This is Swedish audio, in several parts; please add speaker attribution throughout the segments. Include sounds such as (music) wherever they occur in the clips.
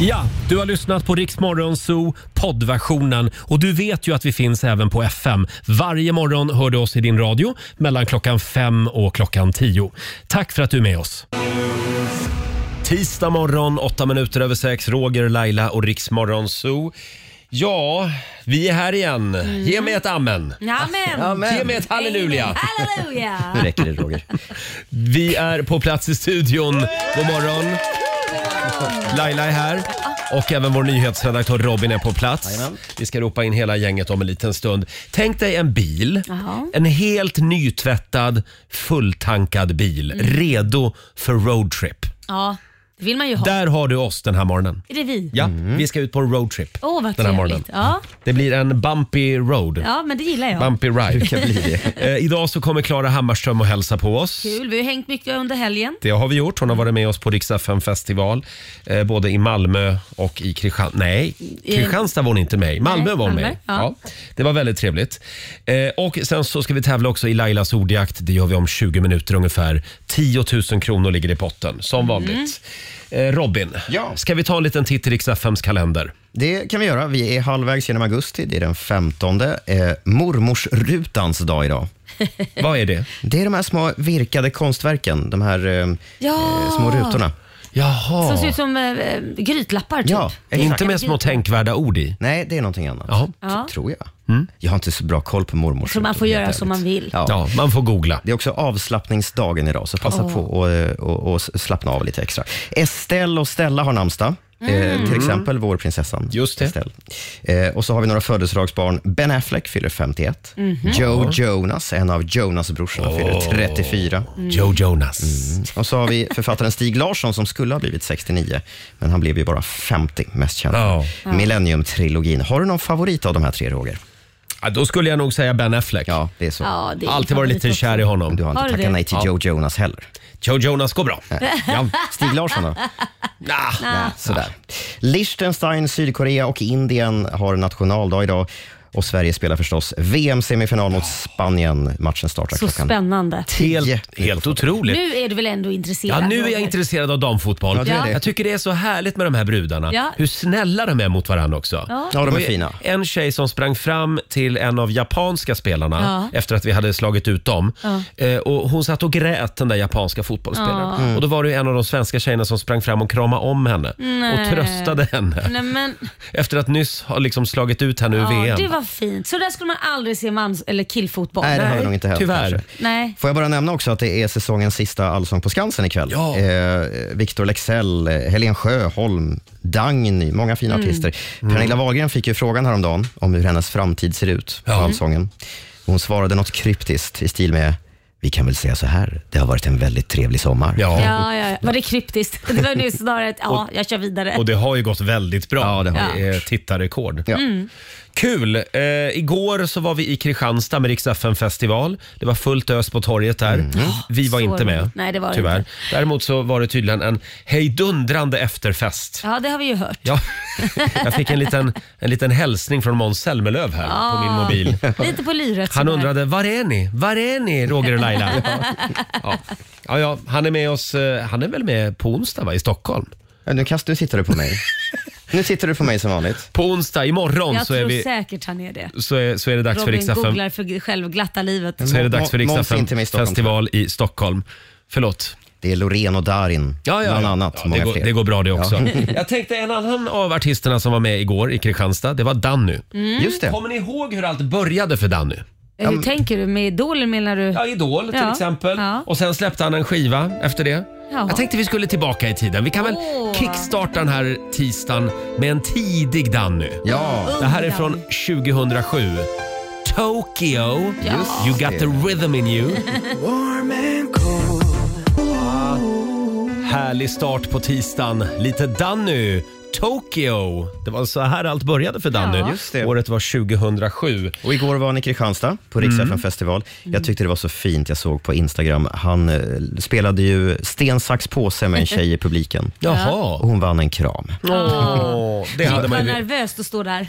Speaker 1: Ja, du har lyssnat på Riksmorgon Zoo poddversionen och du vet ju att vi finns även på FM. Varje morgon hör du oss i din radio mellan klockan fem och klockan tio. Tack för att du är med oss. Tisdag morgon, åtta minuter över sex. Roger, Laila och Riksmorgon Zoo. Ja, vi är här igen. Ge mig ett amen.
Speaker 2: Amen.
Speaker 1: Ge mig ett halleluja.
Speaker 2: Halleluja.
Speaker 1: (laughs) Nu räcker det Roger. Vi är på plats i studion. God morgon. Laila är här. Och även vår nyhetsredaktör Robin är på plats. Vi ska ropa in hela gänget om en liten stund. Tänk dig en bil.
Speaker 2: Jaha.
Speaker 1: En helt nytvättad, fulltankad bil.
Speaker 2: Mm.
Speaker 1: Redo för roadtrip.
Speaker 2: Ja, det vill man ju ha.
Speaker 1: Där har du oss den här morgonen.
Speaker 2: Är det vi?
Speaker 1: Ja, vi ska ut på en roadtrip
Speaker 2: Åh, vad
Speaker 1: den här morgonen.
Speaker 2: trevligt. Ja.
Speaker 1: Det blir en bumpy road.
Speaker 2: ja, men det gillar jag.
Speaker 1: Bumpy ride. (laughs) Eh, idag så kommer Klara Hammarström och hälsa på oss.
Speaker 2: Kul. Vi har ju hängt mycket under helgen.
Speaker 1: Det har vi gjort. Hon har varit med oss på Rix FM festival eh, både i Malmö och i Kristianstad. Nej, Kristianstad var hon inte med i. Malmö
Speaker 2: Nej,
Speaker 1: var hon med
Speaker 2: Malmö,
Speaker 1: i. ja.
Speaker 2: ja.
Speaker 1: Det var väldigt trevligt. Eh, och sen så ska vi tävla också i Lailas ordjakt. Det gör vi om 20 minuter ungefär. 10 000 kronor ligger i potten, som
Speaker 2: Mm.
Speaker 1: vanligt. Eh, Robin,
Speaker 3: Ja.
Speaker 1: ska vi ta en liten titt i Rix FMs kalender?
Speaker 3: (laughs) Det kan vi göra. Vi är halvvägs genom augusti. Det är den 15. Eh, mormorslutans dag idag.
Speaker 1: Vad är
Speaker 3: (laughs)
Speaker 1: det?
Speaker 3: Det är de här små virkade konstverken, de här eh,
Speaker 2: Ja.
Speaker 3: eh, små rutorna.
Speaker 1: Jaha,
Speaker 2: Som ser ut som eh, eh, grytlappar typ.
Speaker 3: Ja, exakt.
Speaker 1: inte med små tänkvärda ord i.
Speaker 3: Nej, det är någonting annat.
Speaker 1: Ja.
Speaker 2: Ja.
Speaker 3: T- Tror jag. Jag har inte så bra koll på mormors
Speaker 2: Så man får
Speaker 3: rutor,
Speaker 2: göra
Speaker 3: helt
Speaker 2: som
Speaker 3: ärligt.
Speaker 2: man vill.
Speaker 3: Ja.
Speaker 1: Ja, man får googla.
Speaker 3: Det är också avslappningsdagen idag, så passa på att eh, och, och slappna av lite extra. Estelle och Stella har namnsdag. Eh,
Speaker 2: Mm.
Speaker 3: till exempel vår prinsessan
Speaker 1: Just det.
Speaker 3: Estelle. Eh, och så har vi några födelsedagsbarn. Ben Affleck fyller 51.
Speaker 2: Mhm.
Speaker 3: Joe Jonas, en av Jonas-brorsorna, fyller 34.
Speaker 1: Joe Jonas.
Speaker 3: Och så har vi författaren Stig Larsson som skulle ha blivit 69, men han blev ju bara 50, mest känd.
Speaker 1: Ja.
Speaker 3: Millennium-trilogin. Har du någon favorit av de här tre, Roger?
Speaker 1: Ja, då skulle jag nog säga Ben Affleck.
Speaker 3: Ja, det är så.
Speaker 2: Ja, det är
Speaker 1: Alltid varit lite
Speaker 2: favorit
Speaker 1: kär i
Speaker 2: också.
Speaker 1: honom.
Speaker 3: Du har inte
Speaker 2: Har du
Speaker 3: tackat
Speaker 2: det?
Speaker 3: nej till Joe Jonas heller.
Speaker 1: Joe Jonas går bra. Ja.
Speaker 2: (laughs)
Speaker 3: Stig Larsson då?
Speaker 1: Nah.
Speaker 3: Nej, sådär. Liechtenstein, Sydkorea och Indien har nationaldag idag. Och Sverige spelar förstås VM-semifinal mot Spanien. Matchen startar
Speaker 2: Så
Speaker 3: klockan
Speaker 2: spännande.
Speaker 3: 10.
Speaker 1: Helt, helt otroligt.
Speaker 2: Nu är du väl ändå intresserad?
Speaker 1: Ja, nu är jag
Speaker 2: Roger?
Speaker 1: intresserad av damfotboll.
Speaker 3: Ja, det är det.
Speaker 1: Jag tycker det är så härligt med de här brudarna.
Speaker 2: Ja.
Speaker 1: Hur snälla de är mot varandra också.
Speaker 3: Ja, de är
Speaker 1: Och
Speaker 3: fina.
Speaker 1: En tjej som sprang fram till en av japanska spelarna efter att vi hade slagit ut dem. Eh, Och hon satt och grät den där japanska fotbollsspelaren.
Speaker 3: Mm.
Speaker 1: Och då var det ju en av de svenska tjejerna som sprang fram och kramade om henne och
Speaker 2: Nej.
Speaker 1: tröstade henne.
Speaker 2: Nej, men,
Speaker 1: Efter att nyss ha liksom slagit ut henne ur
Speaker 2: ja,
Speaker 1: VM.
Speaker 2: det var fint. Så där skulle man aldrig se mans eller killfotboll.
Speaker 3: Nej, det
Speaker 1: Nej,
Speaker 3: hade nog inte hänt.
Speaker 1: tyvärr.
Speaker 3: kanske.
Speaker 2: Nej.
Speaker 3: Får jag bara nämna också att det är säsongens sista Allsång på Skansen ikväll.
Speaker 1: Ja.
Speaker 3: Eh, Victor Lexell, eh, Helen Sjöholm, Dagny, många fina
Speaker 1: Mm.
Speaker 3: artister. Pernilla Wahlgren fick ju frågan häromdagen om hur hennes framtid ser ut på
Speaker 1: Ja.
Speaker 3: Allsången. Hon svarade något kryptiskt i stil med vi kan väl säga så här, det har varit en väldigt trevlig sommar.
Speaker 1: Ja.
Speaker 2: Ja, ja, ja. Var det kryptiskt? (laughs) Det var nu snarare ett ja, jag kör vidare.
Speaker 1: (laughs) Och det har ju gått väldigt bra.
Speaker 3: Ja, det har
Speaker 1: det. är Tittarrekord.
Speaker 3: Ja.
Speaker 2: Mm.
Speaker 1: Kul! Eh, igår så var vi i Kristianstad med Rix FM festival. Det var fullt ös på torget där.
Speaker 3: Mm.
Speaker 1: Vi var
Speaker 2: Så
Speaker 1: inte med,
Speaker 2: roligt. Nej, det var det
Speaker 1: tyvärr.
Speaker 2: inte.
Speaker 1: Däremot så var det tydligen en hejdundrande efterfest.
Speaker 2: Ja, det har vi ju hört.
Speaker 1: Ja. (laughs) Jag fick en liten, en liten hälsning från Måns Zelmerlöw här på min mobil.
Speaker 2: Lite på lyret.
Speaker 1: Han
Speaker 2: Ah. sådär.
Speaker 1: undrade var är ni? Var är ni Roger och
Speaker 2: (laughs)
Speaker 1: Laila? Ja. Ja, ja, han är med oss. eh, Han är väl med på onsdag va? i Stockholm?
Speaker 3: Ja, Nu, kast, nu tittar du på
Speaker 1: (laughs)
Speaker 3: mig. nu tittar du på mig som vanligt.
Speaker 1: På onsdag imorgon
Speaker 2: Jag
Speaker 1: så
Speaker 2: tror
Speaker 1: är, vi,
Speaker 2: säkert han är det.
Speaker 1: så, är, så är det dags för
Speaker 2: Robin
Speaker 1: Rix FM
Speaker 2: googlar för själv glatta livet.
Speaker 1: så är det dags för
Speaker 3: Må- Måns
Speaker 1: riksdagen
Speaker 3: inte med i Stockholm,
Speaker 1: festival i Stockholm. Förlåt.
Speaker 3: Det är Loreen och Darin, bland annat.
Speaker 1: Ja, det,
Speaker 3: många
Speaker 1: går,
Speaker 3: fler.
Speaker 1: det går bra det också. (laughs) Jag tänkte en annan av artisterna som var med igår i Kristianstad, det var Danny.
Speaker 2: Mm.
Speaker 3: Just det.
Speaker 1: Kommer ni ihåg hur allt började för Danny?
Speaker 2: Eh, Hur
Speaker 3: Mm.
Speaker 2: tänker du? Med Idol menar du?
Speaker 1: Ja, Idol till
Speaker 2: Ja.
Speaker 1: exempel.
Speaker 2: Ja.
Speaker 1: Och sen släppte han en skiva efter det.
Speaker 2: Ja.
Speaker 1: Jag tänkte vi skulle tillbaka i tiden. Vi kan väl
Speaker 2: Åh.
Speaker 1: kickstarta den här tisdagen med en tidig Danny.
Speaker 3: Ja,
Speaker 1: Det här är från 2007. Tokyo, you got the rhythm in you. Härlig start på tisdagen. Lite Danny. Tokyo. Det var så här allt började för Danny.
Speaker 2: Ja.
Speaker 3: Just det.
Speaker 1: Året var 2007.
Speaker 3: Och igår var han i Kristianstad på Rix FM festival. Jag tyckte det var så fint, jag såg på Instagram. Han eh, spelade ju sten, sax, påse med en tjej i publiken.
Speaker 1: Jaha.
Speaker 3: Och hon vann en kram.
Speaker 1: Åh, det, hade
Speaker 2: Vad
Speaker 1: man, ju-
Speaker 2: nervöst att stå där.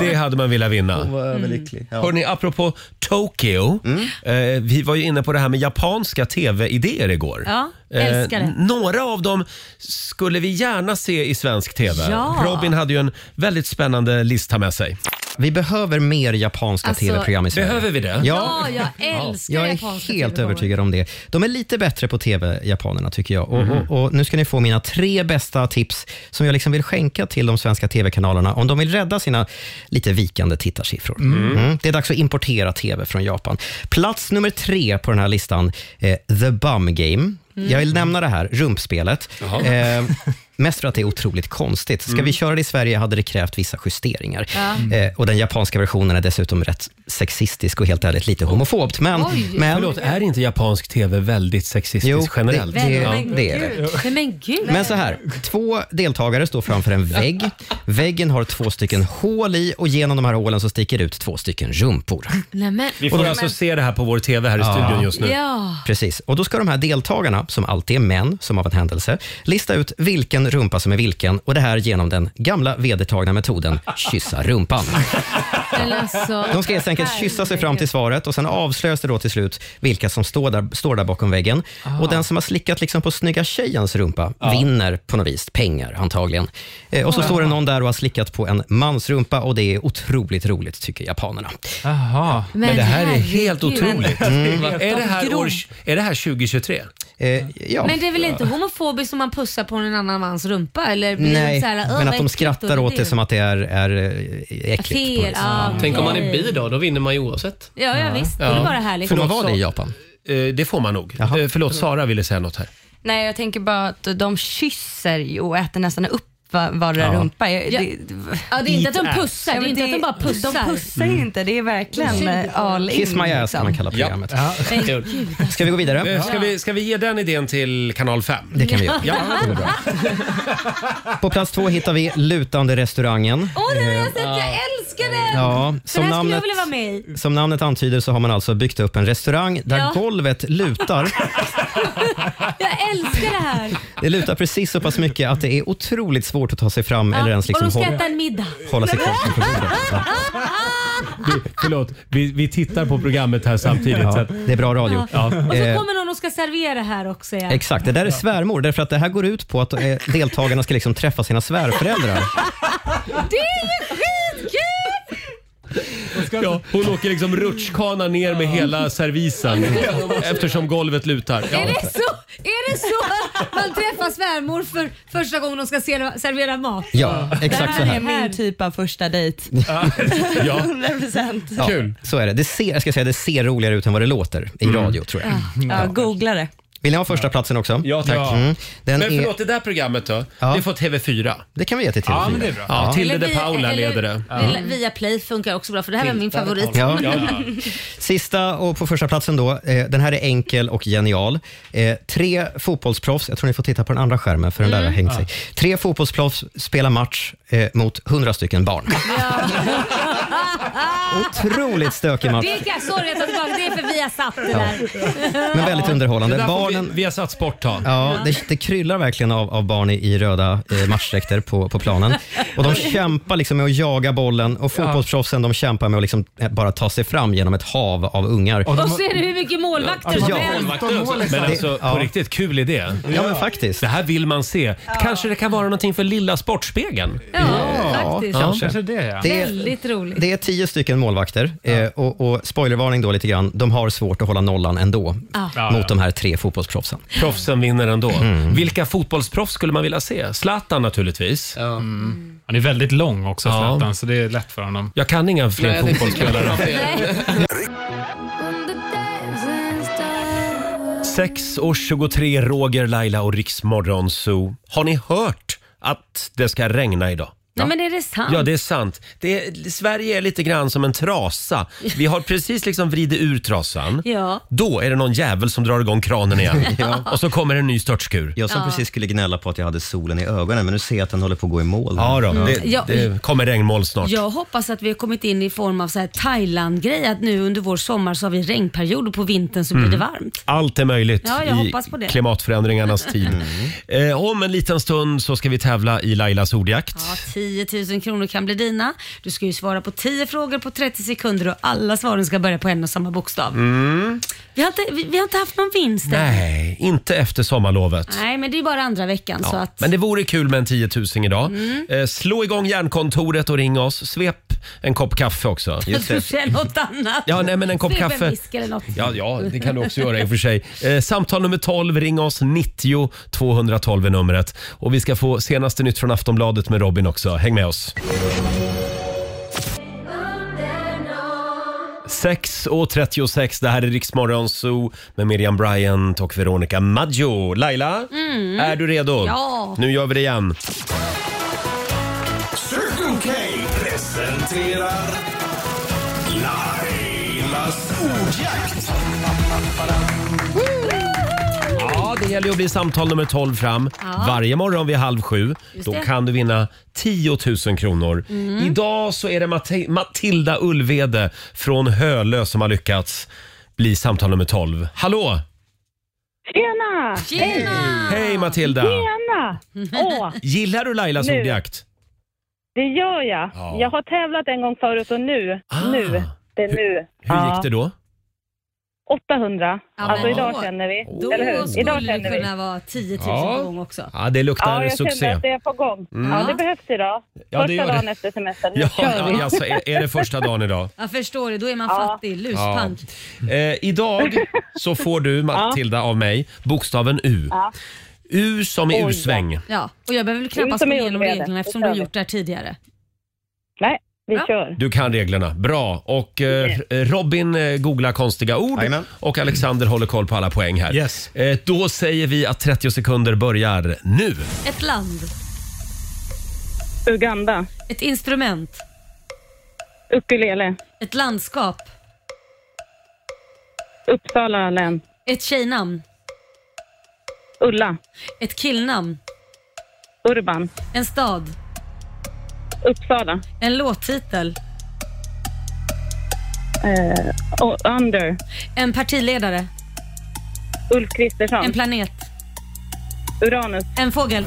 Speaker 2: (laughs)
Speaker 1: det hade man velat vinna.
Speaker 3: var
Speaker 2: Mm.
Speaker 3: överlycklig. Ja.
Speaker 1: Hörni, apropå Tokyo. Eh, vi var ju inne på det här med japanska tv-idéer igår.
Speaker 2: Ja. Älskar det.
Speaker 1: några av dem skulle vi gärna se i svensk TV.
Speaker 2: Ja.
Speaker 1: Robin hade ju en väldigt spännande lista med sig.
Speaker 3: Vi behöver mer japanska
Speaker 2: Alltså,
Speaker 3: tv-program i Sverige.
Speaker 1: Behöver vi det?
Speaker 2: Ja, jag älskar
Speaker 3: Jag är
Speaker 2: japanska
Speaker 3: helt
Speaker 2: TV-shower.
Speaker 3: övertygad om det. De är lite bättre på tv, japanerna, tycker jag. Och, och, och Nu ska ni få mina tre bästa tips som jag liksom vill skänka till de svenska tv-kanalerna om de vill rädda sina lite vikande tittarsiffror. Mm. Det är dags att importera tv från Japan. Plats nummer tre på den här listan, eh, The Bum Game. Jag vill nämna det här, rumpspelet. Eh, mest för att det är otroligt konstigt. Ska vi köra det i Sverige hade det krävt vissa justeringar. Eh, och Den japanska versionen är dessutom rätt sexistisk och helt ärligt lite homofobt. Men,
Speaker 2: Oj.
Speaker 3: men
Speaker 1: Förlåt, är inte japansk TV väldigt sexistisk
Speaker 3: Jo,
Speaker 1: generellt?
Speaker 3: det-
Speaker 2: Men,
Speaker 3: Ja,
Speaker 2: men
Speaker 3: det är
Speaker 2: gud. Nej, men gud.
Speaker 3: Men så här, två deltagare står framför en vägg. Väggen har två stycken hål i och genom de här hålen så sticker ut två stycken rumpor.
Speaker 2: Nej, men.
Speaker 1: Vi får alltså se det här på vår TV här i studion just nu.
Speaker 2: Ja.
Speaker 3: Precis. Och då ska de här deltagarna, som alltid är män, som av en händelse, lista ut vilken rumpa som är vilken och det här genom den gamla vedertagna metoden kyssa rumpan.
Speaker 2: Men alltså,
Speaker 3: De ska helt enkelt kyssa sig fram till svaret och sen avslöjas det då till slut vilka som står där, står där bakom väggen.
Speaker 2: Ah.
Speaker 3: Och den som har slickat liksom på snygga tjejens rumpa vinner på något vis pengar antagligen. Eh, och så
Speaker 2: Ah.
Speaker 3: står det någon där och har slickat på en mans rumpa och det är otroligt roligt tycker japanerna.
Speaker 4: Jaha.
Speaker 1: Men det här är
Speaker 2: herregud.
Speaker 1: helt otroligt. Mm.
Speaker 2: Mm.
Speaker 1: Är, det här
Speaker 2: Grov.
Speaker 1: år, är det här 2023?
Speaker 3: Eh, ja.
Speaker 2: Ah. Men det är väl inte homofobiskt om man pussar på en annan mans rumpa? Eller blir det
Speaker 3: Nej,
Speaker 2: så här, "Åh,
Speaker 3: men
Speaker 2: vad
Speaker 3: att de
Speaker 2: äckligt",
Speaker 3: skrattar
Speaker 2: och
Speaker 3: åt det som att det är, är eh, äckligt. på något
Speaker 2: Fel.
Speaker 3: vis.
Speaker 2: Ja,
Speaker 5: Tänk om man är
Speaker 2: okej.
Speaker 5: bi då, då vinner man ju oavsett.
Speaker 2: Ja, ja visst. Det är bara härligt.
Speaker 3: Får man vara
Speaker 1: Förlåt,
Speaker 3: det i
Speaker 1: så-
Speaker 3: Japan?
Speaker 1: Eh, det får man nog. Eh, förlåt, Sara ville säga något här.
Speaker 6: Nej, jag tänker bara att de kysser ju och äter nästan upp va- vardera rumpa. Jag,
Speaker 2: Ja.
Speaker 6: det,
Speaker 2: Ja, det är inte att de pussar, det
Speaker 6: Ja,
Speaker 2: är
Speaker 6: men
Speaker 2: inte att de bara pussar.
Speaker 6: De pussar ju inte, det är verkligen
Speaker 2: Mm.
Speaker 6: eh, all in.
Speaker 3: Kiss my ass kan
Speaker 6: liksom.
Speaker 3: man kalla programmet.
Speaker 2: Men,
Speaker 3: Ska vi gå vidare?
Speaker 1: Eh, ska, vi, ska vi ge den idén till kanal 5?
Speaker 3: Det kan vi göra.
Speaker 1: Ja.
Speaker 3: På plats två hittar vi Lutande restaurangen.
Speaker 2: Åh, den har jag sett, jag älskar den!
Speaker 3: Ja,
Speaker 2: den
Speaker 3: Mm. som
Speaker 2: här skulle
Speaker 3: namnet,
Speaker 2: jag vilja vara med i.
Speaker 3: som namnet antyder så har man alltså byggt upp en restaurang där
Speaker 2: Ja.
Speaker 3: golvet lutar.
Speaker 2: Jag älskar det
Speaker 3: (laughs)
Speaker 2: här.
Speaker 3: Det lutar precis så pass mycket att det är otroligt svårt att ta sig fram eller ens liksom
Speaker 2: och de ska
Speaker 3: hålla,
Speaker 2: äta en middag.
Speaker 3: hålla sig kvar på bordet. Ja.
Speaker 1: Vi, förlåt, vi, vi tittar på programmet här samtidigt. så
Speaker 3: Ja,
Speaker 1: att-
Speaker 3: det är bra radio.
Speaker 2: Och så
Speaker 3: Eh,
Speaker 2: kommer någon och ska servera här också. Ja.
Speaker 3: Exakt, det där är svärmor därför att det här går ut på att eh, deltagarna ska liksom träffa sina svärföräldrar.
Speaker 2: Det är ju skitkul!
Speaker 1: Ja, hon åker liksom rutschkana ner med hela servisen eftersom golvet lutar. Ja.
Speaker 2: Är det, så, är det så att man träffar svärmor för första gången de ska se- servera mat?
Speaker 3: Ja, exakt så
Speaker 6: Det
Speaker 3: här.
Speaker 6: är min typ av första dejt.
Speaker 1: Ja. (laughs)
Speaker 6: 100%.
Speaker 3: Ja,
Speaker 1: Kul. Mm.
Speaker 3: Så är det. Det ser, jag ska säga, det ser roligare ut än vad det låter i radio tror jag.
Speaker 6: Ja, googla det.
Speaker 3: Vill ni ha första platsen också?
Speaker 1: Ja, tack.
Speaker 3: Mm. Den
Speaker 1: Men
Speaker 3: är,
Speaker 1: förlåt, det där programmet då?
Speaker 3: Ja.
Speaker 1: Det får TV4.
Speaker 3: det kan vi ge till TV4.
Speaker 4: Ja, men det är bra.
Speaker 1: Ja, Tilde
Speaker 2: Eller
Speaker 1: de
Speaker 2: via-
Speaker 1: Paula
Speaker 2: eller-
Speaker 1: leder det.
Speaker 2: eller Via Play funkar också bra för det här var min favorit.
Speaker 3: Ja. Sista och på första platsen då. Eh, den här är enkel och genial. Eh, tre fotbollsproffs, jag tror ni får titta på den andra skärmen för den där har hängt sig. Tre fotbollsproffs spelar match eh, mot hundra stycken barn. (laughs) Otroligt stökig match,
Speaker 2: Det kan, sorry jag tar tillbaka, det är för vi har satt det där.
Speaker 3: men väldigt underhållande.
Speaker 1: Barnen...
Speaker 3: Barnen,
Speaker 1: Vi, vi har satt sport ta.
Speaker 3: Ja, det, det kryllar verkligen av, av barn i, i röda eh, matchdräkter på, på planen. Och de kämpar liksom med att jaga bollen och fotbollsproffsen de kämpar med att liksom eh, bara ta sig fram genom ett hav av ungar.
Speaker 2: Och så är det hur mycket målvakter som
Speaker 3: Ja.
Speaker 2: helst.
Speaker 1: Men alltså, på riktigt, kul idé.
Speaker 3: Ja, men faktiskt.
Speaker 1: Det här vill man se. Kanske det kan vara någonting för lilla Sportspegeln?
Speaker 2: Ja, faktiskt.
Speaker 4: Kanske det ja.
Speaker 3: Det är,
Speaker 2: Väldigt roligt.
Speaker 3: det är tio stycken målvakter eh, och, och spoilervarning då lite grann. De har svårt att hålla nollan ändå
Speaker 2: Ja.
Speaker 3: mot de här tre fotbollsproffsen.
Speaker 1: Proffsen vinner ändå.
Speaker 3: Mm.
Speaker 1: Vilka fotbollsproffs skulle man vilja se? Zlatan naturligtvis.
Speaker 4: Mm. Han är väldigt lång också,
Speaker 1: Ja.
Speaker 4: Zlatan, så det är lätt för honom.
Speaker 1: Jag kan inga fler
Speaker 5: Nej, det kan
Speaker 1: fotbollsspelare.
Speaker 5: vara fel.
Speaker 1: Sex och 23, Roger, Laila och Riksmorgon Zoo. Har ni hört att det ska regna idag?
Speaker 2: Nej men är det sant?
Speaker 1: Ja, det är sant. Det är, Sverige är lite grann som en trasa. Vi har precis liksom vridit ur trasan.
Speaker 2: Ja.
Speaker 1: Då är det någon jävel som drar igång kranen
Speaker 2: (laughs)
Speaker 1: igen. Och så kommer en ny störtskur.
Speaker 3: Jag som precis skulle gnälla på att jag hade solen i ögonen, men nu ser jag att den håller på att gå i mål.
Speaker 1: Ja, då.
Speaker 2: Ja.
Speaker 1: Det, det kommer regnmoln snart.
Speaker 2: Jag hoppas att vi har kommit in i form av så här Thailand-grej, att nu under vår sommar så har vi regnperiod och på vintern så blir det
Speaker 1: Mhm.
Speaker 2: varmt.
Speaker 1: Allt är möjligt
Speaker 2: Ja, jag
Speaker 1: i
Speaker 2: hoppas på det. (laughs) Mm.
Speaker 1: klimatförändringarnas tid. Eh, om en liten stund så ska vi tävla i Lailas ordjakt.
Speaker 2: Ja, 10 10 000 kronor kan bli dina. Du ska ju svara på 10 frågor på 30 sekunder och alla svaren ska börja på en och samma bokstav. Vi, har inte, vi, vi har inte haft någon vinst än.
Speaker 1: Mm. Nej, inte efter sommarlovet.
Speaker 2: Nej, men det är bara andra veckan så att... (laughs)
Speaker 1: Men det vore kul med en 10 000 idag.
Speaker 2: Mm.
Speaker 1: Eh, slå igång hjärnkontoret och ring oss. Svep en kopp kaffe också.
Speaker 2: Jag tror säga något annat.
Speaker 1: Ja, nej, men en kopp
Speaker 2: Svep
Speaker 1: kaffe.
Speaker 2: visk eller något.
Speaker 1: Ja, ja, det kan du också göra i och för sig. Eh, samtal nummer 12, ring oss. 90 212 är numret. Och vi ska få senaste nytt från Aftonbladet med Robin också. Häng med oss. 6.36, det här är Riksmorgon Zoo med Miriam Bryant och Veronica Maggio. Laila, är du redo?
Speaker 2: Mm. Ja.
Speaker 1: Nu gör vi det igen.
Speaker 5: Circle K presenterar Lailas ordjakt.
Speaker 1: Ja, det gäller ju att bli samtal nummer 12 fram varje morgon vid halv sju. Då
Speaker 2: det.
Speaker 1: kan du vinna 10 000 kronor. Idag så är det Mate- Matilda Ulvede från Hölö som har lyckats bli samtal nummer 12. Hallå!
Speaker 7: Tjena!
Speaker 2: Tjena!
Speaker 1: Hej Matilda!
Speaker 7: Tjena!
Speaker 2: (laughs)
Speaker 7: Åh,
Speaker 1: Gillar du Lailas
Speaker 7: Nu.
Speaker 1: ordjakt?
Speaker 7: det gör jag.
Speaker 1: Ja.
Speaker 7: Jag har tävlat en gång förut och nu,
Speaker 1: Ah.
Speaker 7: nu, det är nu.
Speaker 1: Hur gick det då?
Speaker 7: 800.
Speaker 2: Ja,
Speaker 7: alltså
Speaker 2: men
Speaker 7: idag
Speaker 2: då-
Speaker 7: känner vi.
Speaker 2: Då
Speaker 7: Eller hur?
Speaker 2: skulle
Speaker 7: Idag
Speaker 2: det
Speaker 7: känner vi.
Speaker 2: kunna vara 10 000
Speaker 1: Ja.
Speaker 2: på gång också.
Speaker 1: Ja, det luktar
Speaker 7: Ja, jag
Speaker 1: succé. Mm.
Speaker 7: känner att det är på gång. Ja, det behövs idag.
Speaker 1: Ja, det
Speaker 7: Första
Speaker 1: gör det.
Speaker 7: dagen efter semestern. Nu
Speaker 1: Ja,
Speaker 7: kör vi.
Speaker 1: ja, alltså, är, är det första dagen idag?
Speaker 2: Jag förstår det, då är man
Speaker 7: Ja.
Speaker 2: fattig. Luspank.
Speaker 1: Eh, idag så
Speaker 7: (laughs)
Speaker 1: får du Matilda av mig bokstaven U.
Speaker 7: Ja.
Speaker 1: U som i
Speaker 7: Oj, ja.
Speaker 1: U-sväng.
Speaker 2: Ja, och jag behöver väl
Speaker 7: Ut
Speaker 2: knappast
Speaker 7: som
Speaker 2: gå
Speaker 7: i
Speaker 2: igenom
Speaker 7: jordbädden.
Speaker 2: reglerna
Speaker 7: Det
Speaker 2: eftersom du
Speaker 7: kör
Speaker 2: har
Speaker 7: vi.
Speaker 2: gjort det här tidigare.
Speaker 7: Nej, vi
Speaker 2: Ja.
Speaker 7: kör.
Speaker 1: Du kan reglerna. Bra. Och eh, Robin eh, googlar konstiga ord
Speaker 3: Jajamän.
Speaker 1: och Alexander håller koll på alla poäng här.
Speaker 4: Yes.
Speaker 1: Eh, då säger vi att 30 sekunder börjar nu.
Speaker 2: Ett land,
Speaker 7: Uganda.
Speaker 2: ett instrument,
Speaker 7: Ukulele.
Speaker 2: ett landskap,
Speaker 7: Uppsala län.
Speaker 2: ett tjejnamn,
Speaker 7: Ulla.
Speaker 2: ett killnamn,
Speaker 7: Urban.
Speaker 2: en stad,
Speaker 7: Uppsala.
Speaker 2: en låttitel,
Speaker 7: Eh, och under.
Speaker 2: en partiledare,
Speaker 7: Ulf Kristersson.
Speaker 2: en planet,
Speaker 7: Uranus.
Speaker 2: en fågel.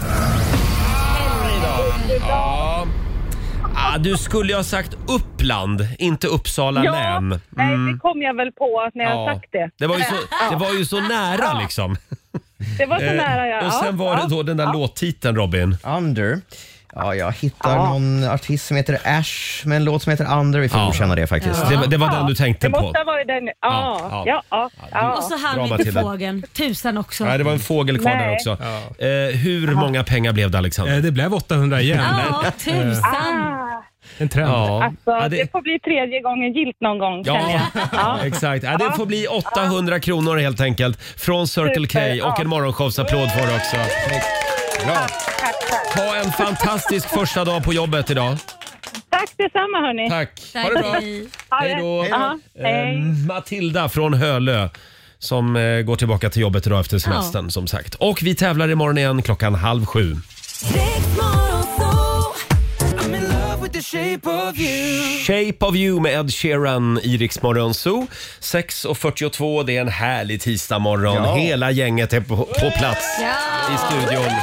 Speaker 1: Ja. Ah, du skulle ju ha sagt Uppland, inte Uppsala län. Mm.
Speaker 7: Nej, det kom jag väl på när jag
Speaker 1: Ja.
Speaker 7: sagt det.
Speaker 1: Det var ju så, det var ju så nära liksom.
Speaker 7: Det var så nära jag...
Speaker 1: Eh, Och sen
Speaker 7: ja,
Speaker 1: var
Speaker 7: ja.
Speaker 1: det då den där låttiteln Robin.
Speaker 3: Under. Ja, jag hittar
Speaker 7: Ja.
Speaker 3: någon artist som heter Ash med en låt som heter Under. Vi får
Speaker 1: Ja.
Speaker 3: godkänna det faktiskt.
Speaker 1: Det, var- det var den du
Speaker 7: Det
Speaker 1: tänkte på.
Speaker 7: måste ha varit den. Ja,
Speaker 1: Ja,
Speaker 7: ja,
Speaker 1: ja.
Speaker 7: ja. ja,
Speaker 2: Och så
Speaker 1: Bra,
Speaker 2: hann inte
Speaker 1: Matilda.
Speaker 2: fågeln. Tusan också.
Speaker 1: Nej, det var en fågel kvar där
Speaker 7: Nej.
Speaker 1: också. Eh, hur många pengar blev det Alexander?
Speaker 4: Eh, Det blev 800 igen.
Speaker 2: Ja, tusan.
Speaker 7: Ah,
Speaker 4: En trend.
Speaker 7: alltså,
Speaker 1: Ja,
Speaker 7: det... får bli tredje gången gilt någon gång. känner
Speaker 1: Ja,
Speaker 7: jag.
Speaker 1: (laughs) exakt. Ja, det får bli 800 kronor helt enkelt från Circle K
Speaker 7: Super,
Speaker 1: och en morgonshowsapplåd för det också.
Speaker 3: Bra.
Speaker 7: Tack, tack.
Speaker 1: Ha en fantastisk första dag på jobbet idag.
Speaker 7: tack detsamma hörni.
Speaker 1: Tack. Ha
Speaker 2: Tack,
Speaker 1: det bra.
Speaker 2: hej.
Speaker 7: Ha
Speaker 1: Hej då.
Speaker 7: det. Ja, hej.
Speaker 1: Eh, Matilda från Hölö som eh, går tillbaka till jobbet idag efter semestern som sagt. Och vi tävlar imorgon igen klockan halv sju. Shape of you med Ed Sheeran i Rix Morgon Zoo. 6.42, det är en härlig tisdagmorgon.
Speaker 3: Ja.
Speaker 1: Hela gänget är på, på plats
Speaker 2: Ja.
Speaker 1: i studion.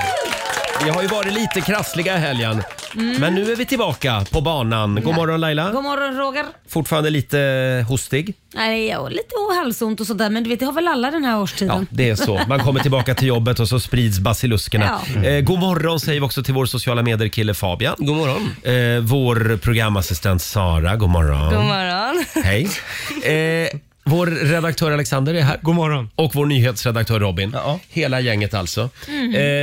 Speaker 1: Vi har ju varit lite krassliga i helgen,
Speaker 7: Mm.
Speaker 1: men nu är vi tillbaka på banan. God morgon Laila.
Speaker 2: God morgon Roger.
Speaker 1: Fortfarande lite hostig.
Speaker 2: Nej, jag har lite halsont och sådär men du vet det har väl alla den här
Speaker 1: Ja,
Speaker 2: årstiden.
Speaker 1: det är så. Man kommer tillbaka till jobbet och så sprids basiluskerna.
Speaker 2: Ja.
Speaker 1: Eh, god morgon säger vi också till vår sociala medier-kille Fabian. God morgon. Eh, vår programassistent Sara, god morgon.
Speaker 6: God morgon.
Speaker 1: Hej. Eh, vår redaktör Alexander är här.
Speaker 4: God morgon.
Speaker 1: Och vår nyhetsredaktör Robin.
Speaker 3: Ja.
Speaker 1: Hela gänget alltså. Eh,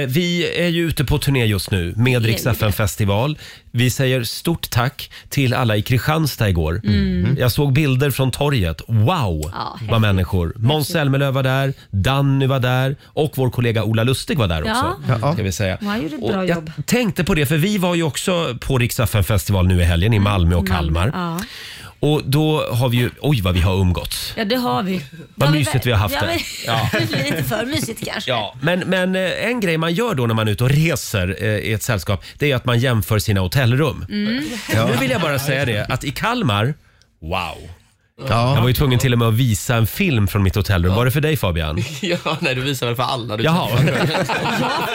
Speaker 1: vi är ju ute på turné just nu med Rix
Speaker 2: ju det.
Speaker 1: FM festival. Vi säger stort tack till alla i Kristianstad igår. Jag såg bilder från torget. Wow,
Speaker 2: Ja,
Speaker 1: vad människor. Måns Zelmerlöw var där, Danny var där och vår kollega Ola Lustig var där
Speaker 2: Ja.
Speaker 1: också. Ska vi säga.
Speaker 2: Ja, han gjorde ett
Speaker 1: Och
Speaker 2: bra
Speaker 1: jag
Speaker 2: jobb.
Speaker 1: tänkte på det, för vi var ju också på Rix FM festival nu i helgen i Malmö och Kalmar.
Speaker 2: Mm. Ja.
Speaker 1: Och då har vi ju, oj vad vi har umgåtts.
Speaker 2: Ja, det har vi.
Speaker 1: Vad
Speaker 2: Ja,
Speaker 1: mysigt vi har haft
Speaker 2: ja,
Speaker 1: det.
Speaker 2: men- (laughs)
Speaker 1: Ja.
Speaker 2: Lite för mysigt kanske.
Speaker 1: Ja, men, men eh, en grej man gör då när man är ute och reser eh, i ett sällskap, det är att man
Speaker 2: Mm.
Speaker 1: jämför sina hotellrum. Nu vill jag bara säga det, att i Kalmar, wow. Jag var ju tvungen till och med att visa en film från mitt hotellrum. Var det för dig Fabian?
Speaker 8: (laughs) Ja, nej, du visar väl för alla du
Speaker 1: Jaha.
Speaker 8: träffar.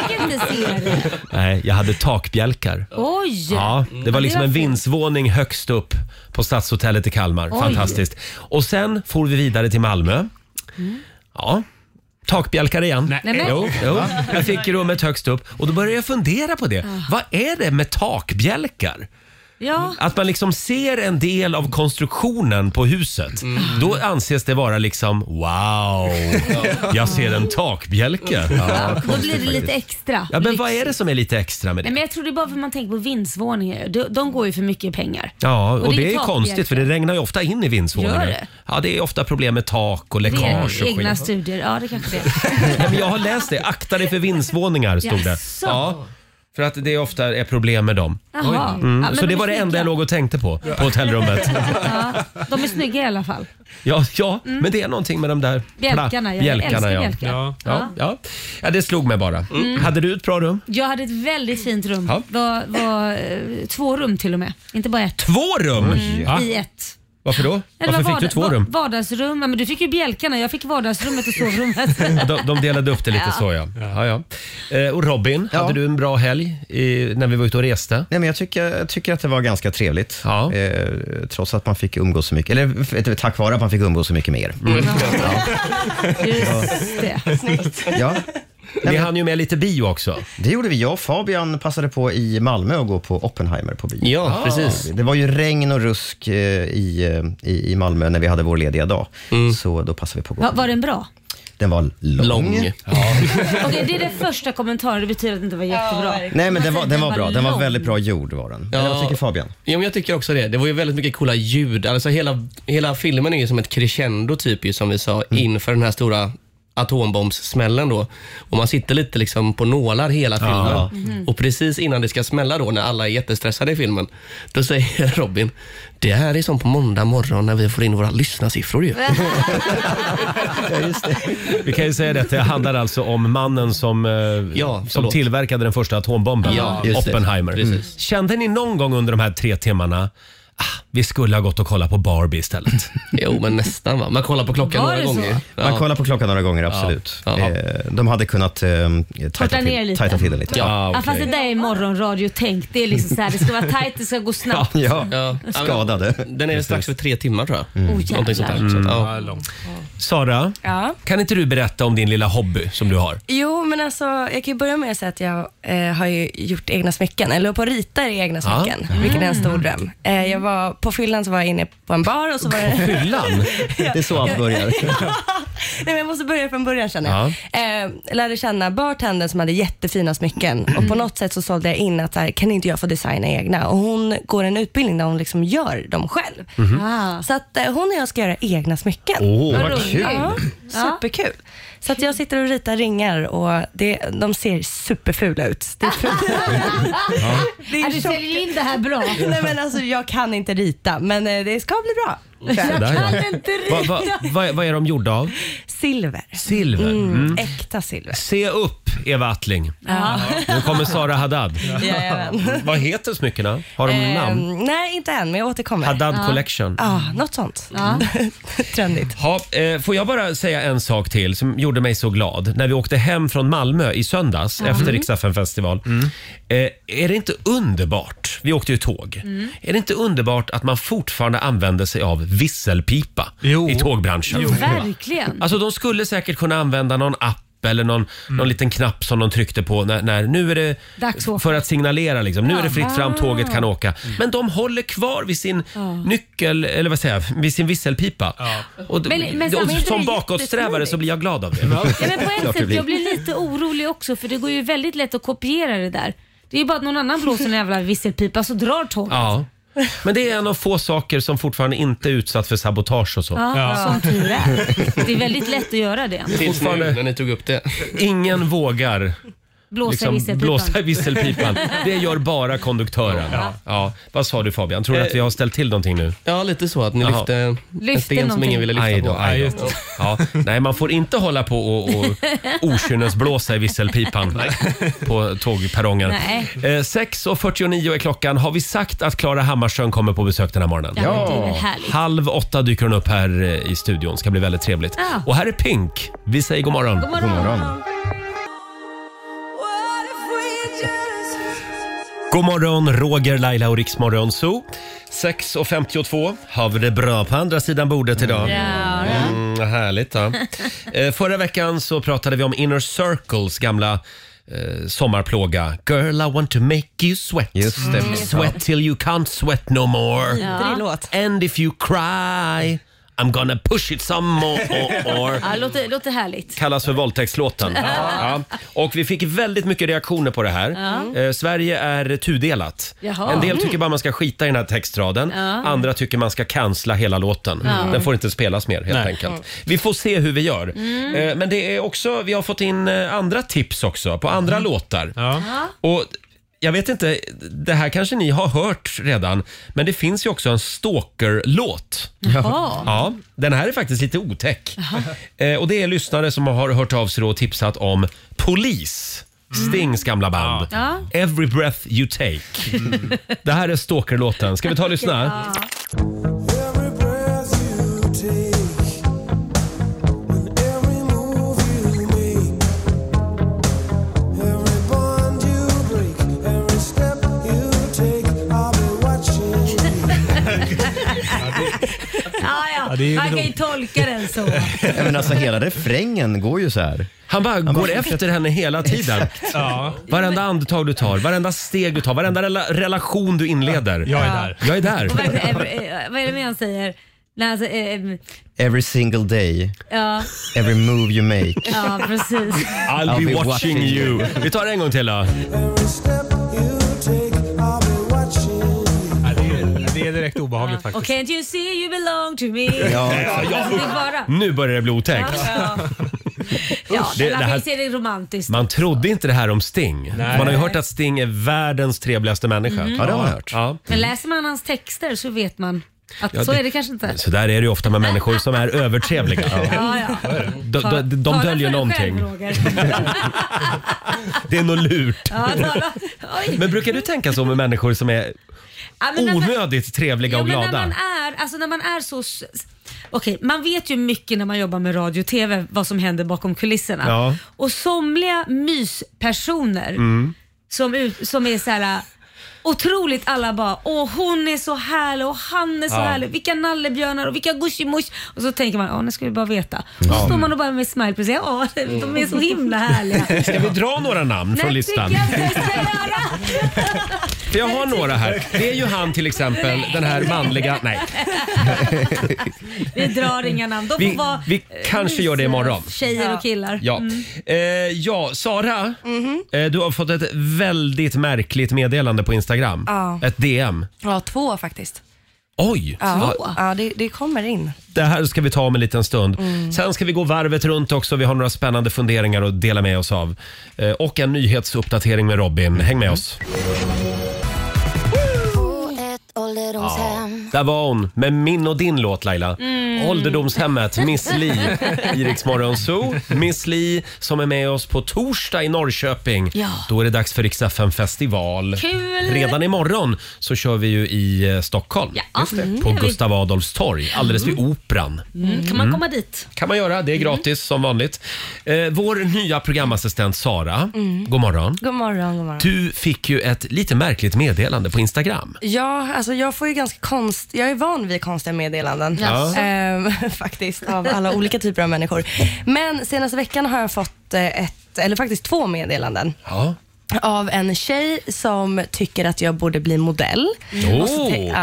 Speaker 2: Jag fick inte se det.
Speaker 1: Nej, jag hade takbjälkar.
Speaker 2: Oj!
Speaker 1: Ja, det var liksom en
Speaker 2: fint.
Speaker 1: vindsvåning högst upp på Stadshotellet i Kalmar.
Speaker 2: Oj.
Speaker 1: Fantastiskt. Och sen for vi vidare till Malmö. Ja, takbjälkar igen.
Speaker 2: Mm. Nej, men-
Speaker 1: Jo, jo. Jag fick rummet högst upp och då började jag fundera på det. Vad är det med takbjälkar?
Speaker 2: Ja.
Speaker 1: Att man liksom ser en del av konstruktionen på huset.
Speaker 2: Mm.
Speaker 1: Då anses det vara liksom wow, jag ser en takbjälke. Ja,
Speaker 2: Då blir det lite extra.
Speaker 1: men vad är det som är lite extra med det?
Speaker 2: Nej, men jag tror det är bara för att man tänker på vindsvåningar. De, de går ju för mycket pengar.
Speaker 1: Ja, och,
Speaker 2: är
Speaker 1: det är ju
Speaker 2: takbjälkar.
Speaker 1: konstigt för det regnar ju ofta in i vindsvåningar.
Speaker 2: Gör det?
Speaker 1: Ja, det är ofta problem med tak och
Speaker 2: Det
Speaker 1: läckage och
Speaker 2: är egna
Speaker 1: skit.
Speaker 2: studier. Ja, det kanske det är.
Speaker 1: Nej, men jag har läst det. Akta dig för vindsvåningar, stod det.
Speaker 2: Jaså?
Speaker 1: Ja, för att det ofta är problem med dem.
Speaker 2: Jaha.
Speaker 1: Mm,
Speaker 2: Ja, men
Speaker 1: så
Speaker 2: de
Speaker 1: det
Speaker 2: är
Speaker 1: var det
Speaker 2: snygga.
Speaker 1: enda jag låg och tänkte på, på
Speaker 2: (laughs)
Speaker 1: hotellrummet.
Speaker 2: Ja, de är snygga i alla fall.
Speaker 1: Ja, ja men det är någonting med de där pla-
Speaker 2: Mm. Bjälkarna. Mm. Jag älskar
Speaker 1: ja.
Speaker 2: bjälkar.
Speaker 4: Ja.
Speaker 1: Ja, ja. ja, det slog mig bara. Hade du ett bra rum?
Speaker 2: Jag hade ett väldigt fint rum.
Speaker 1: Ja.
Speaker 2: Var, var, eh, två rum till och med. Inte bara ett.
Speaker 1: Två rum!
Speaker 4: Va?
Speaker 2: I ett.
Speaker 1: Mm. Varför då?
Speaker 2: Eller
Speaker 1: Varför fick
Speaker 2: var
Speaker 1: du
Speaker 2: vardag-
Speaker 1: två
Speaker 2: var-
Speaker 1: rum?
Speaker 2: Vardagsrum. Ja, men du fick ju bjälkarna. Jag fick vardagsrummet
Speaker 1: (laughs)
Speaker 2: och sovrummet.
Speaker 1: De, de delade upp det lite så ja. ja, ja. Eh, och Robin,
Speaker 3: Ja.
Speaker 1: hade du en bra helg i, när vi var ute och reste?
Speaker 3: Nej, men jag, tycker, jag tycker att det var ganska trevligt,
Speaker 1: Ja.
Speaker 3: eh, trots att man fick umgås så mycket. Eller f- eh, tack vare att man fick umgås så mycket med er.
Speaker 2: Just det.
Speaker 3: Ja.
Speaker 1: Ni hann ju med lite bio också.
Speaker 3: Det gjorde vi. Jag och Fabian passade på i Malmö att gå på Oppenheimer på bio.
Speaker 8: Ja, precis.
Speaker 3: Det var ju regn och rusk eh, i, eh, i, i Malmö när vi hade vår lediga dag, så då passade vi på att gå.
Speaker 2: Va, var den bra?
Speaker 3: Den var lång.
Speaker 8: Lång.
Speaker 2: Okej, det är den första kommentaren. Det betyder att det inte var jättebra. Alltså,
Speaker 3: Nej, men den var,
Speaker 2: säger
Speaker 3: den
Speaker 2: att
Speaker 3: var bra. Den var
Speaker 2: lång.
Speaker 3: väldigt bra gjord var den.
Speaker 8: Ja.
Speaker 3: Eller Vad tycker Fabian?
Speaker 8: Ja, men jag tycker också det. Det var ju väldigt mycket coola ljud. Alltså hela, hela filmen är ju som ett crescendo typ ju, som vi sa inför den här stora atombombssmällen då. Och man sitter lite liksom på nålar hela filmen. Och precis innan det ska smälla då, när alla är jättestressade i filmen, då säger (laughs) Robin, det här är som på måndag morgon när vi får in våra lyssnarsiffror ju.
Speaker 1: Vi kan ju säga det, det handlar alltså om mannen som, eh,
Speaker 8: Ja,
Speaker 1: som
Speaker 8: förlåt.
Speaker 1: tillverkade den första atombomben,
Speaker 8: Ja, just det.
Speaker 1: Oppenheimer. Mm.
Speaker 8: Precis.
Speaker 1: Kände ni någon gång under de här tre timmarna Ah, vi skulle ha gått och kollat på Barbie istället.
Speaker 8: Jo, men nästan va. Man kollar på klockan
Speaker 2: Var
Speaker 8: några
Speaker 2: det så?
Speaker 8: gånger.
Speaker 3: Man kollar på klockan några gånger, absolut.
Speaker 8: Ja. Ja.
Speaker 3: Eh, de hade kunnat eh, tajta,
Speaker 2: ner
Speaker 3: till,
Speaker 2: lite.
Speaker 3: tajta till den lite.
Speaker 8: (laughs) Ja.
Speaker 1: Ah,
Speaker 2: Ja, fast det
Speaker 1: okej.
Speaker 2: där är morgonradio tänkt. Det är liksom så här, det ska vara tajt, det ska gå snabbt.
Speaker 3: (laughs) Ja.
Speaker 8: Ja. Ja, men-
Speaker 3: Skadade.
Speaker 8: Den är strax för tre timmar tror jag.
Speaker 2: Oh, jävlar.
Speaker 8: Någonting sånt där. Så, att, ja.
Speaker 4: Ja, långt.
Speaker 1: Sara,
Speaker 9: Ja.
Speaker 1: kan inte du berätta om din lilla hobby som du har?
Speaker 9: Jo, men alltså jag kan ju börja med att säga att jag eh, har ju gjort egna smycken, eller på att rita i egna
Speaker 1: Ja.
Speaker 9: smycken, vilket är en
Speaker 3: Mm.
Speaker 9: stor dröm. Eh, jag var, på fyllan så var jag inne på en bar och så var det...
Speaker 8: (laughs)
Speaker 1: Fyllan?
Speaker 3: (laughs) Det är så allt (laughs) börjar.
Speaker 9: Nej, men jag måste börja från början känner jag. Eh, lärde känna bartendern som hade jättefina smycken och på något sätt så sålde jag in att så här, kan inte jag få designa egna? Och hon går en utbildning där hon liksom gör dem själv.
Speaker 2: Ah.
Speaker 9: Så att eh, hon och jag ska göra egna smycken.
Speaker 1: Åh,
Speaker 2: Vad roligt.
Speaker 9: Ja, superkul. Så att jag sitter och ritar ringar och det, de ser superfula ut. Det är, det
Speaker 2: Ja,
Speaker 9: är
Speaker 2: Du
Speaker 9: tjockt.
Speaker 2: säljer in det här bra.
Speaker 9: Nej, men alltså, jag kan inte rita, men eh, det ska bli bra.
Speaker 2: Jag
Speaker 1: där, ja.
Speaker 2: kan inte
Speaker 1: vad
Speaker 2: rita.
Speaker 1: va, va, vad är de gjorda av?
Speaker 9: Silver.
Speaker 1: Silver.
Speaker 9: Mm, äkta silver.
Speaker 1: Se upp, Eva Attling.
Speaker 2: Ja.
Speaker 1: Nu kommer Sara Haddad.
Speaker 9: Jajamän.
Speaker 1: Vad heter smyckena? Har de namn?
Speaker 9: Eh, nej, inte än, men jag återkommer.
Speaker 1: Haddad Collection.
Speaker 9: Ah, något sånt.
Speaker 2: Ja.
Speaker 9: (laughs) Trendigt.
Speaker 1: Ha, eh, får jag bara säga en sak till som gjorde mig så glad. När vi åkte hem från Malmö i söndags efter Riksdagen festival. Eh, är det inte underbart, vi åkte ju tåg, är det inte underbart att man fortfarande använder sig av visselpipa
Speaker 4: Jo.
Speaker 1: i tågbranschen?
Speaker 2: Verkligen.
Speaker 1: Alltså de skulle säkert kunna använda någon app eller någon, någon liten knapp som de tryckte på när, när nu är det
Speaker 2: Dags att åka. Ah.
Speaker 1: för att signalera liksom. Nu är det fritt fram, tåget kan åka. Men de håller kvar vid sin nyckel, eller vad säger jag, vid sin visselpipa. Och, d-
Speaker 2: Men- men
Speaker 1: och,
Speaker 2: samtidigt är det
Speaker 1: som bakåtsträvare så
Speaker 9: jättesmidigt.
Speaker 1: blir jag glad av det.
Speaker 2: Ja, men på ett
Speaker 3: Klart det
Speaker 2: sätt,
Speaker 3: blir.
Speaker 2: jag blir lite orolig också för det går ju väldigt lätt att kopiera det där. Det är ju bara att någon annan blåser en jävla visselpipa så drar tåget.
Speaker 1: (laughs) Ja. Men det är en av få saker som fortfarande inte är utsatt för sabotage och så.
Speaker 2: Ja, Som tur
Speaker 1: (laughs)
Speaker 2: är. Det är väldigt lätt att göra det.
Speaker 8: Tills nu
Speaker 1: Fortfarande-
Speaker 8: när ni tog upp det.
Speaker 1: Ingen vågar
Speaker 2: Blåsa i visselpipan.
Speaker 1: Liksom blåsa i visselpipan. Det gör bara konduktören. Ja. Vad sa du Fabian? Tror du att vi har ställt till någonting nu?
Speaker 8: Ja, lite så att ni
Speaker 1: Jaha.
Speaker 8: lyfte en
Speaker 2: Lyfte
Speaker 8: sten som
Speaker 2: någonting.
Speaker 8: ingen ville lyfta
Speaker 1: Aj då,
Speaker 8: på.
Speaker 1: aj då. Ja. Nej, man får inte hålla på och, och okynnesblåsa i visselpipan på tågperrongen.
Speaker 2: Nej.
Speaker 1: Eh, 6.49 är klockan. Har vi sagt att Klara Hammarström kommer på besök den här morgonen?
Speaker 2: Ja, men det är väl härligt.
Speaker 1: Halv åtta dyker hon upp här eh, i studion. ska bli väldigt trevligt.
Speaker 2: Ja.
Speaker 1: Och här är Pink. Vi säger god morgon.
Speaker 2: God morgon.
Speaker 1: God morgon, Roger, Laila och Riksmorgon Zoo. 6.52. Har vi det bra på andra sidan bordet idag?
Speaker 2: Ja, ja.
Speaker 1: Mm, härligt. Ja. Eh, Förra veckan så pratade vi om Inner Circles gamla eh, sommarplåga. Girl, I want to make you sweat.
Speaker 3: Just det. Mm.
Speaker 1: Sweat till you can't sweat no more.
Speaker 2: Ja.
Speaker 9: låt.
Speaker 1: And if you cry, I'm gonna push it some more.
Speaker 2: Ja, låter, låter härligt.
Speaker 1: kallas för våldtäktslåten. Ja. Och vi fick väldigt mycket reaktioner på det här. Eh, Sverige är tudelat.
Speaker 2: Jaha.
Speaker 1: En del tycker bara man ska skita i den här textraden. Andra tycker man ska cancella hela låten. Den får inte spelas mer helt enkelt. Vi får se hur vi gör. Eh, Men det är också, vi har fått in eh, andra tips också på andra låtar.
Speaker 4: Ja.
Speaker 1: Och jag vet inte, det här kanske ni har hört redan, men det finns ju också en stalker-låt.
Speaker 2: Jaha.
Speaker 1: Ja, den här är faktiskt lite otäck. Eh, och det är lyssnare som har hört av sig då och tipsat om Polis. Stings gamla band.
Speaker 2: Ja.
Speaker 1: Every breath you take. Det här är stalkerlåten. Ska vi ta och lyssna?
Speaker 5: Every breath you take and every move you make, every bond you break, every step you take, I'll be watching.
Speaker 2: Ja, ja.
Speaker 4: det är ju
Speaker 2: Man kan
Speaker 4: lite
Speaker 2: ju tolka
Speaker 1: (laughs)
Speaker 2: den så.
Speaker 3: Ja, men alltså, hela refrängen går ju så här.
Speaker 1: Han bara går
Speaker 3: bara fortsätter.
Speaker 1: efter henne hela tiden.
Speaker 4: Ja,
Speaker 1: Varenda andetag du tar, varenda steg du tar, varenda rela- relation du inleder.
Speaker 4: jag är där.
Speaker 1: Jag är där.
Speaker 2: Och verkligen, eh, eh, Vad är det mer han säger? Nej, alltså, eh,
Speaker 3: Every single day,
Speaker 2: ja,
Speaker 3: every move you make.
Speaker 2: ja,
Speaker 1: (laughs)
Speaker 2: precis.
Speaker 1: I'll, be, watching, you. Vi tar det en gång till då.
Speaker 5: Every step you take, I'll be watching.
Speaker 4: Ja, det, är, det är direkt obehagligt
Speaker 2: Och
Speaker 4: faktiskt.
Speaker 2: can't you see you belong to me?
Speaker 1: Ja,
Speaker 2: Alltså, det
Speaker 1: ja.
Speaker 2: är bara...
Speaker 1: Nu börjar det bli otäckt.
Speaker 2: Ja,
Speaker 1: (laughs)
Speaker 2: ja
Speaker 1: Det-
Speaker 2: det,
Speaker 1: det
Speaker 2: man kan
Speaker 1: här-
Speaker 2: ju se det romantiskt.
Speaker 1: Man trodde inte det här om Sting.
Speaker 4: Nej.
Speaker 1: Man har ju hört att Sting är världens trevligaste människa.
Speaker 3: Ja, det har jag hört.
Speaker 1: Ja.
Speaker 2: Men läser man hans texter så vet man att
Speaker 1: Ja,
Speaker 2: så
Speaker 1: det-
Speaker 2: är det kanske inte.
Speaker 1: Så där är det ju ofta med människor som är övertrevliga.
Speaker 2: Ja, ja.
Speaker 1: De, de, de,
Speaker 2: Tala för
Speaker 1: döljer
Speaker 2: dig
Speaker 1: någonting.
Speaker 2: Själv, Roger.
Speaker 1: (laughs) Det är något lurt.
Speaker 2: ja,
Speaker 1: (laughs)
Speaker 2: tala. Oj.
Speaker 1: Men brukar du tänka så med människor som är
Speaker 2: Ja, men när man-
Speaker 1: onödigt trevliga
Speaker 2: Jo,
Speaker 1: och
Speaker 2: men när
Speaker 1: glada?
Speaker 2: man är, alltså när man är så... s- s- Okej, man vet ju mycket när man jobbar med radio och TV vad som händer bakom kulisserna.
Speaker 1: Ja. Mm.
Speaker 2: Och somliga myspersoner som, ut- som är så här otroligt alla bara åh hon är så härlig och han är så
Speaker 1: Ja.
Speaker 2: härlig, vilka nallebjörnar och vilka gushimosh och så tänker man åh nu ska vi bara veta. Och så står man och bara med smile på sig, åh de är så
Speaker 1: (laughs)
Speaker 2: himla härliga.
Speaker 1: Ska vi dra några namn från
Speaker 2: Nej,
Speaker 1: listan?
Speaker 2: tycker jag inte jag ska göra.
Speaker 1: För jag har några här. Det är ju han till exempel, den här
Speaker 2: Mm.
Speaker 1: manliga... Nej,
Speaker 2: Vi drar inga namn. De får
Speaker 1: Vi-
Speaker 2: vara,
Speaker 1: vi
Speaker 2: eh,
Speaker 1: kanske gör det imorgon.
Speaker 2: Tjejer och killar.
Speaker 1: ja. Eh, ja, Sara.
Speaker 2: Mhm.
Speaker 1: Eh, du har fått ett väldigt märkligt meddelande på Instagram.
Speaker 9: Ja.
Speaker 1: Ett DM.
Speaker 9: Ja, två faktiskt.
Speaker 1: Oj!
Speaker 9: Ja, ja det, det kommer in.
Speaker 1: Det här ska vi ta om en liten stund.
Speaker 2: Mm.
Speaker 1: Sen ska vi gå varvet runt också. Vi har några spännande funderingar att dela med oss av. Eh, Och en nyhetsuppdatering med Robin. Häng
Speaker 2: Mm.
Speaker 1: med oss. Där var hon med min och din låt Laila.
Speaker 2: Mm.
Speaker 1: Ålderdomshemmet, Miss
Speaker 2: (laughs)
Speaker 1: Li i Rix Morgon Zoo. Miss Li som är med oss på torsdag i Norrköping.
Speaker 2: Ja.
Speaker 1: Då är det dags för Rix FM festival.
Speaker 2: Kul!
Speaker 1: Redan imorgon så kör vi ju i eh, Stockholm.
Speaker 2: Ja. Just det.
Speaker 1: På Gustav Adolfs torg, alldeles vid Operan
Speaker 2: Mm. Kan man komma dit?
Speaker 1: kan man göra.
Speaker 9: Mm.
Speaker 1: Det är gratis som vanligt. Eh, vår nya programassistent Sara,
Speaker 9: Mm.
Speaker 1: god morgon.
Speaker 9: God morgon, god morgon.
Speaker 1: Du fick ju ett lite märkligt meddelande på Instagram.
Speaker 9: Ja, alltså jag får ju ganska konst... Jag är van vid konstiga meddelanden.
Speaker 1: Ja.
Speaker 9: Ehm, (laughs) faktiskt, av alla olika typer av människor. Men senaste veckan har jag fått eh, ett, eller faktiskt två meddelanden.
Speaker 1: Ja.
Speaker 9: Av en tjej som tycker att jag borde bli modell. Och så
Speaker 1: Oh.
Speaker 9: tänk- ja.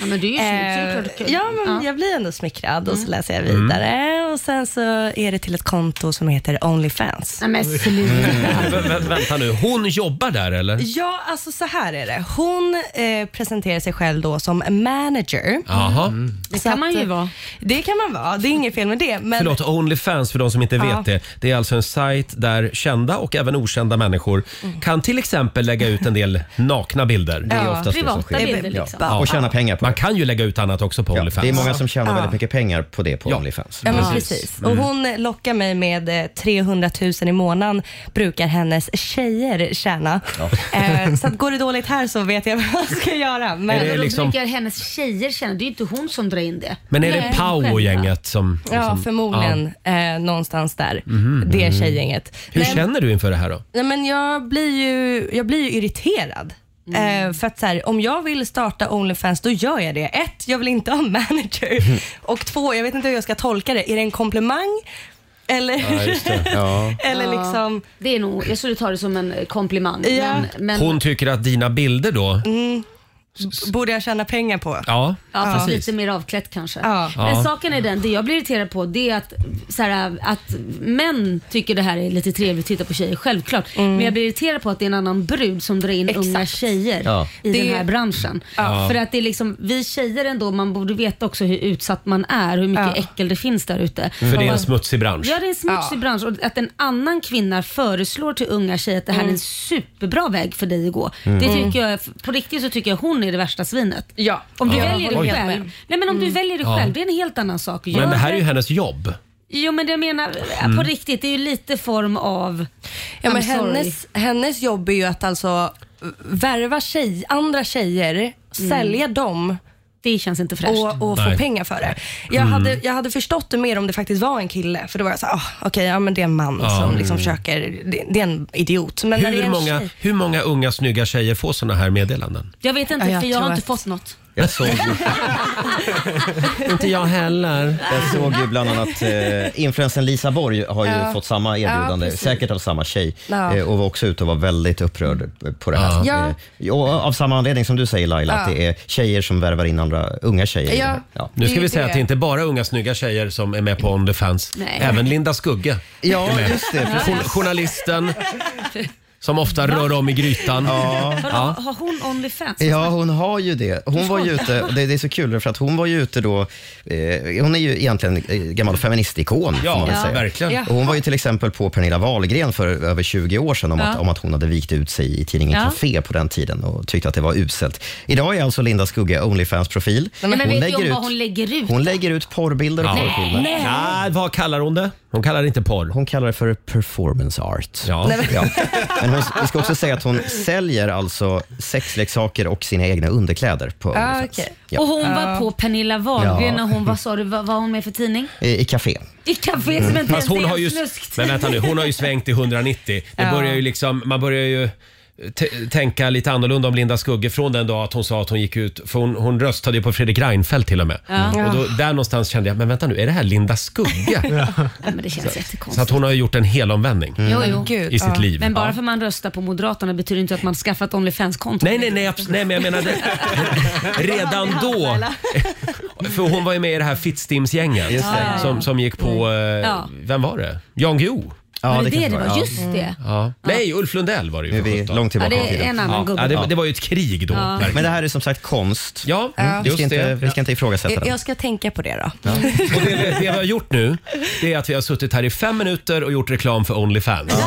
Speaker 2: Ja, Mm. men du är ju snygg, så det är klart du
Speaker 9: Eh,
Speaker 2: kan.
Speaker 9: ja, men jag blir ändå smickrad och så läser jag vidare och sen så är det till ett konto som heter Onlyfans.
Speaker 2: Nej
Speaker 1: Mm.
Speaker 2: men
Speaker 1: Vä- vä- vänta nu, hon jobbar där eller?
Speaker 9: Ja, alltså så här är det. Hon eh, presenterar sig själv då som manager.
Speaker 1: Jaha.
Speaker 9: Det
Speaker 2: kan man ju vara.
Speaker 9: Det kan man vara, det är inget fel med det. Men
Speaker 1: Förlåt, Onlyfans för de som inte
Speaker 9: Ja.
Speaker 1: vet det. Det är alltså en sajt där kända och även okända människor
Speaker 9: Mm.
Speaker 1: kan till exempel lägga ut en del nakna bilder.
Speaker 3: Det är oftast det som
Speaker 2: Privata
Speaker 3: sker.
Speaker 2: bilder liksom.
Speaker 3: Ja. Och tjäna pengar på
Speaker 1: Man
Speaker 3: det.
Speaker 1: kan ju lägga ut annat också på
Speaker 3: Ja,
Speaker 1: Onlyfans.
Speaker 3: det är många som tjänar
Speaker 9: Ja.
Speaker 3: väldigt mycket pengar på det på Onlyfans.
Speaker 9: Ja, men precis.
Speaker 1: Mm.
Speaker 9: Och hon lockar mig med eh, 300 000 i månaden, brukar hennes tjejer tjäna. Eh, så att går det dåligt här så vet jag (laughs) vad jag ska göra. Men,
Speaker 1: Är (laughs) det
Speaker 2: Men då
Speaker 1: liksom-
Speaker 2: brukar hennes tjejer känna, det är ju inte hon som drar in det.
Speaker 1: Men är det
Speaker 2: Nej,
Speaker 1: Pau
Speaker 2: själva.
Speaker 1: och gänget som...
Speaker 9: ja,
Speaker 1: som- Ja.
Speaker 9: förmodligen eh, någonstans där. Det tjejgänget.
Speaker 1: Hur
Speaker 9: Nej,
Speaker 1: känner du inför det här då?
Speaker 9: Nej, men jag blir ju, jag blir ju irriterad. Eh, för att så här, om jag vill starta Onlyfans, då gör jag det. Ett, jag vill inte ha manager. Och två, jag vet inte hur jag ska tolka det. Är det en komplimang? Eller, (laughs) eller liksom...
Speaker 2: Det är nog, jag skulle ta det som en komplimang.
Speaker 9: Ja.
Speaker 2: Men, men,
Speaker 1: Hon tycker att dina bilder då...
Speaker 9: borde jag tjäna pengar på?
Speaker 1: Ja,
Speaker 2: Ja, fast
Speaker 1: precis.
Speaker 2: lite mer avklätt kanske.
Speaker 9: Ja.
Speaker 2: Men
Speaker 1: Ja.
Speaker 2: saken är den, det jag blir irriterad på det är att, så här, att män tycker det här är lite trevligt att titta på tjejer, självklart. Men jag blir irriterad på att det är en annan brud som drar in
Speaker 9: Mm. Exakt.
Speaker 2: unga tjejer
Speaker 3: Ja.
Speaker 2: i
Speaker 9: Det-
Speaker 2: den här branschen. För att det är liksom, vi tjejer ändå, man borde veta också hur utsatt man är, hur mycket
Speaker 9: Ja.
Speaker 2: äckel det finns där ute.
Speaker 1: För det är en smutsig bransch.
Speaker 2: Ja, det är en smutsig bransch och att en annan kvinna föreslår till unga tjejer att det här
Speaker 9: Mm.
Speaker 2: är en superbra väg för dig att gå. Det tycker jag, på riktigt så tycker jag hon är det värsta svinet.
Speaker 9: Ja.
Speaker 2: Om du
Speaker 9: Ja.
Speaker 2: väljer det
Speaker 9: Oj.
Speaker 2: själv. Nej men om du väljer det själv, det är en helt annan sak. Gör
Speaker 1: Mm. Men det här Mm. är ju hennes jobb.
Speaker 2: Jo men det jag menar, på riktigt, det är ju lite form av...
Speaker 9: Ja, men
Speaker 2: I'm sorry.
Speaker 9: hennes, hennes jobb är ju att alltså eh, värva tjej, andra tjejer, sälja dem
Speaker 2: Det känns inte fräscht.
Speaker 9: och, och
Speaker 1: Nej. Mm.
Speaker 9: få pengar för det. Jag, hade, jag hade förstått det mer om det faktiskt var en kille, för då var jag såhär, oh, okej, ja, men det är en man som liksom försöker, det, det är en idiot. Men när det är
Speaker 1: Mm. Hur
Speaker 9: en
Speaker 1: många,
Speaker 9: tjej-
Speaker 1: hur många unga snygga tjejer får såna här meddelanden?
Speaker 2: Jag vet inte,
Speaker 9: Ja, jag
Speaker 2: för jag har
Speaker 9: tror
Speaker 2: inte
Speaker 9: att-
Speaker 2: fått något.
Speaker 3: Jag såg
Speaker 1: Inte jag heller.
Speaker 3: Jag såg ju bland annat eh, influensen Lisa Borg har ju
Speaker 9: Ja.
Speaker 3: fått samma erbjudande,
Speaker 9: Ja, precis.
Speaker 3: säkert av samma tjej,
Speaker 9: Ja.
Speaker 3: eh, och var också ute och var väldigt upprörd eh, på det här.
Speaker 9: Ja.
Speaker 3: Eh, och av samma anledning som du säger Laila, att det är tjejer som värvar in andra unga tjejer. i det här.
Speaker 9: Ja.
Speaker 3: Ja.
Speaker 1: Nu ska
Speaker 9: Det är
Speaker 1: vi säga
Speaker 9: det.
Speaker 1: att det är inte bara unga snygga tjejer som är med på Onlyfans.
Speaker 2: Nej.
Speaker 1: Även Linda Skugge.
Speaker 3: ja, just det. precis.
Speaker 1: Jour- Journalisten som ofta rör om i grytan.
Speaker 2: Har, har hon Onlyfans?
Speaker 3: Ja, hon har ju det. Hon var ju ute, och det, det är så kul för att hon var ju ute då, eh, hon är ju egentligen eh, gammal feministikon. får
Speaker 1: Ja,
Speaker 3: man väl säga.
Speaker 1: verkligen.
Speaker 9: Ja.
Speaker 3: Och hon var ju till exempel på Pernilla Wahlgren för över 20 år sedan om, att, om att hon hade vikt ut sig i tidningen
Speaker 2: Ja.
Speaker 3: Café på den tiden och tyckte att det var uselt. Idag är alltså Linda Skugge Onlyfans-profil.
Speaker 2: men vet ni om vad hon lägger ut?
Speaker 3: Hon lägger ut porrbilder och
Speaker 1: Nej.
Speaker 3: porrfilmer.
Speaker 1: Nej, vad kallar hon det? Hon kallar det inte porr.
Speaker 3: Hon kallar det för performance art.
Speaker 1: Ja.
Speaker 3: Ja. Men hon, vi ska också säga att hon säljer alltså sexleksaker och sina egna underkläder på Onlyfans.
Speaker 9: okej.
Speaker 3: ja.
Speaker 2: Ah, Och hon var på Pernilla Wahlgren
Speaker 3: Ja.
Speaker 2: när hon var, sa du, vad var hon med för tidning?
Speaker 3: I, i café.
Speaker 2: I café som
Speaker 1: Fast
Speaker 2: inte ens
Speaker 1: hon
Speaker 2: är
Speaker 1: har ju,
Speaker 2: en snusktidning.
Speaker 1: men vänta nu, hon har ju svängt i 190. Det börjar ju liksom, man börjar ju t- tänka lite annorlunda om Linda Skugge från den dag att hon sa att hon gick ut, för hon, hon röstade ju på Fredrik Reinfeldt till och med. Mm. Och då, där någonstans kände jag, men vänta nu, är det här Linda
Speaker 2: (laughs)
Speaker 1: Skugge?
Speaker 2: Nej, men det känns
Speaker 1: Så att
Speaker 2: jättekonstigt.
Speaker 1: hon har ju gjort en helomvändning
Speaker 2: Jo, jo.
Speaker 9: Gud,
Speaker 1: i sitt liv.
Speaker 2: Men bara för man röstar på Moderaterna betyder inte att man skaffat Onlyfans-konto.
Speaker 1: Nej, nej, nej, abs- nej, men jag
Speaker 2: (laughs)
Speaker 1: menade (laughs) redan då. (laughs) För hon var ju med i det här Fittstimsgänget
Speaker 3: Just det.
Speaker 1: som, som gick på, eh,
Speaker 2: Mm. Ja.
Speaker 1: vem var det? Jan Guillou?
Speaker 2: var det det
Speaker 3: kanske
Speaker 2: det var?
Speaker 3: Ja.
Speaker 2: Just det.
Speaker 1: Mm. Ja. Nej, Ulf Lundell var det
Speaker 3: Nu
Speaker 1: ju.
Speaker 3: är
Speaker 1: för
Speaker 3: vi
Speaker 1: sjutton.
Speaker 3: långt
Speaker 2: Ja,
Speaker 3: tillbaka i
Speaker 2: det är
Speaker 3: tiden.
Speaker 2: en annan
Speaker 1: Ja,
Speaker 2: gubbe.
Speaker 1: det, det var ju ett krig då. verkligen.
Speaker 3: Men det här är som sagt konst. Mm.
Speaker 1: Ja,
Speaker 3: Vi
Speaker 1: just
Speaker 3: ska inte,
Speaker 1: det.
Speaker 3: Vi ska inte ifrågasätta
Speaker 9: Jag,
Speaker 3: den.
Speaker 9: jag ska tänka på det då.
Speaker 2: (laughs)
Speaker 1: Och det, det vi har gjort nu, det är att vi har suttit här i fem minuter och gjort reklam för Onlyfans. (laughs)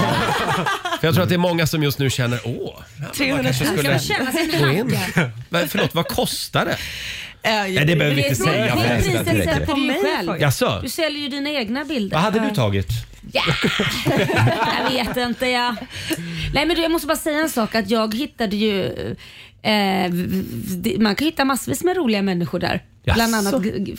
Speaker 1: För jag tror att det är många som just nu känner, åh, man
Speaker 9: 300
Speaker 1: kanske
Speaker 9: (laughs) 000.
Speaker 1: skulle
Speaker 2: Känna sin
Speaker 1: gå
Speaker 2: hand.
Speaker 1: in. Men Förlåt, (laughs) vad kostar det?
Speaker 9: Eh,
Speaker 1: Nej, det behöver vi
Speaker 2: Det är
Speaker 1: inte
Speaker 2: så- det
Speaker 1: säga.
Speaker 2: är priset
Speaker 3: det räcker.
Speaker 2: sätter du ju själv.
Speaker 1: Jaså?
Speaker 2: Du säljer ju dina egna bilder.
Speaker 1: Vad hade du tagit?
Speaker 2: Jag vet inte jag. Nej men du, jag måste bara säga en sak att jag hittade ju eh, v- det- man kan hitta massvis med roliga människor där. Bland
Speaker 1: Jaså?
Speaker 2: annat g- g-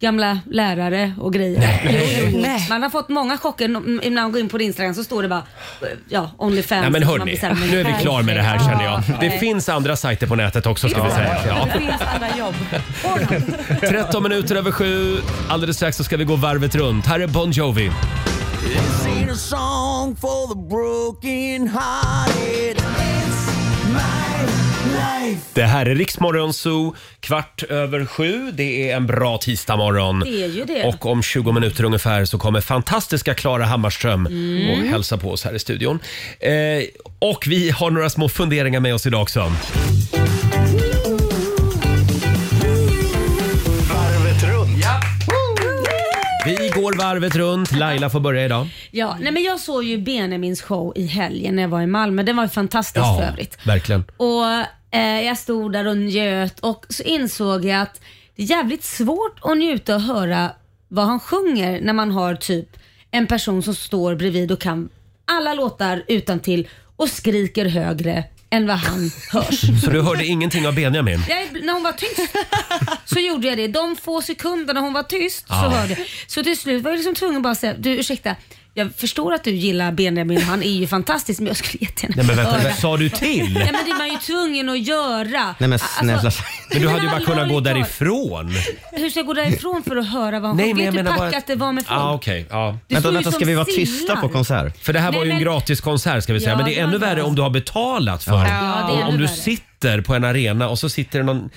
Speaker 2: gamla lärare och grejer. Jo, jo. Man har fått många chocker. Nå- När man går in på Instagram så står det bara eh, ja, Onlyfans.
Speaker 1: Nej men
Speaker 2: Man
Speaker 1: hörni,
Speaker 2: bestämmer
Speaker 1: nu är vi
Speaker 2: själv.
Speaker 1: klar med det här känner jag. Det
Speaker 2: nej.
Speaker 1: finns andra sajter på nätet också ska vi säga. Ja.
Speaker 9: Det finns andra jobb.
Speaker 1: 13 minuter över sju. Alldeles strax så ska vi gå varvet runt. Här är Bon Jovi. Det här är Riksmorgon Zoo, kvart över sju. Det är en bra tisdagmorgon.
Speaker 2: Det är ju det.
Speaker 1: Och om 20 minuter ungefär så kommer fantastiska Klara Hammarström
Speaker 2: Mm.
Speaker 1: och hälsa på oss här i studion. Eh, och vi har några små funderingar med oss idag också.
Speaker 10: Varvet runt. Ja.
Speaker 1: Vi går varvet runt. Laila får börja idag.
Speaker 2: Ja, nej men jag såg ju Benjamins show i helgen när jag var i Malmö. Den var ju fantastisk för övrigt.
Speaker 1: verkligen.
Speaker 2: Och eh, jag stod där och njöt och så insåg jag att det är jävligt svårt att njuta och höra vad han sjunger när man har typ en person som står bredvid och kan alla låtar utan till och skriker högre än vad han
Speaker 1: (laughs)
Speaker 2: hörs.
Speaker 1: Så du hörde ingenting av Benjamin?
Speaker 2: Jag, när hon var tyst så gjorde jag det. De få sekunderna hon var tyst så
Speaker 1: Ja.
Speaker 2: hörde jag. Så till slut var jag liksom tvungen att bara säga, du ursäkta, jag förstår att du gillar Benjamin, han är ju fantastisk men jag skulle jättegärna
Speaker 1: Nej men vänta,
Speaker 2: höra."
Speaker 1: vad sa du till?
Speaker 2: Nej men det är man ju tvungen att göra.
Speaker 1: Nej men
Speaker 2: Alltså,
Speaker 1: Men du hade ju bara kunnat gå
Speaker 2: allvarligt talat.
Speaker 1: därifrån.
Speaker 2: Hur ska jag gå därifrån för att höra vad han
Speaker 1: Nej,
Speaker 2: sjunger?
Speaker 1: men jag
Speaker 2: Vet du
Speaker 1: menar
Speaker 2: hur
Speaker 1: bara-
Speaker 2: packat det var med folk?
Speaker 1: Ja, Ah, okej. Ja.
Speaker 2: Du Vänta, såg ju vänta, ska som vi vara tysta sillar. på
Speaker 1: konsert? För det här
Speaker 2: Nej,
Speaker 1: var ju en
Speaker 2: men-
Speaker 1: gratiskonsert ska vi säga,
Speaker 2: Ja,
Speaker 1: men det
Speaker 2: det
Speaker 1: är
Speaker 2: var
Speaker 1: ännu
Speaker 2: en
Speaker 1: värre om du har betalat för
Speaker 2: Ja,
Speaker 1: den. Om-
Speaker 2: det är ännu
Speaker 1: Om du
Speaker 2: värre.
Speaker 1: sitter på en arena och så sitter det någon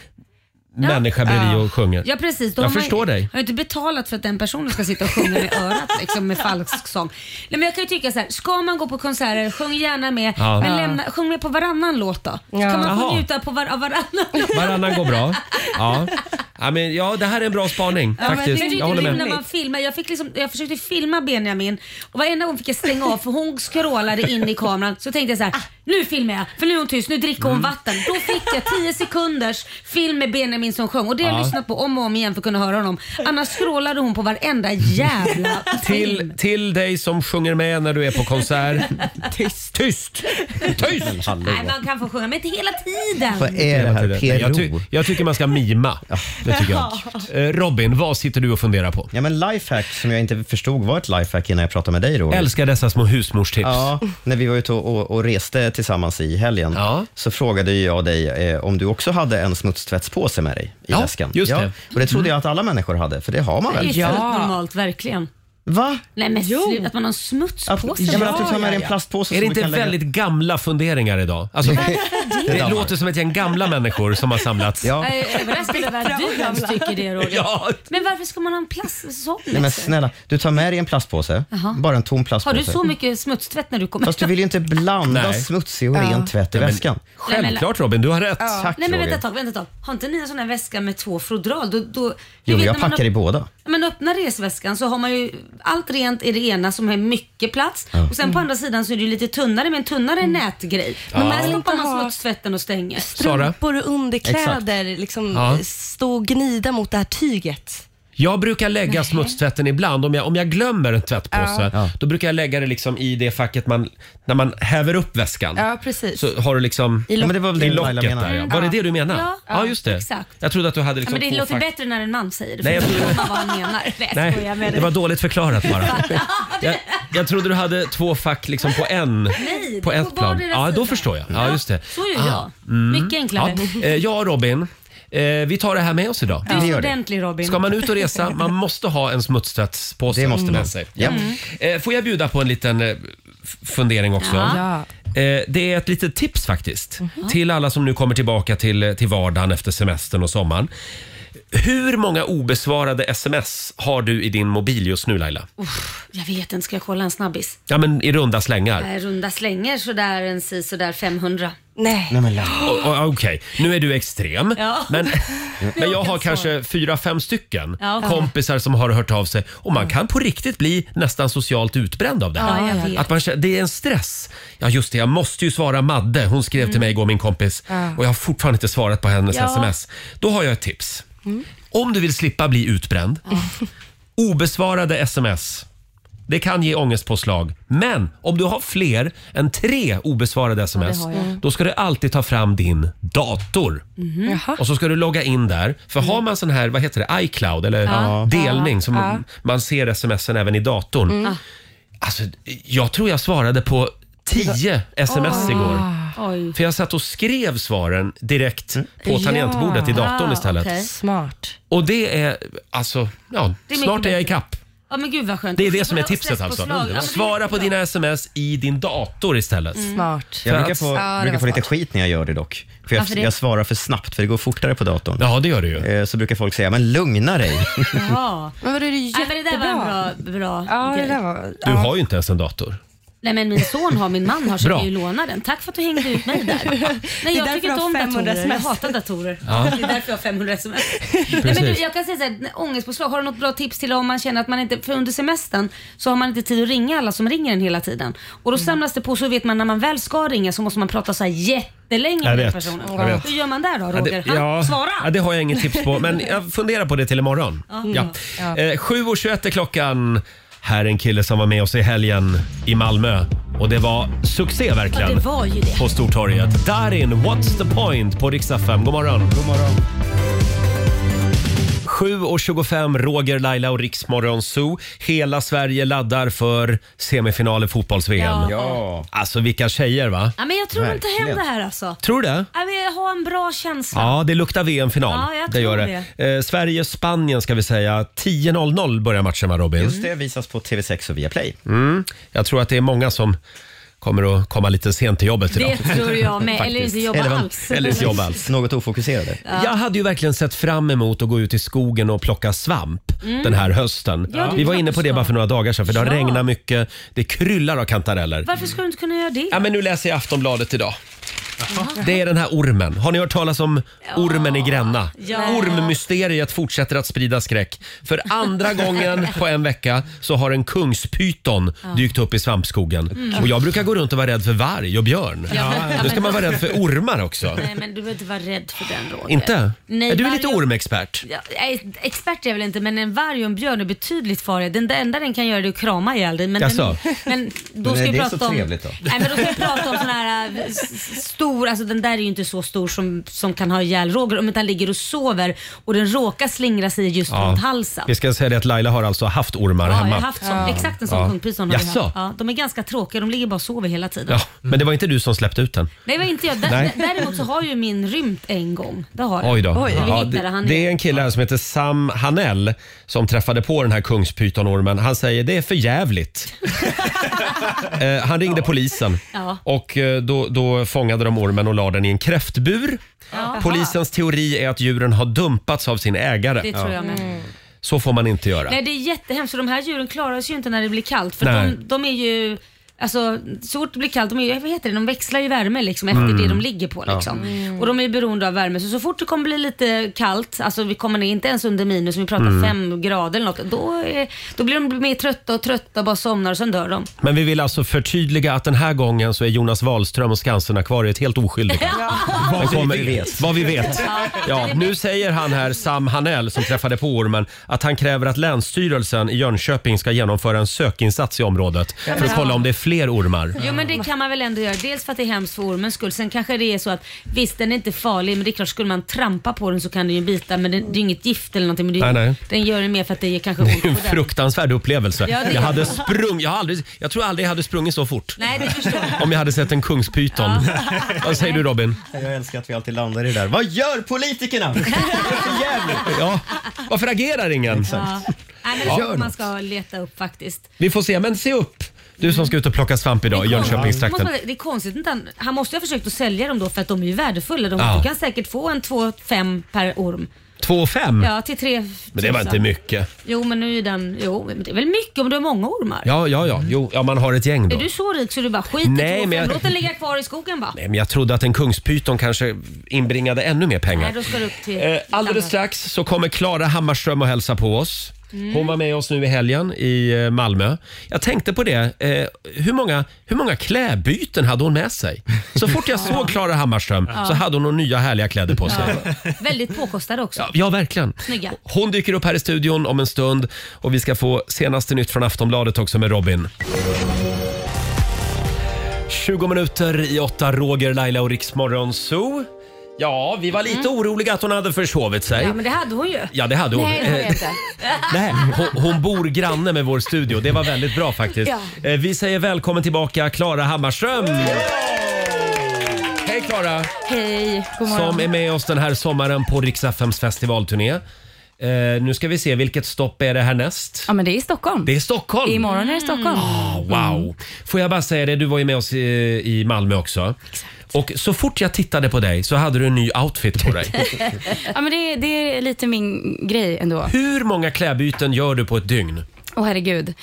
Speaker 2: Ja.
Speaker 1: människa bredvid och sjunger.
Speaker 2: Ja precis. Då
Speaker 1: Jag
Speaker 2: har man-
Speaker 1: förstår dig.
Speaker 2: Har ju inte betalat för att den personen ska sitta och sjunga med örat liksom, med falsk sång. Nej, men jag kan ju tycka så här, ska man gå på konserter, sjung gärna med,
Speaker 1: Ja.
Speaker 2: men
Speaker 1: Ja.
Speaker 2: lämna, sjung med på varannan låt då. Så
Speaker 1: Ja.
Speaker 2: kan man
Speaker 1: Jaha.
Speaker 2: få njuta på var, av varannan låt.
Speaker 1: Varannan går bra. Ja. Ja, men, ja, det här är en bra spaning
Speaker 2: Ja, men
Speaker 1: faktiskt.
Speaker 2: det är ju
Speaker 1: Jag håller
Speaker 2: kul
Speaker 1: med.
Speaker 2: När man filmar. Jag, fick liksom, jag försökte filma Benjamin och varenda gång fick jag stänga av för hon skrålade in i kameran. Så tänkte jag så här, nu filmar jag för nu är hon tyst, nu dricker
Speaker 1: Mm.
Speaker 2: hon vatten. Då fick jag 10 sekunders film med Benjamin som sjöng och det har
Speaker 1: Ja.
Speaker 2: jag lyssnat på om och om igen för att kunna höra honom. Annars skrålade hon på varenda jävla
Speaker 1: Till,
Speaker 2: film.
Speaker 1: till dig som sjunger med när du är på
Speaker 2: (laughs)
Speaker 1: konsert. Tyst! Tyst! Tyst!
Speaker 2: Nej, man kan få sjunga men inte hela tiden.
Speaker 1: Mm. Jag, ty- jag tycker man ska mima. Det tycker jag. Eh, Robin, vad sitter du och funderar på?
Speaker 3: Ja, men lifehack som jag inte förstod var ett lifehack innan jag pratade med dig Roger.
Speaker 1: Älskar dessa små husmorstips.
Speaker 3: Ja, när vi var ute och, och, och reste tillsammans i helgen så frågade ju jag dig eh, om du också hade en smutstvättspåse med dig i
Speaker 1: Ja,
Speaker 3: väskan.
Speaker 1: just
Speaker 3: ja,
Speaker 1: det. Mm.
Speaker 3: Och det trodde jag att alla människor hade, för det har man
Speaker 2: Det är
Speaker 3: väl?
Speaker 2: ju fullt normalt verkligen.
Speaker 3: Va?
Speaker 2: Nej men slut, att man har en smuts på sig.
Speaker 1: Är det inte väldigt gamla funderingar idag? Alltså,
Speaker 2: Det-
Speaker 1: det
Speaker 2: (laughs) det
Speaker 1: det
Speaker 2: dammar.
Speaker 1: låter som ett gäng gamla människor som har samlats. Ja.
Speaker 2: Jag är överraskad över att du ens tycker det Roger.
Speaker 1: Ja.
Speaker 2: Men varför ska man ha en plastsopp
Speaker 3: Nej, men snälla, du tar med dig en plastpåse,
Speaker 2: Jaha.
Speaker 3: bara en tom
Speaker 2: Har
Speaker 3: plastpåse.
Speaker 2: du så mycket smutstvätt när du kommer?
Speaker 3: Fast du vill ju inte blanda
Speaker 1: Nej.
Speaker 3: smutsig och ren
Speaker 2: Ja.
Speaker 3: tvätt i
Speaker 1: Nej, men-
Speaker 3: väskan.
Speaker 1: Självklart Robin, du har rätt.
Speaker 2: Ja.
Speaker 3: Tack
Speaker 2: Nej men vänta
Speaker 3: Roger.
Speaker 2: ett tag, vänta ett tag. Har inte ni en sån här väska med två fodral? Då, då, du
Speaker 3: Jo,
Speaker 2: vet
Speaker 3: jag
Speaker 2: när man
Speaker 3: packar i
Speaker 2: öpp-
Speaker 3: båda.
Speaker 2: Men öppnar resväskan så har man ju allt rent i det ena som har mycket plats
Speaker 3: Ja.
Speaker 2: och sen på andra sidan så är det ju lite tunnare med en tunnare nätgrej.
Speaker 1: Ja.
Speaker 2: Men där
Speaker 1: Man
Speaker 2: stoppar
Speaker 9: inte
Speaker 2: man
Speaker 9: ha
Speaker 2: smutstvätten och stänger. Mm.
Speaker 1: Sara?
Speaker 9: Strumpor och underkläder liksom
Speaker 1: Ja.
Speaker 9: stå och gnida mot det här tyget.
Speaker 1: Jag brukar lägga smutstvätten ibland. Om jag, om jag glömmer en tvättpåse, då brukar jag lägga det liksom i det facket man, när man häver upp väskan.
Speaker 9: Ja, precis.
Speaker 1: Så har du liksom
Speaker 9: I locket. Ja, men det var väl
Speaker 1: i
Speaker 9: det
Speaker 1: locket
Speaker 9: Laila menade.
Speaker 1: där, ja.
Speaker 2: Mm,
Speaker 1: Var det
Speaker 2: ja.
Speaker 1: det du menade?
Speaker 2: Ja,
Speaker 1: ja just det.
Speaker 2: exakt.
Speaker 1: Jag trodde att du hade liksom
Speaker 2: ja, men det
Speaker 1: två
Speaker 2: låter
Speaker 1: fack-
Speaker 2: bättre när en man säger det.
Speaker 1: Nej,
Speaker 2: Nej,
Speaker 1: jag
Speaker 2: jag
Speaker 1: tror-
Speaker 2: vad han menar. Nej, jag skojar
Speaker 1: Nej,
Speaker 2: med
Speaker 1: det
Speaker 2: dig.
Speaker 1: var dåligt förklarat
Speaker 2: (laughs)
Speaker 1: bara. Jag, jag trodde du hade två fack liksom på en
Speaker 2: Nej,
Speaker 1: på
Speaker 2: på
Speaker 1: ett plan.
Speaker 2: vardera
Speaker 1: Ja, då
Speaker 2: sida.
Speaker 1: förstår jag. Ja, just det. Ah.
Speaker 2: Så
Speaker 3: Ah.
Speaker 2: gör jag. Mycket
Speaker 3: Mm.
Speaker 2: enklare.
Speaker 1: Ja, eh, ja Robin. Eh, vi tar det här med oss idag.
Speaker 2: Du är så ordentlig Robin.
Speaker 1: Ska man ut och resa, man måste ha en smutstvättspåse
Speaker 3: Det måste
Speaker 1: med
Speaker 3: man.
Speaker 1: sig.
Speaker 3: Ja.
Speaker 2: Mm.
Speaker 1: Eh, Får jag bjuda på en liten eh, f- fundering också?
Speaker 2: Ja. Mhm.
Speaker 1: Eh, Det är ett litet tips faktiskt till alla som nu kommer tillbaka till, till vardagen efter semestern och sommaren. Hur många obesvarade sms har du i din mobil just nu Laila?
Speaker 2: Uff, jag vet inte, ska jag kolla en snabbis?
Speaker 1: Ja, men i runda slängar.
Speaker 2: Eh, Runda slänger sådär en si sådär 500.
Speaker 9: Nej.
Speaker 1: Nej, men Okej, nu är du extrem.
Speaker 2: Ja. (laughs)
Speaker 1: Men, men jag har
Speaker 2: svara.
Speaker 1: kanske fyra, fem stycken
Speaker 2: Ja, okej.
Speaker 1: kompisar som har hört av sig och man kan på riktigt bli nästan socialt utbränd av det
Speaker 2: Ja,
Speaker 1: här.
Speaker 2: jag vet.
Speaker 1: Att man, känner- det är en stress. Ja, just det. Jag måste ju svara Madde. Hon skrev till
Speaker 2: Mm.
Speaker 1: mig igår, min kompis.
Speaker 2: Ja.
Speaker 1: Och jag har fortfarande inte svarat på hennes
Speaker 2: Ja. Mm.
Speaker 1: sms. Då har jag ett tips. Om du vill slippa bli utbränd, obesvarade sms. Det kan ge ångestpåslag. Men om du har fler än tre obesvarade sms,
Speaker 5: har jag.
Speaker 1: då ska du alltid ta fram din dator.
Speaker 2: Mm-hmm.
Speaker 1: Och så ska du logga in där. För
Speaker 2: Mm.
Speaker 1: har man sån här, vad heter det, iCloud eller
Speaker 5: Ja.
Speaker 1: delning som
Speaker 5: Ja.
Speaker 1: man ser smsen även i datorn.
Speaker 5: Mm.
Speaker 1: Alltså, jag tror jag svarade på tio sms
Speaker 2: Ah.
Speaker 1: igår.
Speaker 2: Oj.
Speaker 1: För jag satt och skrev svaren direkt på
Speaker 6: Ah,
Speaker 1: tangentbordet i datorn istället.
Speaker 9: Smart.
Speaker 1: Och det är alltså, ja,
Speaker 2: Ah, Det är mycket
Speaker 1: snart är jag
Speaker 2: bättre.
Speaker 1: i kapp.
Speaker 2: Ja men gud vad skönt.
Speaker 1: Det är det som är
Speaker 2: Och stress
Speaker 1: tipset alltså.
Speaker 2: slag. Ja, men det-
Speaker 1: Svara på dina sms i din dator istället.
Speaker 2: Mm. Smart.
Speaker 3: Jag
Speaker 1: För
Speaker 3: brukar
Speaker 1: att-
Speaker 3: få, brukar få lite skit när jag gör det dock. För jag,
Speaker 2: Varför det?
Speaker 3: jag svarar för snabbt, för det går fortare på datorn. Eh,
Speaker 1: Ja, det gör det ju.
Speaker 3: Så brukar folk säga, men lugna dig.
Speaker 2: Jaha.
Speaker 6: Men vadå, det är ju
Speaker 2: Nej, men det där var en bra, bra
Speaker 6: Ja, det
Speaker 2: grej.
Speaker 6: där var...
Speaker 1: Du har ju inte ens en dator.
Speaker 2: Nej men min son har, min man
Speaker 1: (laughs)
Speaker 2: har så
Speaker 1: Bra.
Speaker 2: jag kan ju låna den. Tack för att du hängde ut mig
Speaker 6: (laughs)
Speaker 2: där. Nej jag
Speaker 6: därför
Speaker 2: tycker
Speaker 6: jag
Speaker 2: inte
Speaker 6: har
Speaker 2: om
Speaker 6: 500
Speaker 2: datorer, jag
Speaker 6: sms.
Speaker 2: hatar datorer.
Speaker 1: Ja.
Speaker 2: Det är därför jag har
Speaker 1: (laughs)
Speaker 2: 500 sms. Nej, men du,
Speaker 1: Precis.
Speaker 2: jag kan säga såhär, ångestpåslag, har du något bra tips till om man känner att man inte, för under semestern så har man inte tid att ringa alla som ringer en hela tiden. Och då
Speaker 6: Mm.
Speaker 2: samlas det på så vet man när man väl ska ringa så måste man prata såhär jättelänge
Speaker 1: Jag
Speaker 2: med den
Speaker 1: vet,
Speaker 2: personen.
Speaker 1: jag vet.
Speaker 2: Hur gör man där då
Speaker 1: Ja,
Speaker 2: Roger?
Speaker 1: det,
Speaker 2: Han,
Speaker 1: ja,
Speaker 2: Svara!
Speaker 1: ja, det har jag inget tips på, men jag funderar på det till imorgon.
Speaker 2: Ja.
Speaker 1: Ja.
Speaker 2: Mm. Ja.
Speaker 1: Eh, 7.21 är klockan. Här är en kille som var med oss i helgen i Malmö och det var succé verkligen.
Speaker 2: Ja, det var ju det.
Speaker 1: På Stortorget. Darin, What's the point på riksdag 5. God morgon. God morgon. 7.25, Roger, Laila och Riksmorgon Zoo. Hela Sverige laddar för semifinal i fotbolls-VM.
Speaker 2: Ja. (laughs) Ja.
Speaker 1: Alltså vilka tjejer va?
Speaker 2: Ja, men jag tror inte hem det här alltså.
Speaker 1: Tror du det?
Speaker 2: Ja, men jag har en bra känsla.
Speaker 1: Ja, det luktar VM-final.
Speaker 2: Ja, jag
Speaker 1: det gör
Speaker 2: tror
Speaker 1: det. Eh, Sverige-Spanien ska vi säga. 10.00 börjar matchen va Robin?
Speaker 2: Mm.
Speaker 3: Just det, visas på TV6 och Viaplay.
Speaker 1: Mm. Jag tror att det är många som kommer att komma lite sent till jobbet idag.
Speaker 2: Det tror jag med. Eller
Speaker 1: Faktiskt.
Speaker 2: inte jobba
Speaker 1: eller,
Speaker 2: alls.
Speaker 1: Eller inte jobba alls.
Speaker 3: Något ofokuserade.
Speaker 2: Ja.
Speaker 1: Jag hade ju verkligen sett fram emot att gå ut i skogen och plocka svamp
Speaker 2: Mm.
Speaker 1: den här hösten.
Speaker 2: Ja, det
Speaker 1: Vi var
Speaker 2: är
Speaker 1: inne på det bara för några dagar sedan för det har
Speaker 2: Ja.
Speaker 1: regnat mycket, det kryllar av kantareller.
Speaker 2: Varför skulle du inte kunna göra det?
Speaker 1: Ja, men nu läser jag Aftonbladet idag. Det är den här ormen. Har ni hört talas om ormen i Gränna?
Speaker 2: Ja.
Speaker 1: Ormmysteriet fortsätter att sprida skräck. För
Speaker 2: (laughs)
Speaker 1: andra gången på en vecka så har en kungspyton
Speaker 2: Ja.
Speaker 1: dykt upp i svampskogen.
Speaker 2: Mm.
Speaker 1: Och jag brukar gå runt och vara rädd för varg och björn.
Speaker 2: Ja, men-
Speaker 1: Nu ska man vara rädd för ormar
Speaker 2: (laughs)
Speaker 1: också.
Speaker 2: Nej, men du behöver inte vara rädd för den Roger.
Speaker 1: Inte?
Speaker 2: Nej,
Speaker 1: Är du är
Speaker 2: varje-
Speaker 1: lite ormexpert.
Speaker 2: Ja, nej, expert är jag väl inte, men en varg och en björn är betydligt farligare. Den enda den kan göra det är att krama ihjäl dig. Men,
Speaker 1: Jaså?
Speaker 2: den, men då
Speaker 1: Men
Speaker 2: ska
Speaker 1: är
Speaker 2: vi
Speaker 1: det
Speaker 2: prata
Speaker 1: så
Speaker 2: om...
Speaker 1: trevligt då?
Speaker 2: Nej, men då ska vi prata om sån här äh, s- s- stor, alltså den där är ju inte så stor som, som kan ha ihjäl Roger, om inte han ligger och sover och den råkar slingra sig just
Speaker 1: Ja.
Speaker 2: runt halsen.
Speaker 1: Vi ska säga det att Laila har alltså haft ormar
Speaker 2: Ja,
Speaker 1: hemma.
Speaker 2: jag har haft sån, exakt en sån
Speaker 1: Ja.
Speaker 2: kungpyton har jag
Speaker 1: Jaså?
Speaker 2: haft. Ja, de är ganska tråkiga, de ligger bara och sover hela tiden.
Speaker 1: Ja, men det var inte du som släppte ut den?
Speaker 2: Nej, det var inte jag. Dä-
Speaker 1: Nej.
Speaker 2: dä- Däremot så har ju min rymt en gång. Det har den.
Speaker 1: Oj då.
Speaker 2: Oj, vi
Speaker 1: Ja,
Speaker 2: hittade
Speaker 1: det,
Speaker 2: han.
Speaker 1: det är en kille här som heter Sam Hanell som träffade på den här kungspytonormen. Han säger det är för
Speaker 2: (laughs)
Speaker 1: jävligt. eh, han ringde polisen
Speaker 2: Ja.
Speaker 1: och eh, då, då fångade de ormen och la den i en kräftbur.
Speaker 2: Ja.
Speaker 1: Polisens teori är att djuren har dumpats av sin ägare.
Speaker 2: Det tror jag med.
Speaker 1: Så får man inte göra.
Speaker 2: Nej, det är jättehemskt. för De här djuren klarar sig ju inte när det blir kallt. För
Speaker 1: Nej.
Speaker 2: de, de är ju... Alltså, så fort det blir kallt, de, är ju, vad heter det? de växlar ju värme liksom, efter
Speaker 11: Mm.
Speaker 2: det de ligger på.
Speaker 11: Ja.
Speaker 2: Liksom.
Speaker 11: Mm.
Speaker 2: Och de är ju beroende av värme. Så, så fort det kommer bli lite kallt, alltså vi kommer ner inte ens under minus, vi pratar
Speaker 1: Mm.
Speaker 2: fem grader eller något, då, är, då blir de mer trötta och trötta och bara somnar och sen dör de.
Speaker 1: Men vi vill alltså förtydliga att den här gången så är Jonas Wahlström och Skansenakvariet helt oskyldiga.
Speaker 2: (laughs)
Speaker 1: Den kommer- Vad vi vet.
Speaker 2: Ja.
Speaker 1: Ja, nu säger han här, Sam Hanell som träffade på ormen, att han kräver att Länsstyrelsen i Jönköping ska genomföra en sökinsats i området för att
Speaker 2: Ja.
Speaker 1: kolla om det är fler ormar.
Speaker 2: Jo men det kan man väl ändå göra. Dels för att det är hemskt för ormens skull. Sen kanske det är så att visst den är inte farlig men det är klart skulle man trampa på den så kan den ju bita men det, det är ju inget gift eller någonting. Men det, är ju-
Speaker 1: Nej, nej.
Speaker 2: Den gör det mer för att det ger kanske
Speaker 1: Det
Speaker 2: ont
Speaker 1: är ju en
Speaker 2: på den.
Speaker 1: fruktansvärd upplevelse.
Speaker 2: Ja, det är
Speaker 1: Jag, hade
Speaker 2: det.
Speaker 1: sprung, jag, har aldrig, jag tror aldrig jag hade sprungit så fort
Speaker 2: Nej det förstår
Speaker 1: (laughs)
Speaker 2: jag.
Speaker 1: om jag hade sett en kungspyton. Vad säger du Robin?
Speaker 3: Jag älskar att vi alltid landar i det där. Vad gör politikerna?
Speaker 1: Ja, varför agerar ingen?
Speaker 2: Ja. Nej, men
Speaker 1: Ja.
Speaker 2: det är så man ska leta upp faktiskt.
Speaker 1: Vi får se, men se upp! Du som ska ut och plocka svamp idag i
Speaker 2: Måste
Speaker 1: Jönköpingstrakten.
Speaker 2: man- Det är konstigt inte han, han måste ju ha försökt att sälja dem då för att de är ju värdefulla. De,
Speaker 1: Ja.
Speaker 2: Du kan säkert få en två fem per orm.
Speaker 1: Två och fem?
Speaker 2: Ja till tre
Speaker 1: Men det var
Speaker 2: tusen.
Speaker 1: inte mycket.
Speaker 2: Jo men nu är ju den, jo men det är väl mycket om du har många ormar?
Speaker 1: Ja, ja, ja. Jo, ja man har ett gäng då.
Speaker 2: Är du så rik så du bara skiter
Speaker 1: Nej,
Speaker 2: i två
Speaker 1: men
Speaker 2: fem,
Speaker 1: jag-
Speaker 2: låt den ligga kvar i skogen bara?
Speaker 1: Nej, men jag trodde att en kungspyton kanske inbringade ännu mer pengar.
Speaker 2: Nej, då ska du upp till...
Speaker 1: Eh, alldeles strax så kommer Klara Hammarström och hälsa på oss.
Speaker 2: Mm.
Speaker 1: Hon var med oss nu i helgen i eh, Malmö. Jag tänkte på det, eh, hur många, hur många klädbyten hade hon med sig? Så fort
Speaker 2: (laughs)
Speaker 1: jag såg Klara Hammarström
Speaker 2: Ja.
Speaker 1: så hade hon några nya härliga kläder på sig.
Speaker 2: Väldigt påkostade också.
Speaker 1: Ja, verkligen.
Speaker 2: Snygga.
Speaker 1: Hon dyker upp här i studion om en stund och vi ska få senaste nytt från Aftonbladet också med Robin. 20 minuter i åtta, Roger, Laila och Riksmorgon Zoo. Ja, vi var lite oroliga att hon hade försovit sig.
Speaker 2: Mm. Ja, men det hade hon ju.
Speaker 1: Ja, det hade hon.
Speaker 2: Nej,
Speaker 1: (laughs)
Speaker 2: det hade jag
Speaker 1: Eh,
Speaker 2: inte.
Speaker 1: Nej, hon, hon bor granne med vår studio. Det var väldigt bra faktiskt.
Speaker 2: Ja.
Speaker 1: Eh, Vi säger välkommen tillbaka Klara Hammarström. Hej Klara!
Speaker 12: Hej, god morgon.
Speaker 1: Som är med oss den här sommaren på Riksaffems festivalturné. Eh, nu ska vi se, vilket stopp är det härnäst?
Speaker 6: Ja, men det är i Stockholm.
Speaker 1: Det är Stockholm!
Speaker 6: Imorgon är det Stockholm.
Speaker 1: Ah,
Speaker 2: Mm.
Speaker 1: wow! Får jag bara säga det, du var ju med oss i, i Malmö också. Och så fort jag tittade på dig så hade du en ny outfit på
Speaker 2: (laughs)
Speaker 1: dig.
Speaker 6: ja, men det, är- det är lite min grej ändå.
Speaker 1: Hur många klädbyten gör du på ett dygn?
Speaker 6: Åh herregud.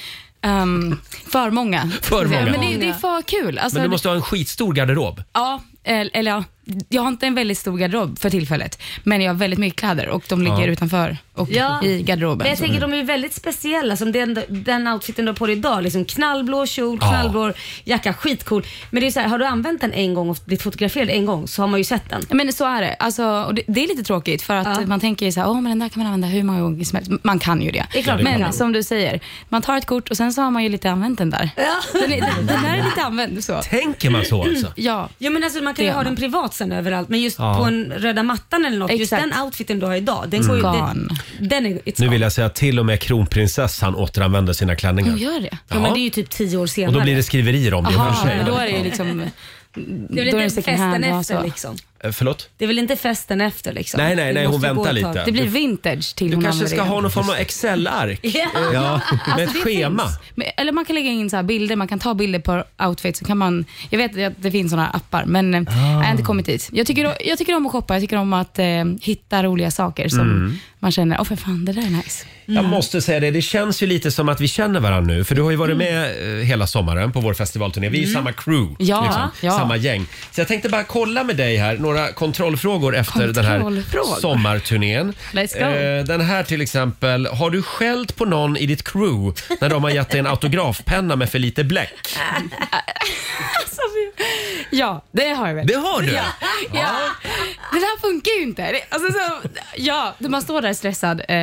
Speaker 6: Ehm, för många.
Speaker 1: För många.
Speaker 6: Men det, det är för kul. Alltså,
Speaker 1: Men du måste ha en skitstor garderob.
Speaker 6: Ja, el- eller ja. Jag har inte en väldigt stor garderob för tillfället, men jag har väldigt mycket kläder och de ligger
Speaker 1: Ja.
Speaker 6: utanför och
Speaker 2: Ja.
Speaker 6: i garderoben.
Speaker 2: Men jag
Speaker 6: Så.
Speaker 2: tänker de är ju väldigt speciella, som den, den outfiten du har på dig idag. Liksom knallblå kjol,
Speaker 6: Ja.
Speaker 2: knallblå jacka, skitcool. Men det är ju så här, har du använt den en gång och blivit fotograferad en gång så har man ju sett den.
Speaker 6: Men så är det. Alltså, och det, det är lite tråkigt för att man tänker ju så här, "Åh, men den där kan man använda hur många gånger som helst. Man kan ju det.
Speaker 2: Det är klart man
Speaker 6: men
Speaker 2: kan.
Speaker 6: som du säger, man tar ett kort och sen så har man ju lite använt den där. Den, är, den, den där är lite använd. Så.
Speaker 1: Tänker man så alltså?
Speaker 6: Ja.
Speaker 2: ja men alltså, man kan
Speaker 6: det
Speaker 2: ju
Speaker 6: gör
Speaker 2: ha
Speaker 6: man.
Speaker 2: den privat sen överallt men just
Speaker 1: Ja.
Speaker 2: på en röda mattan eller något. Just den outfiten du har idag. Den, går ju,
Speaker 1: Gone.
Speaker 2: den, den är, it's
Speaker 1: Nu
Speaker 2: gone.
Speaker 1: vill jag säga att till och med kronprinsessan återanvänder sina klänningar.
Speaker 2: Hon gör det? Ja,
Speaker 1: Ja.
Speaker 2: men det är ju typ tio år senare.
Speaker 1: Och då blir det skriverier om det. i och för
Speaker 6: Jaha,
Speaker 1: sig.
Speaker 6: men då är det ju liksom...
Speaker 2: Det är väl
Speaker 6: då är det
Speaker 2: inte
Speaker 6: second hand alltså.
Speaker 2: festen
Speaker 6: och
Speaker 2: efter
Speaker 6: så.
Speaker 2: liksom.
Speaker 1: Eh, Förlåt?
Speaker 2: Det är väl inte festen efter liksom?
Speaker 1: Nej, nej,
Speaker 2: Det
Speaker 1: nej, hon
Speaker 2: måste ju gå
Speaker 1: väntar
Speaker 2: ett tag.
Speaker 1: lite.
Speaker 6: Det blir vintage till
Speaker 1: Du
Speaker 6: hon
Speaker 1: kanske ska
Speaker 6: använder
Speaker 1: ha
Speaker 6: det.
Speaker 1: någon form av Excel-ark.
Speaker 6: Ja.
Speaker 1: (laughs) Ja, med
Speaker 6: Alltså,
Speaker 1: ett
Speaker 6: det
Speaker 1: schema.
Speaker 6: finns. Men, eller man kan lägga in så här bilder, man kan ta bilder på outfits. Så kan man, jag vet att det finns såna appar, men eh, jag har inte kommit dit. Jag tycker, jag tycker om att shoppa, jag tycker om att eh, hitta roliga saker som
Speaker 1: Mm.
Speaker 6: man känner, åh för fan, det där är nice.
Speaker 1: Jag måste säga det, det känns ju lite som att vi känner varandra nu. För du har ju varit med eh, hela sommaren på vår festivalturné. Vi är ju
Speaker 6: Mm.
Speaker 1: samma crew, liksom.
Speaker 6: Ja, ja.
Speaker 1: samma gäng. Så jag tänkte bara kolla med dig här, några kontrollfrågor efter den här
Speaker 6: Kontrollfrågor.
Speaker 1: sommarturnén.
Speaker 6: Let's go.
Speaker 1: Eh, den här till exempel, har du skällt på någon i ditt crew när de har gett dig en autografpenna med för lite bläck?
Speaker 6: (laughs) Alltså, fy- ja, det har jag väl.
Speaker 1: Det har du?
Speaker 6: Ja. ja. Det där funkar ju inte. Det- Alltså, så, ja, man står där stressad, eh,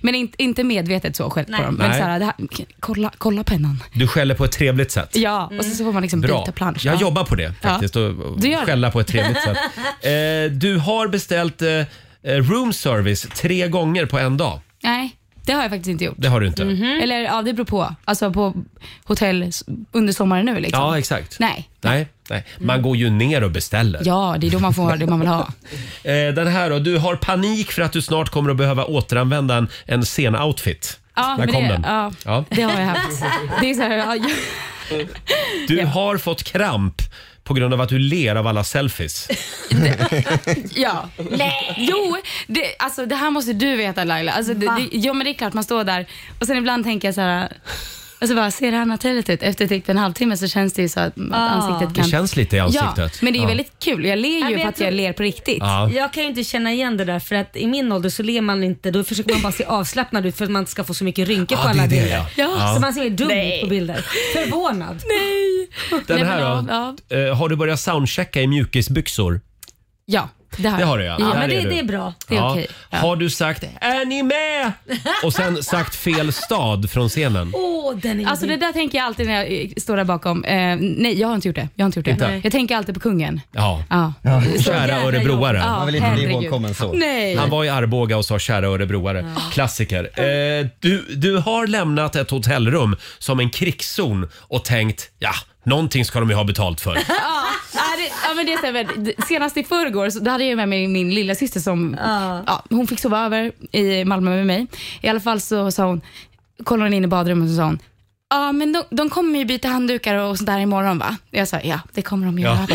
Speaker 6: men inte, inte medvetet så själv på
Speaker 1: Nej.
Speaker 6: dem. Men
Speaker 1: Nej.
Speaker 6: så här, det här, kolla, kolla pennan.
Speaker 1: Du skäller på ett trevligt sätt.
Speaker 6: Ja, och sen så får man liksom
Speaker 1: Bra.
Speaker 6: byta plansch.
Speaker 1: Jag
Speaker 6: Ja.
Speaker 1: jobbar på det
Speaker 6: Ja.
Speaker 1: faktiskt och, och
Speaker 6: Du gör det.
Speaker 1: skälla på ett trevligt
Speaker 6: (laughs)
Speaker 1: sätt. Eh, du har beställt eh, eh, room service tre gånger på en dag.
Speaker 6: Nej, det har jag faktiskt inte gjort.
Speaker 1: Det har du inte.
Speaker 6: Eller ja, det beror på. Alltså på hotell s- under sommaren nu liksom.
Speaker 1: Ja, exakt.
Speaker 6: Nej.
Speaker 1: Nej, nej. Man går ju ner och beställer.
Speaker 6: Ja, det är då man får det man vill ha.
Speaker 1: Eh, den här då. Du har panik för att du snart kommer att behöva återanvända en, en sen outfit.
Speaker 6: Ja,
Speaker 1: Där
Speaker 6: men
Speaker 1: kom
Speaker 6: det,
Speaker 1: den.
Speaker 6: Ja,
Speaker 1: Ja.
Speaker 6: det har jag haft. Det är så här, ja, jag-
Speaker 1: Du har fått kramp på grund av att du ler av alla selfies.
Speaker 6: Ja. (laughs) Jo, det, alltså, det här måste du veta Laila. Alltså, det, det, ja, men det är klart man står där och sen ibland tänker jag så här, alltså bara, ser det här naturligt ut? Efter typ en halvtimme så känns det ju så att, att
Speaker 2: Ah.
Speaker 6: ansiktet kan...
Speaker 1: Det känns lite i
Speaker 6: Ja,
Speaker 1: ansiktet.
Speaker 6: men det är ju
Speaker 1: Ja.
Speaker 6: väldigt kul. Jag ler ju
Speaker 2: men
Speaker 6: för
Speaker 2: jag
Speaker 6: att jag
Speaker 2: tror-
Speaker 6: ler på riktigt.
Speaker 1: Ja.
Speaker 2: Jag kan ju inte känna igen det där för att i min ålder så ler man inte. Då försöker man bara se avslappnad ut för att man ska få så mycket rynkor
Speaker 1: Ja,
Speaker 2: på
Speaker 1: det är
Speaker 2: alla
Speaker 1: det,
Speaker 2: bilder.
Speaker 1: ja. Ja.
Speaker 2: Så man ser mer dum ut på bilder. Förvånad.
Speaker 6: Nej.
Speaker 1: Den här då. Eh, har du börjat soundchecka i mjukisbyxor?
Speaker 6: Ja, det har
Speaker 1: Det
Speaker 6: jag.
Speaker 1: har du ja. Där du. Ja. Har du sagt “Är ni med?” och
Speaker 6: (laughs)
Speaker 1: sen sagt fel stad från scenen?
Speaker 2: Åh, den är
Speaker 6: Alltså det där tänker jag alltid när jag eh, står där bakom. Eh, nej, jag har inte gjort det. Jag har inte gjort det.
Speaker 1: Inte?
Speaker 6: Jag tänker alltid på kungen.
Speaker 1: Ja.
Speaker 6: Ja.
Speaker 1: Kära örebroare.
Speaker 6: Ja, Man vill inte bli herregud. ihågkommen så. Nej.
Speaker 1: Han var i Arboga och sa kära örebroare. Klassiker. Eh, du, du har lämnat ett hotellrum som en krigszon och tänkt ja, någonting ska de ju ha betalt
Speaker 6: (laughs)
Speaker 1: för.
Speaker 6: Ja, nej, det, ja, men det stämmer. Det- Senast i förrgår så då hade jag ju med mig min lilla syster som ja, hon fick sova över i Malmö med mig. I alla fall så sa hon, kollade hon in i badrummet och så sa hon, Ja, men de, de kommer ju byta handdukar och sånt där imorgon va? Jag sa, ja det kommer de göra.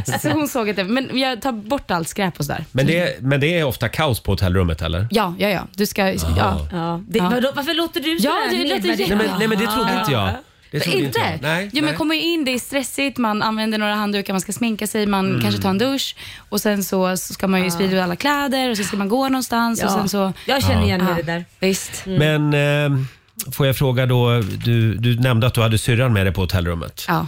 Speaker 6: (laughs)
Speaker 1: Ja.
Speaker 6: så hon såg att det, men jag tar bort allt skräp och sådär.
Speaker 1: Men det, men det är ofta kaos på hotellrummet eller?
Speaker 6: Ja, ja, ja. Du ska... Ja.
Speaker 2: Ja. Det, vadå, varför låter du
Speaker 6: Ja,
Speaker 2: sådär
Speaker 6: det låter
Speaker 2: nedvärderad?
Speaker 1: Nej men, nej, men det trodde inte jag. Det trodde
Speaker 6: inte?
Speaker 1: jag. Nej,
Speaker 6: jo,
Speaker 1: nej.
Speaker 6: men kommer ju in, det är stressigt, man använder några handdukar, man ska sminka sig, man
Speaker 1: Mm.
Speaker 6: kanske tar en dusch och sen så, så ska man ju sprida ut alla kläder och sen ska man gå någonstans och
Speaker 2: Ja.
Speaker 6: sen så...
Speaker 2: Jag känner igen mig i det
Speaker 6: där. Visst.
Speaker 1: Men eh, får jag fråga då, du, du nämnde att du hade syrran med dig på hotellrummet.
Speaker 6: Ja.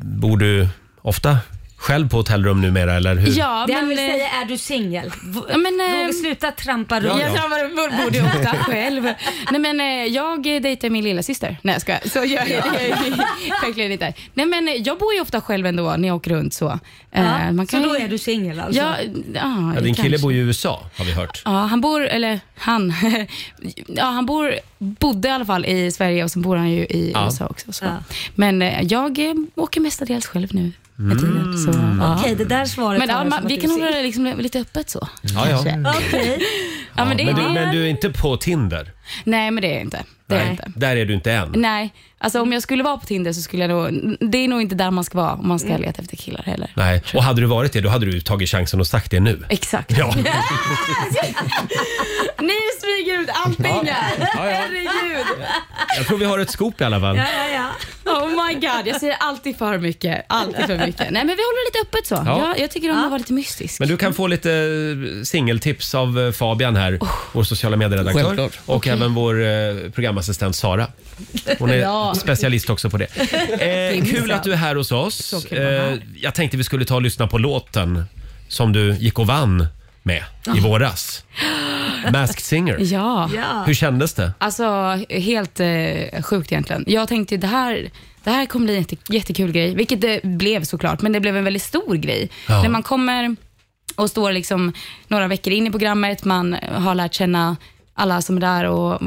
Speaker 1: Bor du ofta själv på hotellrum numera eller hur?
Speaker 2: det han vill
Speaker 6: eh,
Speaker 2: säga är du singel?
Speaker 6: Ja, men, eh,
Speaker 2: Roger, sluta trampa runt.
Speaker 1: Ja, ja. Jag
Speaker 6: trampar- borde ju ofta själv. Nej men eh, jag eh, dejtar min lilla syster. Nej jag skojar. Så gör jag det (laughs) verkligen inte. Nej men eh, jag bor ju ofta själv ändå när jag åker runt så. Eh, man
Speaker 2: så då
Speaker 6: ju-
Speaker 2: är du singel alltså?
Speaker 6: Ja, ja,
Speaker 1: Ja, din kille
Speaker 6: kanske.
Speaker 1: bor ju i USA har vi hört.
Speaker 6: Ja, han bor, eller han, (laughs) ja, han bor, bodde i alla fall i Sverige och sen bor han ju i
Speaker 1: Ja.
Speaker 6: USA också. Så. Men eh, jag eh, åker mestadels själv nu
Speaker 1: Mm.
Speaker 6: med tiden. Så, ja.
Speaker 2: Okej, det där svaret
Speaker 6: Men
Speaker 2: var
Speaker 6: ja,
Speaker 2: det
Speaker 6: man,
Speaker 2: som
Speaker 6: vi
Speaker 2: att
Speaker 6: kan
Speaker 2: du (laughs)
Speaker 6: hålla det liksom lite öppet så.
Speaker 1: Ja, ja.
Speaker 6: Kanske.
Speaker 2: Okej.
Speaker 6: Mm. Ja, men det,
Speaker 1: men,
Speaker 6: det,
Speaker 1: du, men du är inte på Tinder?
Speaker 6: Nej, men det är jag inte. Det är (laughs) jag inte.
Speaker 1: Där är du inte än?
Speaker 6: Nej, alltså om jag skulle vara på Tinder så skulle jag nog... Det är nog inte där man ska vara om man ska leta efter killar heller.
Speaker 1: Nej. Och hade du varit det, då hade du tagit chansen och sagt det nu.
Speaker 6: Exakt.
Speaker 1: Ja.
Speaker 6: Ni smyger ut Oh allting här.
Speaker 1: Ja, ja.
Speaker 6: Herregud.
Speaker 1: Jag tror vi har ett scoop i alla fall.
Speaker 6: ja, ja. Oh my god, jag säger alltid för mycket. Alltid för mycket. Nej, men vi håller det lite öppet så.
Speaker 1: Ja.
Speaker 6: Jag, jag tycker om att vara lite mystisk.
Speaker 1: Men du kan få lite eh, singeltips av eh, Fabian här,
Speaker 6: Oh.
Speaker 1: vår sociala medieredaktör.
Speaker 8: Självklart.
Speaker 1: Och även vår eh, programassistent Sara. Hon är
Speaker 6: (laughs) Ja.
Speaker 1: specialist också
Speaker 6: (laughs)
Speaker 1: på det. Eh, kul att du är här hos oss. Eh, jag tänkte vi skulle ta och lyssna på låten som du gick och vann med i
Speaker 6: Ja. (gasps)
Speaker 1: våras. Masked Singer.
Speaker 6: Ah. Ja.
Speaker 1: Hur kändes det?
Speaker 6: Alltså helt eh, sjukt egentligen. Jag tänkte det här, det här kommer bli en jätte, jättekul grej, vilket det blev såklart, men det blev en väldigt stor grej.
Speaker 11: Ja.
Speaker 6: När man kommer och står liksom några veckor in i programmet, man har lärt känna alla som är där och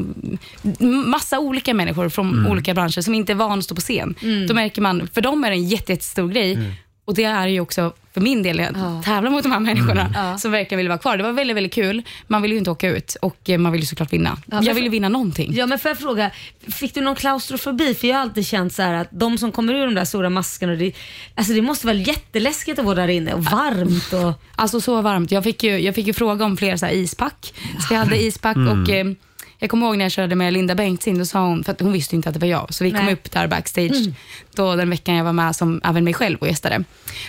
Speaker 6: mm, massa olika människor från
Speaker 11: Mm.
Speaker 6: olika branscher som inte är van att stå på scen.
Speaker 11: Mm.
Speaker 6: Då märker man, för dem är det en jätte, jättestor grej.
Speaker 11: Mm.
Speaker 6: Och det är ju också för min del, att tävla mot de här människorna
Speaker 11: Mm. Ja.
Speaker 6: som verkligen ville vara kvar. Det var väldigt, väldigt kul. Man vill ju inte åka ut och eh, man vill ju såklart vinna.
Speaker 2: men-
Speaker 6: jag vill ju vinna någonting.
Speaker 2: Ja, men får jag fråga, fick du någon klaustrofobi? För jag har alltid känt så här att de som kommer ur de där stora maskerna, det, alltså det måste vara jätteläskigt att vara där inne och varmt. Och...
Speaker 6: Alltså så varmt. Jag fick ju, jag fick ju fråga om fler så här ispack. Så jag hade ispack
Speaker 11: Mm.
Speaker 6: och eh, jag kommer ihåg när jag körde med Linda Bengtzing, då sa hon, för att hon visste inte att det var jag, så vi kom
Speaker 11: Nej.
Speaker 6: upp där backstage
Speaker 11: Mm.
Speaker 6: då den veckan jag var med som även mig själv och gästade.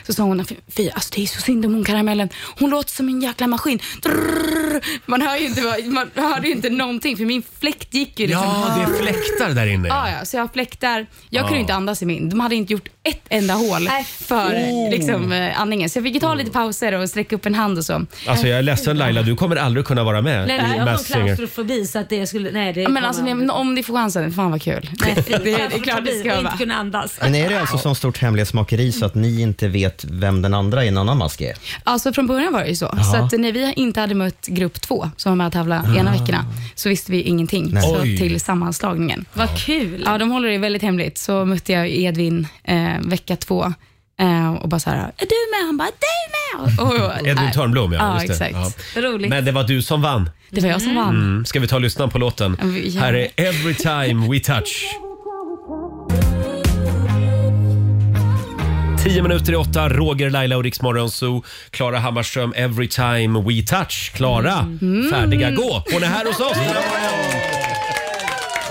Speaker 6: Så sa hon, fy alltså det är så synd om hon karamellen, hon låter som en jäkla maskin. Drrrr. Man hör ju inte, vad- man hörde ju inte någonting för min fläkt gick ju liksom.
Speaker 1: Ja, det är fläktar där inne.
Speaker 6: Ja, ja, så jag har fläktar. Jag
Speaker 1: Ja.
Speaker 6: kunde inte andas i min. De hade inte gjort ett enda hål för
Speaker 1: Oh.
Speaker 6: liksom, eh, andningen. Så jag fick ju ta lite pauser och sträcka upp en hand och så.
Speaker 1: Alltså jag är ledsen Laila, du kommer aldrig kunna vara med
Speaker 6: Nej,
Speaker 1: i
Speaker 6: nej, jag
Speaker 1: Masked Singer.
Speaker 2: Klaustrofobi så att det skulle, nej det
Speaker 6: Ja, Men alltså, men om ni får chansen, fan vad kul.
Speaker 2: (laughs) Nej, fy,
Speaker 6: det, det är klart det
Speaker 2: klaustrofobi
Speaker 6: ska
Speaker 2: och
Speaker 6: vara.
Speaker 2: inte kunna andas.
Speaker 3: Men är det alltså sån stort hemlighetsmakeri så att ni inte vet vem den andra i en annan mask är?
Speaker 6: Alltså från början var det ju så.
Speaker 3: Ja.
Speaker 6: Så att när vi inte hade mött grupp två, som var med och tävlade ena
Speaker 3: Ah.
Speaker 6: veckorna, så visste vi ingenting
Speaker 3: Nej.
Speaker 6: så
Speaker 3: Oj.
Speaker 6: till sammanslagningen.
Speaker 2: Vad kul.
Speaker 6: Ja, de håller det väldigt hemligt. Så mötte jag Edvin eh, vecka två eh, och bara så här, är du med? Han bara, du med! Och, och,
Speaker 1: Edvin
Speaker 6: nej.
Speaker 1: Törnblom, ja.
Speaker 6: ja
Speaker 1: just det.
Speaker 6: Ah. exakt.
Speaker 1: Ja.
Speaker 6: Roligt.
Speaker 1: Men det var du som vann.
Speaker 6: Det var jag som vann.
Speaker 1: Mm. Ska vi ta och lyssna på låten?
Speaker 6: Ja, vi gör
Speaker 1: Här är
Speaker 6: det.
Speaker 1: Every time we touch. Tio minuter i åtta, Roger, Laila och Riksmorgon Zoo. Klara Hammarström, Every time we touch. Klara,
Speaker 6: Mm.
Speaker 1: färdiga gå. Hon är här hos oss.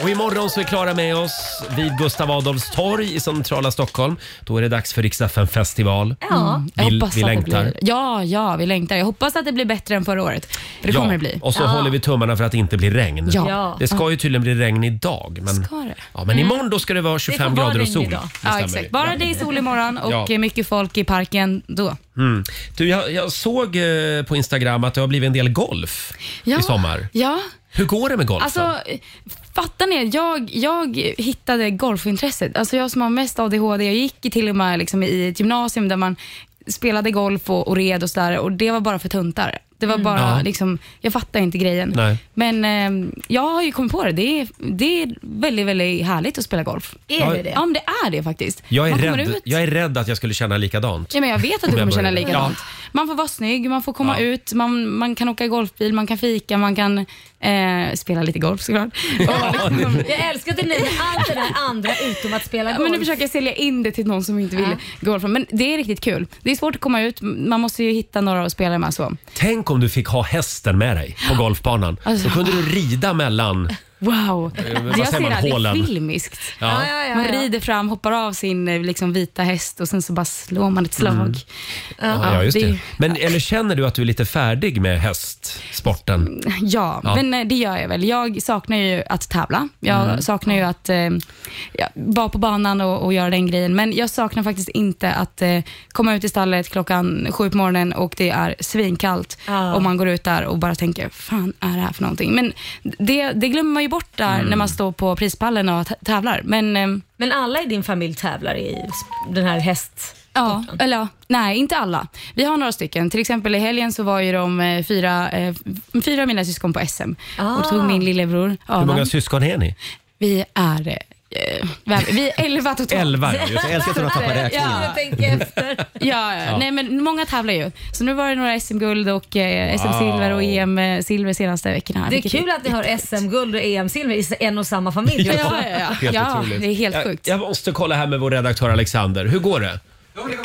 Speaker 1: Och imorgon så är Klara med oss vid Gustav Adolfs torg i centrala Stockholm. Då är det dags för Riksdagen festival.
Speaker 6: Ja, jag
Speaker 1: Vi,
Speaker 6: hoppas
Speaker 1: vi
Speaker 6: att det
Speaker 1: längtar.
Speaker 6: blir. Ja, ja, vi längtar. Jag hoppas att det blir bättre än förra året. För det kommer det bli.
Speaker 1: Och så håller vi tummarna för att det inte blir regn.
Speaker 6: Ja. Ja. Mm.
Speaker 1: Det ska ju tydligen bli regn idag. Men,
Speaker 6: Ska det?
Speaker 1: Ja, men imorgon då ska det vara 25 grader och sol. Det
Speaker 6: Ja,
Speaker 1: stämmer
Speaker 6: exakt.
Speaker 1: ju.
Speaker 6: Bara det är sol imorgon och eh,
Speaker 1: Ja.
Speaker 6: mycket folk i parken då.
Speaker 1: Mm. Du, jag, jag såg eh, på Instagram att det har blivit en del golf
Speaker 6: Ja.
Speaker 1: i sommar.
Speaker 6: Ja,
Speaker 1: Hur går det med golfen?
Speaker 6: alltså fattar ni? Jag, jag hittade golfintresset. Alltså jag som har mest ADHD, jag gick ju till och med liksom i ett gymnasium där man spelade golf och, och red och sådär och det var bara för tuntar. Det
Speaker 1: Mm.
Speaker 6: var bara
Speaker 11: Ja.
Speaker 6: liksom, jag fattar inte grejen.
Speaker 11: Nej.
Speaker 6: Men eh, jag har ju kommit på det. Det är, det är väldigt, väldigt härligt att spela golf.
Speaker 1: Är det det?
Speaker 6: Ja, men det är det faktiskt.
Speaker 1: jag, är
Speaker 6: Man kommer
Speaker 1: rädd,
Speaker 6: ut-
Speaker 1: jag är rädd att jag skulle känna likadant.
Speaker 6: Ja, men jag vet att
Speaker 1: Om
Speaker 6: du
Speaker 1: jag
Speaker 6: kommer känna
Speaker 1: börjar.
Speaker 6: likadant. Man får vara snygg, man får komma
Speaker 1: Ja.
Speaker 6: ut, man, man kan åka golfbil, man kan fika, man kan eh, spela lite golf såklart.
Speaker 1: Ja, nu-
Speaker 2: (laughs) Jag älskar att ni med allt det där andra utom att spela golf.
Speaker 6: Men nu försöker jag sälja in det till någon som inte vill golfa, men det är riktigt kul. Det är svårt att komma ut, man måste ju hitta några att spela med. Så.
Speaker 1: Tänk om du fick ha hästen med dig på golfbanan.
Speaker 6: Alltså.
Speaker 1: Då kunde du rida mellan...
Speaker 6: Wow!
Speaker 1: Eh, vad
Speaker 6: jag
Speaker 1: säger man,
Speaker 6: det, här, det är
Speaker 1: hålen?
Speaker 6: filmiskt.
Speaker 1: Ja. Ja, ja, ja,
Speaker 6: man
Speaker 1: ja.
Speaker 6: rider fram, hoppar av sin eh, liksom, vita häst och sen så bara slår man ett slag.
Speaker 1: Mm. Ja, ja, just
Speaker 6: det-
Speaker 1: det. Men eller känner du att du är lite färdig med hästsporten?
Speaker 6: Ja,
Speaker 1: Ja.
Speaker 6: men eh, det gör jag väl. Jag saknar ju att tävla. Jag
Speaker 1: Mm.
Speaker 6: saknar ju att eh, ja, vara på banan och, och göra den grejen. Men jag saknar faktiskt inte att eh, komma ut i stallet klockan sju på morgonen och det är svinkallt.
Speaker 11: Ja.
Speaker 6: Och man går ut där och bara tänker, fan är det här för någonting? Men det, det glömmer man ju bort där
Speaker 2: Mm.
Speaker 6: när man står på prispallen och t- tävlar. Men, eh,
Speaker 2: Men alla i din familj tävlar i den här häst...
Speaker 6: Ja, eller ja, nej, inte alla. Vi har några stycken. Till exempel i helgen så var ju de eh, fyra, eh, f- fyra av mina syskon på SM. Och då tog min lillebror
Speaker 1: Hur många
Speaker 6: Adam.
Speaker 1: syskon är ni?
Speaker 6: Vi är eh, eh, vem- vi är
Speaker 2: (laughs)
Speaker 6: 11 totalt.
Speaker 1: 11, ja, just det. Jag älskar att hon har tappat räkningen.
Speaker 6: Ja.
Speaker 1: Jag
Speaker 2: tänker efter.
Speaker 6: Ja,
Speaker 1: Ja.
Speaker 6: ja. Nej, men många tävlar ju. Så nu var det några SM-guld och eh, SM-silver och EM-silver senaste veckorna.
Speaker 2: Det är
Speaker 6: vilket
Speaker 2: kul att ni har SM-guld och EM-silver i en och samma familj.
Speaker 6: Ja, ja, ja.
Speaker 1: Helt otroligt. Jag, jag måste kolla här med vår redaktör Alexander. Hur går det?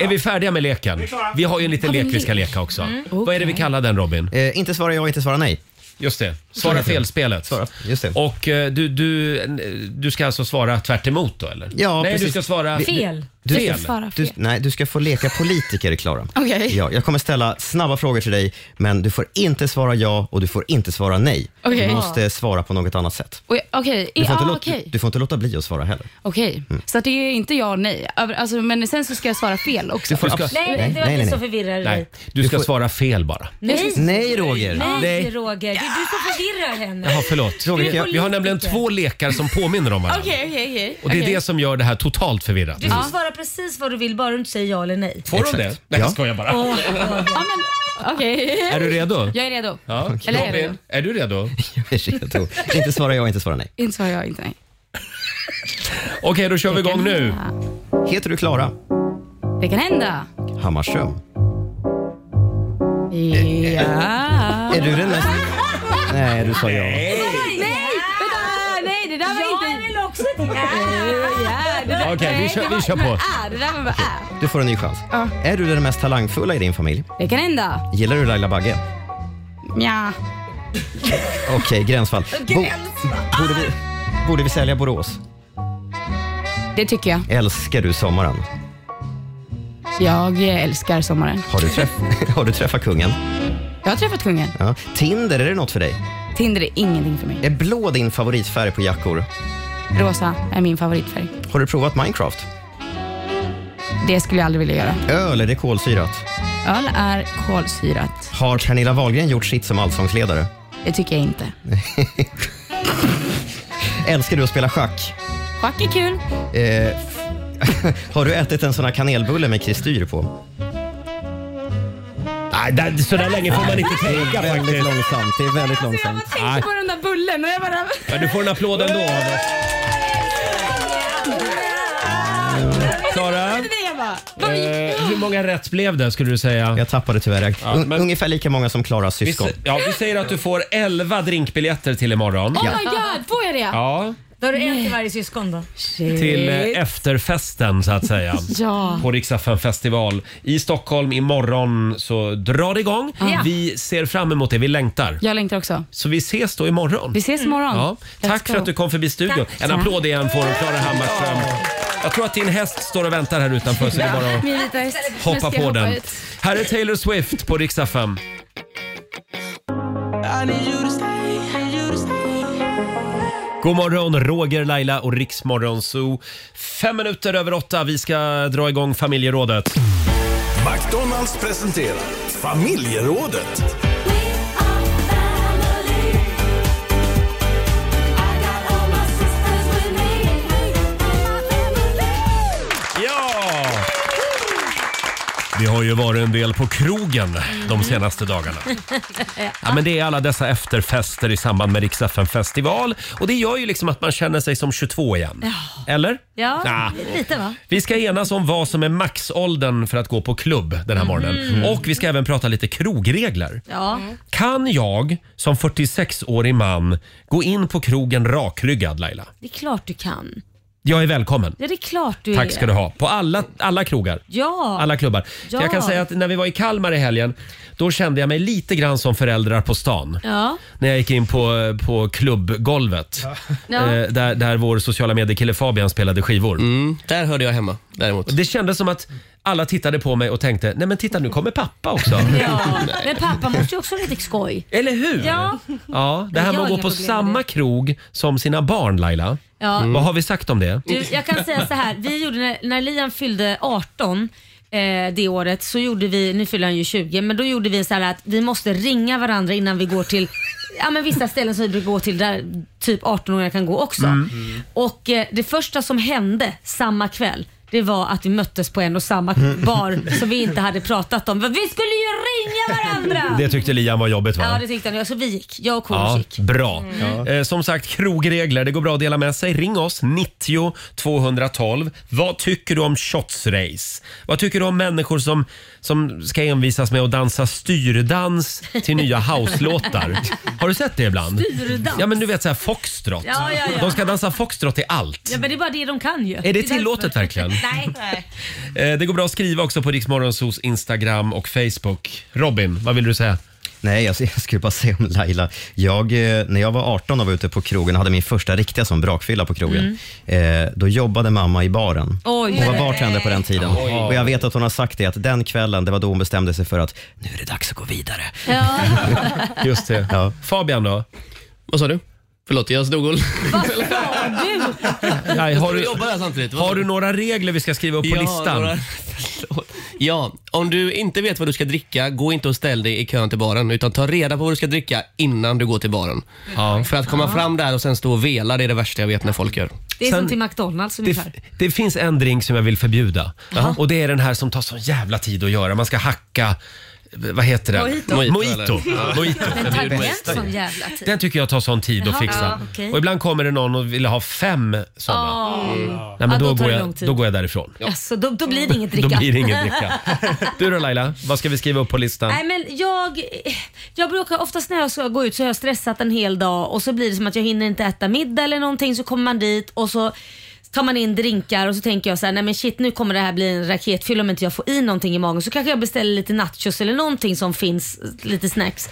Speaker 1: Är vi färdiga med leken? Vi har ju en liten
Speaker 3: Har vi
Speaker 1: lek
Speaker 3: en
Speaker 1: vi ska
Speaker 3: lek?
Speaker 1: leka också.
Speaker 3: Mm.
Speaker 1: Vad är det vi kallar den Robin?
Speaker 3: Eh, inte svara ja, inte svara nej.
Speaker 1: Just det. Svara fel-spelet.
Speaker 3: Just det.
Speaker 1: Och eh, du, du, du ska alltså svara tvärt emot då eller?
Speaker 3: Ja,
Speaker 1: Nej,
Speaker 3: precis.
Speaker 1: du ska svara...
Speaker 3: Vi-
Speaker 1: Du,
Speaker 3: Du,
Speaker 1: fel.
Speaker 3: Du, nej, du ska få leka politiker, Klara.
Speaker 6: (laughs) Okej.
Speaker 3: Ja, jag kommer ställa snabba frågor till dig, men du får inte svara ja och du får inte svara nej.
Speaker 6: Okej.
Speaker 3: Du måste svara på något annat sätt.
Speaker 6: Oj, Okej,
Speaker 3: Du får, inte
Speaker 6: ja,
Speaker 3: låta,
Speaker 6: okej.
Speaker 3: du får inte låta bli att svara heller.
Speaker 6: Okej,
Speaker 1: Mm.
Speaker 6: så att det är inte ja och nej. Över- Alltså, men sen så ska jag svara fel också.
Speaker 1: Du får abs-
Speaker 2: Nej, nej, det var inte så förvirrad.
Speaker 1: Nej, du ska svara fel bara.
Speaker 2: Nej.
Speaker 3: Nej, Roger. (laughs)
Speaker 2: Nej, Roger. Det är du som förvirrar henne.
Speaker 1: Jaha, förlåt.
Speaker 2: Roger,
Speaker 1: vi,
Speaker 2: kan jag-
Speaker 1: vi har nämligen två lekar som påminner om varandra.
Speaker 2: Okej, okej, okej.
Speaker 1: Och det är det som gör det här totalt förvirrat.
Speaker 2: Du får svara precis vad du vill, bara du inte säger ja eller nej.
Speaker 1: Får de det? Nej, jag skojar bara.
Speaker 2: Åh,
Speaker 6: ja, men, okej.
Speaker 1: Är du redo?
Speaker 6: Jag är redo.
Speaker 1: Ja.
Speaker 6: Eller är jag
Speaker 1: Robin,
Speaker 6: redo?
Speaker 1: är du redo?
Speaker 3: Jag är redo. Inte svara ja, inte svara nej.
Speaker 6: Inte svarar jag, inte nej.
Speaker 1: Okej, då kör vi igång nu.
Speaker 3: Heter du Klara
Speaker 6: Det kan hända.
Speaker 3: Hammarström?
Speaker 6: Ja.
Speaker 3: (laughs) Är du den mest... Nej, du sa ja.
Speaker 6: Nej, vänta, nej, det där var inte... Jag
Speaker 2: vill också till
Speaker 3: Okej, vi kör- vi kör på.
Speaker 6: Det där var bara är.
Speaker 3: Du får en ny chans.
Speaker 6: Ja.
Speaker 3: Är du den mest talangfulla i din familj?
Speaker 6: Det kan hända.
Speaker 3: Gillar du Laila Bagge?
Speaker 6: Nja.
Speaker 3: Okej,
Speaker 6: (laughs)
Speaker 3: gränsfall. Bo- borde, vi, borde vi sälja Borås?
Speaker 6: Det tycker jag.
Speaker 3: Älskar du sommaren?
Speaker 6: Jag älskar sommaren.
Speaker 3: Har du, träff- (laughs) har du träffat kungen?
Speaker 6: Jag har träffat kungen.
Speaker 3: Ja. Tinder, är det något för dig?
Speaker 6: Tinder är ingenting för mig.
Speaker 3: Är blå din favoritfärg på jackor?
Speaker 6: Rosa är min favoritfärg.
Speaker 3: Har du provat Minecraft?
Speaker 6: Det skulle jag aldrig vilja göra.
Speaker 3: Öl, är det kolsyrat?
Speaker 6: Öl är kolsyrat.
Speaker 3: Har Pernilla Wahlgren gjort sitt som allsångsledare?
Speaker 6: Det tycker jag inte.
Speaker 3: Älskar du att spela schack?
Speaker 6: Schack är kul.
Speaker 3: Eh, (laughs) har du ätit en sån här kanelbulle med kristyr på?
Speaker 1: Nej, där, så där länge får man inte
Speaker 3: Det
Speaker 1: tänka
Speaker 3: är väldigt
Speaker 1: faktiskt.
Speaker 3: långsamt. Det är väldigt långsamt.
Speaker 1: Nej.
Speaker 6: den där bullen och jag bara...
Speaker 1: Men du får en applåd ändå av oss. Klara,
Speaker 2: Oh
Speaker 1: eh, hur många rätt blev det skulle du säga?
Speaker 3: Jag tappade tyvärr.
Speaker 1: Ja,
Speaker 3: Un-
Speaker 1: men-
Speaker 3: Ungefär lika många som Klaras
Speaker 1: Vi,
Speaker 3: syskon.
Speaker 1: sä- ja, vi säger att du får 11 drinkbiljetter till imorgon.
Speaker 6: Oh my god, får jag det?
Speaker 1: Ja,
Speaker 2: Då har du en till varje syskon då.
Speaker 1: till eh, efterfesten så att säga.
Speaker 6: (laughs) Ja.
Speaker 1: På Riksaffen festival i Stockholm imorgon så drar det igång.
Speaker 6: Ja.
Speaker 1: Vi ser fram emot det, vi längtar.
Speaker 6: Jag längtar också.
Speaker 1: Så vi ses då imorgon.
Speaker 6: Vi ses imorgon.
Speaker 1: Ja.
Speaker 6: Let's
Speaker 1: Tack för
Speaker 6: go.
Speaker 1: att du kom förbi studion.
Speaker 6: Tack.
Speaker 1: En applåd igen får du, Klara Hammarström. Jag tror att din häst står och väntar här utanför så det är bara att
Speaker 2: Mm.
Speaker 6: Min vita häst. Nu ska
Speaker 1: hoppa
Speaker 6: jag
Speaker 1: på den.
Speaker 6: ut.
Speaker 1: Här är Taylor Swift på Riksa 5. God morgon, Roger, Laila och Riksmorgon Zoo. Fem minuter över åtta. Vi ska dra igång familjerådet.
Speaker 10: McDonalds presenterar familjerådet.
Speaker 1: Ja! Vi har ju varit en del på krogen
Speaker 2: Mm.
Speaker 1: de senaste
Speaker 2: (laughs)
Speaker 1: dagarna. Ja, men det är alla dessa efterfester i samband med Rix FM festival och det gör ju liksom att man känner sig som 22 igen. Eller?
Speaker 2: Ja,
Speaker 1: Nja.
Speaker 2: lite va?
Speaker 1: Vi ska enas om vad som är maxåldern för att gå på klubb den här morgonen.
Speaker 2: Mm.
Speaker 1: Och vi ska även prata lite krogregler.
Speaker 2: Ja.
Speaker 1: Kan jag som 46-årig man gå in på krogen rakryggad Laila?
Speaker 2: Det är klart du kan.
Speaker 1: Jag är välkommen.
Speaker 2: Ja, det är klart du är.
Speaker 1: Tack ska du ha. På alla, alla krogar.
Speaker 2: Ja.
Speaker 1: Alla klubbar.
Speaker 2: Ja.
Speaker 1: Jag kan säga att när vi var i Kalmar i helgen, då kände jag mig lite grann som föräldrar på stan.
Speaker 2: Ja.
Speaker 1: När jag gick in på, på klubbgolvet,
Speaker 2: Ja.
Speaker 1: eh, där, där vår sociala medier-kille Fabian spelade skivor.
Speaker 8: Mm,
Speaker 1: där hörde jag hemma däremot. Det kändes som att alla tittade på mig och tänkte, nej men titta nu kommer pappa
Speaker 2: (laughs)
Speaker 1: också.
Speaker 2: Ja. Men pappa måste ju också ha lite skoj.
Speaker 1: Eller hur?
Speaker 2: Ja.
Speaker 1: Ja, det här
Speaker 2: Jag
Speaker 1: med
Speaker 2: har
Speaker 1: att gå på
Speaker 2: inga problem med
Speaker 1: samma krog som sina barn Laila.
Speaker 2: Ja. Mm.
Speaker 1: Vad har vi sagt om det?
Speaker 2: Du, jag kan säga så här. Vi gjorde när, när Liam fyllde 18 eh, det året så gjorde vi, nu fyller han ju 20, men då gjorde vi så här att vi måste ringa varandra innan vi går till ja, men vissa ställen som vi brukar gå till där
Speaker 1: Mm.
Speaker 2: typ 18-åringar kan gå också. Och eh, det första som hände samma kväll det var att vi möttes på en och samma bar som vi inte hade pratat om. Vi skulle ju ringa varandra!
Speaker 1: Det tyckte Liam var jobbigt va?
Speaker 2: Ja, det tyckte han. Ja, Så vi gick. Jag och Korosh
Speaker 1: Ja,
Speaker 2: gick.
Speaker 1: bra.
Speaker 2: Mm.
Speaker 1: Eh, som sagt, krogregler. Det går bra att dela med sig. Ring oss, 90 212. Vad tycker du om shotsrace? Vad tycker du om människor som, som ska envisas med att dansa styrdans till nya
Speaker 2: (laughs)
Speaker 1: house-låtar? Har du sett det ibland?
Speaker 2: Styrdans?
Speaker 1: Ja, men du vet så här foxtrot.
Speaker 2: Ja, ja, ja.
Speaker 1: De ska dansa foxtrot till allt.
Speaker 2: Ja, men det är bara det de kan ju.
Speaker 1: Är det
Speaker 2: därför-
Speaker 1: tillåtet verkligen?
Speaker 2: Nej.
Speaker 1: Eh, Det går bra att skriva också på Riksmorgonsos Instagram och Facebook. Robin, vad vill du säga?
Speaker 3: Nej, jag, jag skulle bara säga om Laila. Jag, eh, när jag var 18 och var ute på krogen och hade min första riktiga som brakfylla på krogen, eh, då jobbade mamma i baren.
Speaker 5: Mm. Oj.
Speaker 3: hon var bartendare på den tiden.
Speaker 5: Oj.
Speaker 3: Och jag vet att hon har sagt det, att den kvällen, det var då hon bestämde sig för att nu är det dags att gå vidare.
Speaker 2: Ja.
Speaker 1: Just det. Fabian då?
Speaker 8: Vad sa du? Förlåt, jag stod och...
Speaker 2: Vad sa du?
Speaker 1: Nej, har du,
Speaker 8: Jag jobbar här samtidigt. Vad
Speaker 1: har
Speaker 8: sa
Speaker 1: du några regler vi ska skriva upp på listan?
Speaker 8: några- ja, om du inte vet vad du ska dricka, gå inte och ställ dig i kön till baren. Utan ta reda på vad du ska dricka innan du går till baren. För att komma
Speaker 2: Ja.
Speaker 8: fram där och sen stå och vela, det är det värsta jag vet när folk gör.
Speaker 2: Det är som till McDonalds ungefär.
Speaker 1: Det finns en drink som jag vill förbjuda
Speaker 2: Jaha.
Speaker 1: och det är den här som tar sån jävla tid att göra. Man ska hacka, eh, vad heter den?
Speaker 2: Mojito.
Speaker 1: Mojito.
Speaker 8: Ja.
Speaker 1: Mojito.
Speaker 2: Den tar den som jävla typ. tid.
Speaker 1: Den tycker jag tar sån tid
Speaker 2: Jaha.
Speaker 1: att fixa.
Speaker 2: Ja, okej.
Speaker 1: Och ibland kommer det någon och vill ha fem såna.
Speaker 2: Åh.
Speaker 1: Nej, men
Speaker 2: Ja,
Speaker 1: då,
Speaker 2: tar
Speaker 1: går
Speaker 2: det
Speaker 1: jag,
Speaker 2: lång tid.
Speaker 1: då går jag därifrån.
Speaker 2: Alltså, då, då blir det inget dricka.
Speaker 1: Då blir det ingen
Speaker 2: (laughs)
Speaker 1: dricka. Du då Laila, vad ska vi skriva upp på listan?
Speaker 2: Nej, men jag, jag brukar oftast när jag ska gå ut så har jag stressat en hel dag och så blir det som att jag hinner inte äta middag eller någonting så kommer man dit och så tar man in drinkar och så tänker jag så här, nej men shit nu kommer det här bli en raketfylla om inte jag får i någonting i magen så kanske jag beställer lite nachos eller någonting som finns, lite snacks.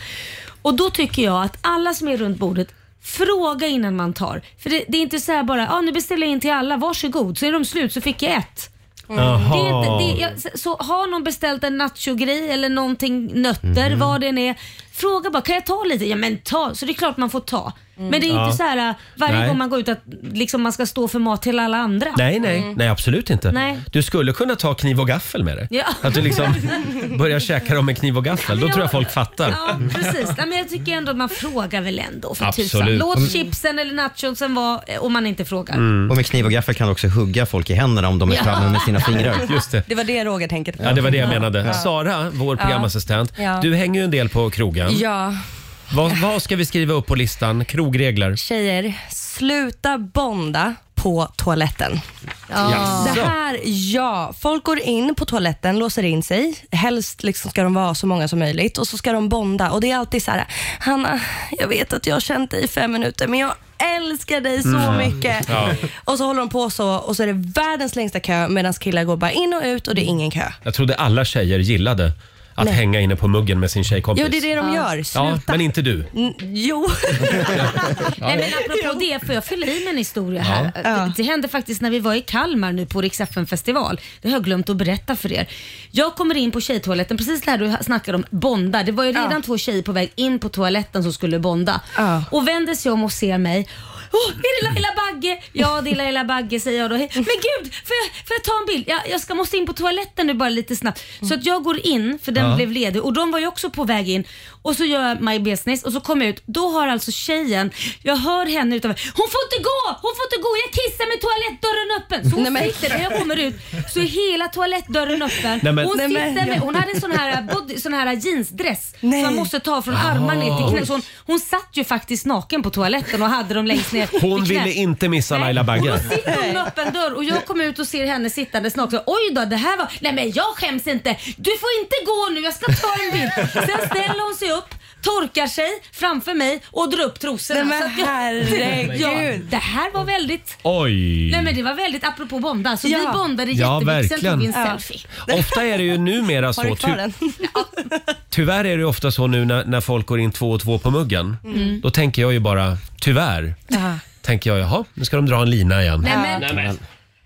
Speaker 2: Och då tycker jag att alla som är runt bordet Fråga innan man tar. För det, det är inte så här bara, ah, nu beställer jag in till alla, varsågod. Så är de slut så fick jag ett.
Speaker 5: Jaha.
Speaker 2: Det är inte, det, jag, så har någon beställt en nachogrej eller någonting nötter,
Speaker 5: Mhm.
Speaker 2: vad det än är. Fråga bara, kan jag ta lite? Ja men ta, så det är klart man får ta. Men det är
Speaker 1: Ja.
Speaker 2: inte så här äh, varje
Speaker 1: Nej.
Speaker 2: gång man går ut att liksom, man ska stå för mat till alla andra.
Speaker 1: Nej, nej, nej absolut inte.
Speaker 2: Mm. Nej.
Speaker 1: Du skulle kunna ta kniv och gaffel med dig.
Speaker 2: Ja.
Speaker 1: Att du
Speaker 2: (laughs)
Speaker 1: liksom börjar käka dem med kniv och gaffel. Då
Speaker 2: Ja.
Speaker 1: tror jag folk fattar.
Speaker 2: Ja, precis. Ja, men jag tycker ändå att man frågar väl ändå för
Speaker 1: Absolut.
Speaker 2: tusan.
Speaker 3: Mm.
Speaker 2: Låt chipsen eller nachosen vara eh, om man inte frågar.
Speaker 3: Och med kniv och gaffel kan du också hugga folk i händerna om de är
Speaker 2: Ja.
Speaker 3: framme med sina
Speaker 5: (laughs)
Speaker 3: fingrar.
Speaker 1: Just det.
Speaker 9: Det var det Roger tänkte på.
Speaker 1: Ja, det var det jag menade.
Speaker 9: Ja.
Speaker 1: Sara, vår
Speaker 9: Ja.
Speaker 1: programassistent,
Speaker 9: Ja.
Speaker 1: du hänger ju en del på krogen.
Speaker 9: Ja,
Speaker 1: Vad, vad ska vi skriva upp på listan? Krogregler?
Speaker 9: tjejer, sluta bonda på toaletten.
Speaker 1: Jaså?
Speaker 9: Det här, ja. Folk går in på toaletten, låser in sig. Helst liksom ska de vara så många som möjligt och så ska de bonda. Och Det är alltid så här, Hanna, jag vet att jag har känt dig i fem minuter, men jag älskar dig så
Speaker 5: Mm.
Speaker 9: mycket.
Speaker 5: Ja.
Speaker 9: Och så håller de på så och så är det världens längsta kö medan killar går bara in och ut och det är ingen kö.
Speaker 1: Jag trodde alla tjejer gillade att
Speaker 9: Nej.
Speaker 1: hänga inne på muggen med sin tjejkompis.
Speaker 9: Jo, det är det de gör.
Speaker 1: Ja,
Speaker 9: Sluta.
Speaker 1: men inte du.
Speaker 9: N- jo.
Speaker 2: Nej, men apropå det, får jag fylla i med en historia här?
Speaker 9: Ja.
Speaker 2: Det, det hände faktiskt när vi var i Kalmar nu på Rix FM festival. Det har jag glömt att berätta för er. Jag kommer in på tjejtoaletten, precis där du snackade om bonda. Det var ju redan två tjejer på väg in på toaletten som skulle bonda. Och vänder sig om och ser mig. Åh, är det Laila Bagge? Ja, det är Laila Bagge säger jag då. Hej. Men gud, får jag, får jag ta en bild? Jag, jag ska, måste in på toaletten nu bara lite snabbt. Så att jag går in, för den
Speaker 5: Ja.
Speaker 2: blev ledig och de var ju också på väg in och så gör jag my business och så kommer jag ut. Då har alltså tjejen, jag hör henne utanför. Hon får inte gå! Hon får inte gå! Jag kissar med toalettdörren öppen. Så hon
Speaker 9: Nej, men-
Speaker 2: sitter när jag kommer ut så är hela toalettdörren öppen.
Speaker 5: Nej, men-
Speaker 2: Hon
Speaker 5: Nej,
Speaker 2: sitter
Speaker 5: men-
Speaker 2: med, hon hade en sån här, body, sån här jeansdress som man måste ta från armarna ner till knä. Så hon, hon satt ju faktiskt naken på toaletten och hade dem längst ner till
Speaker 1: Hon
Speaker 2: knä.
Speaker 1: ville inte missa Laila Bagge.
Speaker 2: Sitter hon med öppen dörr och jag kommer ut och ser henne sittandes naken. Oj då, det här var... Nej men jag skäms inte. Du får inte gå nu, jag ska ta en bild. Sen ställer hon sig upp, torkar sig framför mig och drar upp trosorna.
Speaker 9: Nej, men
Speaker 2: Så att jag-
Speaker 9: herregud.
Speaker 2: Ja, det här var väldigt...
Speaker 1: Oj!
Speaker 2: Nej men det var väldigt apropå bonda. Så
Speaker 9: Ja.
Speaker 2: vi bondade
Speaker 1: Ja,
Speaker 2: jättemycket. Sen
Speaker 1: verkligen.
Speaker 2: tog vi en
Speaker 1: Ja.
Speaker 2: selfie.
Speaker 1: Ofta är det ju numera så. typ. Ty- tyvärr är det ju ofta så nu när, när folk går in två och två på muggen.
Speaker 2: Mm.
Speaker 1: Då tänker jag ju bara, tyvärr, tänker jag jaha, nu ska de dra en lina igen.
Speaker 2: Nej, men- Nej,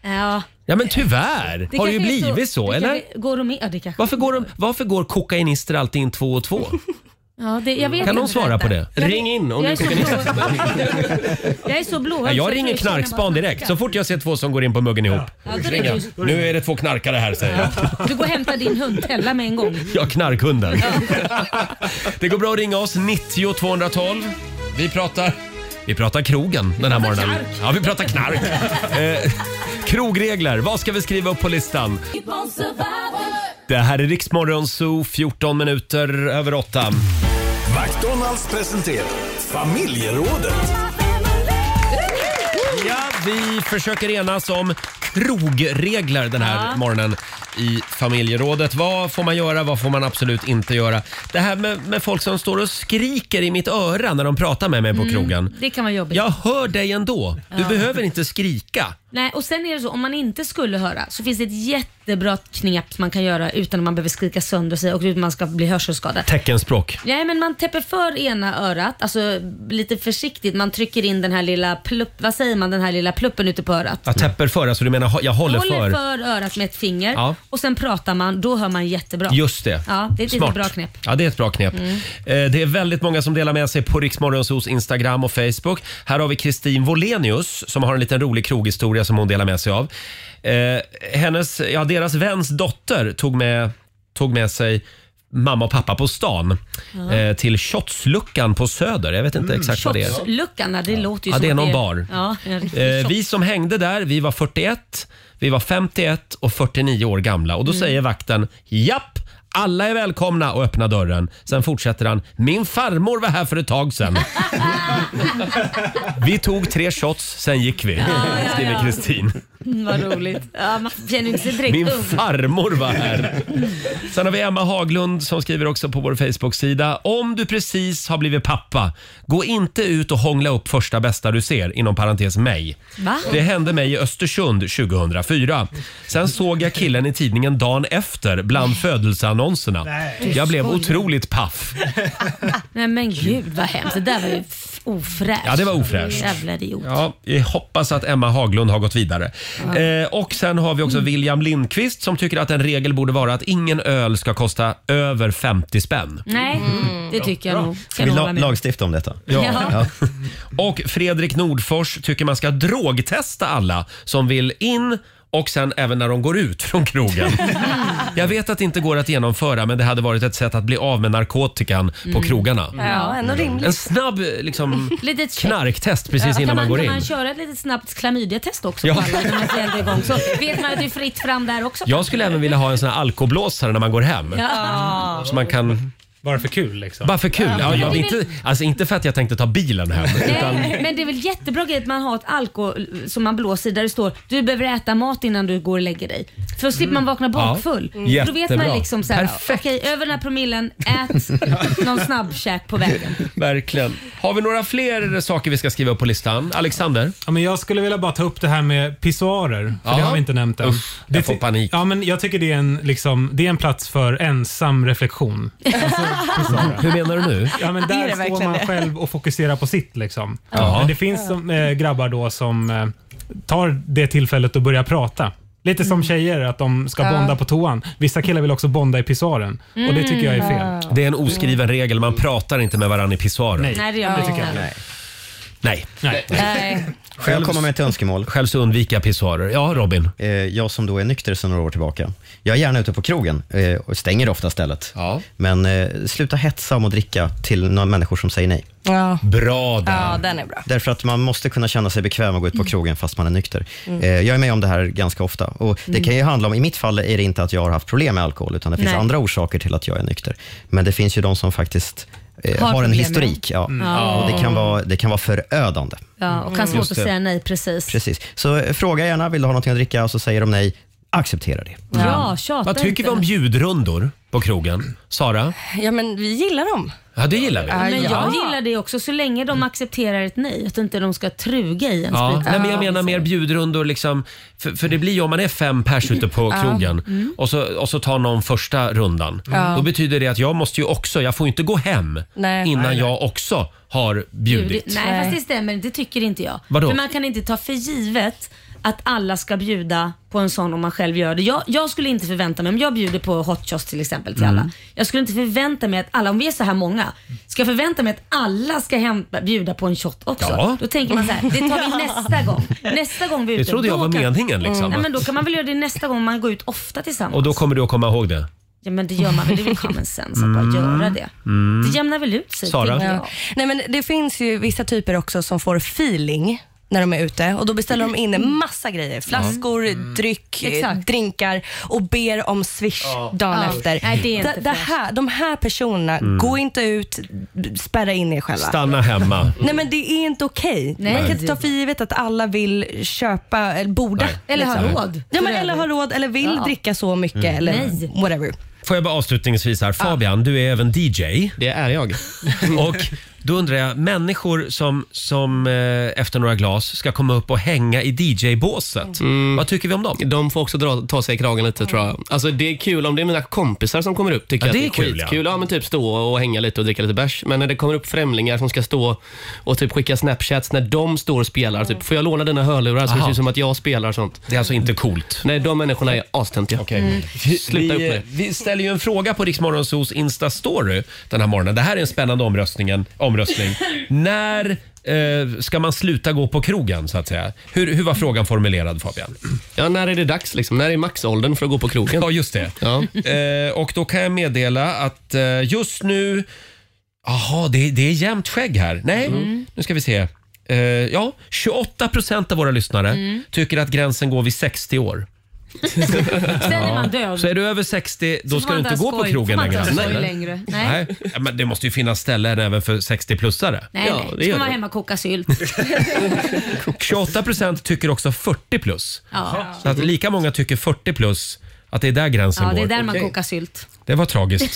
Speaker 2: men. Ja.
Speaker 1: Ja men tyvärr
Speaker 2: Det
Speaker 1: har det ju
Speaker 2: kanske är
Speaker 1: blivit så,
Speaker 2: det
Speaker 1: eller?
Speaker 2: kanske- Går de med? Ja, det kanske.
Speaker 1: Varför går, de, varför går kokainister alltid in två och två?
Speaker 2: Ja, det, jag vet
Speaker 1: Kan någon
Speaker 2: inte
Speaker 1: svara på det?
Speaker 2: Jag-
Speaker 1: Ring in om
Speaker 2: jag
Speaker 1: du
Speaker 2: är så
Speaker 1: kokainist.
Speaker 2: blå- (laughs) Jag är så blå.
Speaker 1: Ja,
Speaker 2: så
Speaker 1: jag ringer
Speaker 2: tror jag känner
Speaker 1: knarkspan
Speaker 2: bara-
Speaker 1: direkt. Så fort jag ser två som går in på muggen ihop.
Speaker 2: Ja, då är det
Speaker 1: Ring jag.
Speaker 2: du.
Speaker 1: Nu är det två knarkare här säger jag.
Speaker 2: Du går och hämtar din hund Tella med en gång.
Speaker 1: Ja, knarkhunden. Det går bra att ringa oss, 90 212. Vi pratar... Vi pratar krogen den här morgonen.
Speaker 5: knark.
Speaker 1: Ja, vi pratar knark. Eh, Krogregler, vad ska vi skriva upp på listan? Det här är Riksmorgon Zoo, 14 minuter över 8.
Speaker 10: McDonalds presenterar familjerådet.
Speaker 1: Ja, vi försöker enas om krogregler den här
Speaker 11: Ja.
Speaker 1: morgonen i familjerådet. Vad får man göra, vad får man absolut inte göra? Det här med, med folk som står och skriker i mitt öra när de pratar med mig på
Speaker 2: Mm,
Speaker 1: krogen.
Speaker 2: Det kan vara jobbigt.
Speaker 1: Jag hör dig ändå. Du
Speaker 2: Ja.
Speaker 1: behöver inte skrika.
Speaker 2: Nej, och sen är det så, om man inte skulle höra så finns det ett jättebra knep man kan göra utan att man behöver skrika sönder sig och utan att man ska bli hörselskadad.
Speaker 1: Teckenspråk.
Speaker 2: Nej, men man täpper för ena örat, alltså lite försiktigt. Man trycker in den här lilla plupp, vad säger man, den här lilla pluppen ute på örat.
Speaker 1: Jag täpper för, alltså du menar hå- jag håller,
Speaker 2: Håller för örat med ett finger
Speaker 1: Ja.
Speaker 2: och sen pratar man, då hör man jättebra.
Speaker 1: Just det.
Speaker 2: Ja, det är ett
Speaker 1: Smart.
Speaker 2: litet bra knep.
Speaker 1: Ja, det är ett bra knep.
Speaker 2: Mm.
Speaker 1: Eh, Det är väldigt många som delar med sig på Riksmorgonsos Instagram och Facebook. Här har vi Kristin Volenius som har en liten rolig kroghistoria som hon delar med sig av. Eh, Hennes, ja, deras väns dotter tog med, tog med sig mamma och pappa på stan
Speaker 2: Ja.
Speaker 1: eh, till shotsluckan på Söder. Jag vet inte exakt vad det är.
Speaker 2: Shotsluckan, det låter ju
Speaker 1: Ja,
Speaker 2: som
Speaker 1: det är
Speaker 2: att
Speaker 1: någon bar.
Speaker 2: Ja, en riktig
Speaker 1: Eh,
Speaker 2: shot.
Speaker 1: vi som hängde där, vi var 41, vi var 51 och 49 år gamla och då
Speaker 2: Mm.
Speaker 1: säger vakten japp. Alla är välkomna och öppna dörren. Sen fortsätter han. Min farmor var här för ett tag sedan. vi tog tre shots, sen gick vi. Skriver Kristin.
Speaker 2: Mm, vad roligt. Ja, man känner inte sig direkt
Speaker 1: Min
Speaker 2: ung.
Speaker 1: farmor var här. Sen har vi Emma Haglund som skriver också på vår Facebook-sida. Om du precis har blivit pappa, gå inte ut och hångla upp första bästa du ser, inom parentes mig.
Speaker 11: Va?
Speaker 1: Det hände mig i Östersund 2004. Sen såg jag killen i tidningen dagen efter bland födelseannonserna.
Speaker 2: Nej.
Speaker 1: Jag blev
Speaker 2: Du skojar.
Speaker 1: otroligt paff.
Speaker 2: Nej men gud vad hemskt. Det där var ju f- ofräscht.
Speaker 1: Ja, det var ofräscht.
Speaker 2: Jävla idiot.
Speaker 1: Ja, jag hoppas att Emma Haglund har gått vidare.
Speaker 2: Ja. Mm.
Speaker 1: Eh, och sen har vi också William Lindqvist som tycker att en regel borde vara att ingen öl ska kosta över 50 spänn.
Speaker 2: Nej, det tycker jag nog.
Speaker 3: Ska vi
Speaker 2: hålla
Speaker 3: la-
Speaker 2: med.
Speaker 3: lagstifta om detta?
Speaker 1: Ja. Och Fredrik Nordfors tycker man ska drogtesta alla som vill in och sen även när de går ut från
Speaker 2: (laughs)
Speaker 1: krogen. Jag vet att det inte går att genomföra men det hade varit ett sätt att bli av med narkotikan på
Speaker 2: Mm.
Speaker 1: krogarna.
Speaker 2: Ja, ändå rimligt.
Speaker 1: En snabb liksom,
Speaker 2: Litet check.
Speaker 1: knarktest precis
Speaker 2: Ja.
Speaker 1: innan
Speaker 2: kan
Speaker 1: man går
Speaker 2: kan
Speaker 1: in.
Speaker 2: man köra ett litet snabbt klamydiatest också?
Speaker 1: Ja.
Speaker 2: Ja. Alla, igång,
Speaker 1: (laughs)
Speaker 2: så vet man att det är fritt fram där också.
Speaker 1: Jag skulle även vilja ha en sån här alkoblåsare när man går hem.
Speaker 2: Ja.
Speaker 1: Så man kan... Bara för kul liksom. Bara för kul. Ja,
Speaker 2: Ja.
Speaker 1: jag,
Speaker 2: Det är
Speaker 1: inte, alltså inte för att jag tänkte ta bilen hem. Utan,
Speaker 2: Nej, men det är väl jättebra grej att man har ett alkohol som man blåser i där det står du behöver äta mat innan du går och lägger dig. För då slipper man vakna bakfull.
Speaker 1: Ja.
Speaker 2: För Då vet
Speaker 1: Jättebra.
Speaker 2: man liksom så här, okej över den här promillen, ät någon snabbkäk på vägen.
Speaker 1: verkligen. Har vi några fler saker vi ska skriva upp på listan? Alexander?
Speaker 4: Ja, men jag skulle vilja bara ta upp det här med pissoarer, för
Speaker 1: Ja.
Speaker 4: det har vi inte nämnt än.
Speaker 1: Usch, jag
Speaker 4: det
Speaker 1: får panik.
Speaker 4: Ja, men jag tycker det är, en, liksom, det är en plats för ensam reflektion. Alltså, pissoarer.
Speaker 1: Hur menar du nu?
Speaker 4: Ja,
Speaker 1: (laughs)
Speaker 4: men
Speaker 1: Är
Speaker 4: där
Speaker 1: det
Speaker 4: står
Speaker 1: verkligen
Speaker 4: man
Speaker 1: det?
Speaker 4: själv och fokuserar på sitt. Liksom.
Speaker 1: Ja.
Speaker 4: Men det finns som, eh, grabbar då som eh, tar det tillfället och börjar prata. Lite som tjejer, att de ska
Speaker 1: Mm. Ja.
Speaker 4: bonda på toan. Vissa killar vill också bonda i pissoaren och det tycker jag är fel.
Speaker 1: Det är en oskriven regel. Man pratar inte med varandra i pissoarer.
Speaker 4: Nej.
Speaker 2: Nej, det gör
Speaker 4: Det
Speaker 2: man
Speaker 4: tycker
Speaker 2: inte.
Speaker 4: jag.
Speaker 3: Nej.
Speaker 1: Nej.
Speaker 4: Nej.
Speaker 2: Nej.
Speaker 3: Själv kommer man med ett önskemål. Eh,
Speaker 1: Själv så undviker jag pissoarer. Ja, Robin?
Speaker 3: Jag som då är nykter sedan några år tillbaka. Jag är gärna ute på krogen eh, och stänger ofta stället. Men eh, sluta hetsa om att dricka till några människor som säger nej.
Speaker 9: Ja.
Speaker 1: Bra
Speaker 9: ja, den är bra.
Speaker 3: Därför att man måste kunna känna sig bekväm att gå ut på
Speaker 9: Mm.
Speaker 3: krogen fast man är nykter.
Speaker 9: Mm.
Speaker 3: Eh, Jag är med om det här ganska ofta. Och det
Speaker 9: Mm.
Speaker 3: kan ju handla om, I mitt fall är det inte att jag har haft problem med alkohol, utan det finns
Speaker 9: Nej.
Speaker 3: andra orsaker till att jag är nykter. Men det finns ju de som faktiskt eh,
Speaker 2: Har
Speaker 3: har, en
Speaker 2: problem med
Speaker 3: historik.
Speaker 2: det.
Speaker 3: Ja.
Speaker 2: Mm. Ja.
Speaker 3: Och det, kan vara, det kan vara förödande.
Speaker 2: Ja, och kan
Speaker 3: Mm.
Speaker 2: svårt
Speaker 3: Just
Speaker 2: att
Speaker 3: det.
Speaker 2: säga nej precis.
Speaker 3: Precis. Så eh, fråga gärna, vill du ha någonting att dricka? Och så säger de nej. Acceptera det.
Speaker 2: Bra, tjata
Speaker 1: Vad tycker
Speaker 2: inte.
Speaker 1: vi om bjudrundor på krogen? Sara?
Speaker 9: Ja, men vi gillar dem.
Speaker 1: Ja, det gillar vi.
Speaker 2: Ja, men jag gillar det också, så länge de accepterar ett nej. Att inte de ska truga i en
Speaker 1: Ja,
Speaker 2: sprit.
Speaker 1: nej, men jag menar mer bjudrundor. Liksom, för, för det blir ju om man är fem pers ute på
Speaker 2: Ja.
Speaker 1: krogen
Speaker 2: Mm.
Speaker 1: och, så, och så tar någon första rundan.
Speaker 2: Ja.
Speaker 1: Då betyder det att jag måste ju också, jag får ju inte gå hem
Speaker 2: Nej.
Speaker 1: innan
Speaker 2: Nej, nej.
Speaker 1: jag också har bjudit.
Speaker 2: Nej, fast det stämmer inte. Det tycker inte jag.
Speaker 1: Vadå?
Speaker 2: För man kan inte ta för givet att alla ska bjuda på en sån om man själv gör det. Jag, jag skulle inte förvänta mig, om jag bjuder på hot shots till exempel till
Speaker 12: Mm.
Speaker 2: alla. Jag skulle inte förvänta mig att alla, om vi är så här många, ska jag förvänta mig att alla ska hem, bjuda på en shot också.
Speaker 1: Ja.
Speaker 2: Då tänker man så här, det tar vi nästa gång. Nästa gång vi är
Speaker 1: Det
Speaker 2: ute.
Speaker 1: trodde jag
Speaker 2: då
Speaker 1: var
Speaker 2: kan-
Speaker 1: meningen, liksom,
Speaker 2: Mm. Nej,
Speaker 1: att-
Speaker 2: men då kan man väl göra det nästa gång man går ut ofta tillsammans.
Speaker 1: Och då kommer du att komma ihåg det.
Speaker 2: Ja men det gör man väl, det är väl common sense att bara göra det.
Speaker 1: Mm.
Speaker 2: Det jämnar väl ut sig.
Speaker 1: Sara?
Speaker 2: tänker jag.
Speaker 9: Nej, men det finns ju vissa typer också som får feeling när de är ute och då beställer de in en massa grejer. Flaskor, dryck, eh,
Speaker 2: Mm. Exakt.
Speaker 9: drinkar och ber om swish dagen
Speaker 2: Ja.
Speaker 9: efter.
Speaker 2: Nej, det är inte
Speaker 9: Da- det här, de här personerna,
Speaker 1: Mm.
Speaker 9: gå inte ut, b- spärra in er själva.
Speaker 1: Stanna hemma.
Speaker 9: Nej men det är inte okej.
Speaker 1: Nej.
Speaker 9: Man kan inte ta för givet att alla vill köpa, eller borda.
Speaker 1: Nej. Eller ha råd.
Speaker 9: Ja, men, eller ha råd, eller vill
Speaker 2: Ja.
Speaker 9: dricka så mycket
Speaker 1: Mm.
Speaker 9: eller
Speaker 1: Nej.
Speaker 9: whatever.
Speaker 1: Får jag bara avslutningsvis här. Fabian, du är även (laughs) DJ.
Speaker 8: Det är jag.
Speaker 1: och då undrar jag, människor som, som eh, efter några glas ska komma upp och hänga i DJ-båset. Vad tycker vi om dem?
Speaker 8: De får också dra, ta sig i kragen lite tror jag. Alltså det är kul om det är mina kompisar som kommer upp. Tycker
Speaker 1: Ja,
Speaker 8: jag
Speaker 1: det
Speaker 8: att det
Speaker 1: är
Speaker 8: är
Speaker 1: kul, ja.
Speaker 8: skitkul. Ja. men typ stå och hänga lite och dricka lite bärs. Men när det kommer upp främlingar som ska stå och typ skicka snapchats när de står och spelar. Typ, får jag låna dina hörlurar så det
Speaker 1: Aha.
Speaker 8: ser ut som att jag spelar och sånt.
Speaker 1: Det är alltså inte coolt?
Speaker 8: Nej, de människorna är astöntiga.
Speaker 1: Mm.
Speaker 8: Sluta upp
Speaker 1: Vi,
Speaker 8: med det.
Speaker 1: vi ställer ju en fråga på Riksmorgonsos Insta-story den här morgonen. Det här är en spännande omröstningen, (laughs) omröstning. När eh, ska man sluta gå på krogen så att säga? Hur, hur var frågan formulerad Fabian?
Speaker 8: Ja, när är det dags liksom? När är maxåldern för att gå på krogen?
Speaker 1: Ja, just det. Eh, och då kan jag meddela att eh, just nu... Jaha, det, det är jämnt skägg här. Nej,
Speaker 8: Mm.
Speaker 1: nu ska vi se. Eh, ja, 28 procent av våra lyssnare
Speaker 2: Mm.
Speaker 1: tycker att gränsen går vid 60 år.
Speaker 2: Sen är man död.
Speaker 1: Så är du över 60, då
Speaker 2: Så
Speaker 1: ska
Speaker 2: får
Speaker 1: du
Speaker 2: man
Speaker 1: inte
Speaker 2: alltså
Speaker 1: gå
Speaker 2: ha
Speaker 1: på
Speaker 2: skoj.
Speaker 1: krogen
Speaker 2: Får man
Speaker 1: längre.
Speaker 2: inte ha skoj
Speaker 1: eller?
Speaker 2: längre. Nej.
Speaker 1: Nej. Ja, Men det måste ju finnas ställen även för
Speaker 2: (laughs)
Speaker 1: 60-plussare.
Speaker 2: Nej, nej. Ska man vara hemma och
Speaker 1: (laughs)
Speaker 2: koka sylt.
Speaker 1: 28 procent tycker också 40 plus.
Speaker 2: Ja.
Speaker 1: Så att lika många tycker 40 plus, att det är där gränsen
Speaker 2: Mm. ja,
Speaker 1: går.
Speaker 2: det är där man
Speaker 1: Okej.
Speaker 2: kokar sylt.
Speaker 1: Det var tragiskt.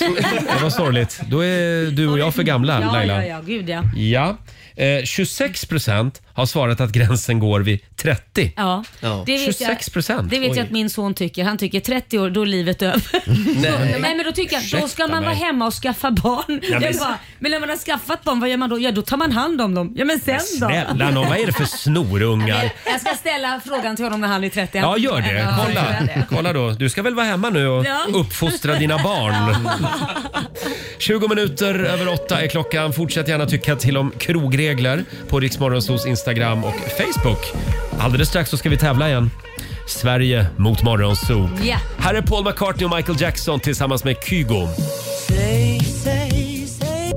Speaker 1: Det var sorgligt. Då är du och jag för gamla,
Speaker 2: Ja,
Speaker 1: Laila.
Speaker 2: ja, ja, gud ja.
Speaker 1: Ja. Eh, 26 procent har svarat att gränsen går vid 30.
Speaker 2: Ja, Det vet
Speaker 1: 26
Speaker 2: jag-
Speaker 1: procent.
Speaker 2: Det vet jag att min son tycker. Han tycker 30 år, då är
Speaker 1: (laughs)
Speaker 2: livet över. (laughs) Nej. men då tycker jag, då ska
Speaker 1: Ursäkta
Speaker 2: man vara
Speaker 1: mig.
Speaker 2: hemma och skaffa barn.
Speaker 1: Ja, men-
Speaker 2: jag bara, men när man har skaffat barn, vad gör man då? Ja, då tar man hand om dem. Ja, men sen då?
Speaker 1: Snälla nån, vad är det för snorungar?
Speaker 2: (laughs) Jag ska ställa frågan till honom när han är 30.
Speaker 1: Ja, gör det.
Speaker 2: Ja,
Speaker 1: Kolla.
Speaker 2: gör det.
Speaker 1: Kolla då. Du ska väl vara hemma nu och
Speaker 2: Ja.
Speaker 1: uppfostra dina barn.
Speaker 2: Ja.
Speaker 1: 20 minuter över åtta är klockan. Fortsätt gärna tycka till om krogregler på Riksmorgonsos Instagram och Facebook. Alldeles strax så ska vi tävla igen. Sverige mot Morgonzoo.
Speaker 5: Ja.
Speaker 1: Här är Paul McCartney och Michael Jackson tillsammans med Kygo.
Speaker 5: Say, say, say.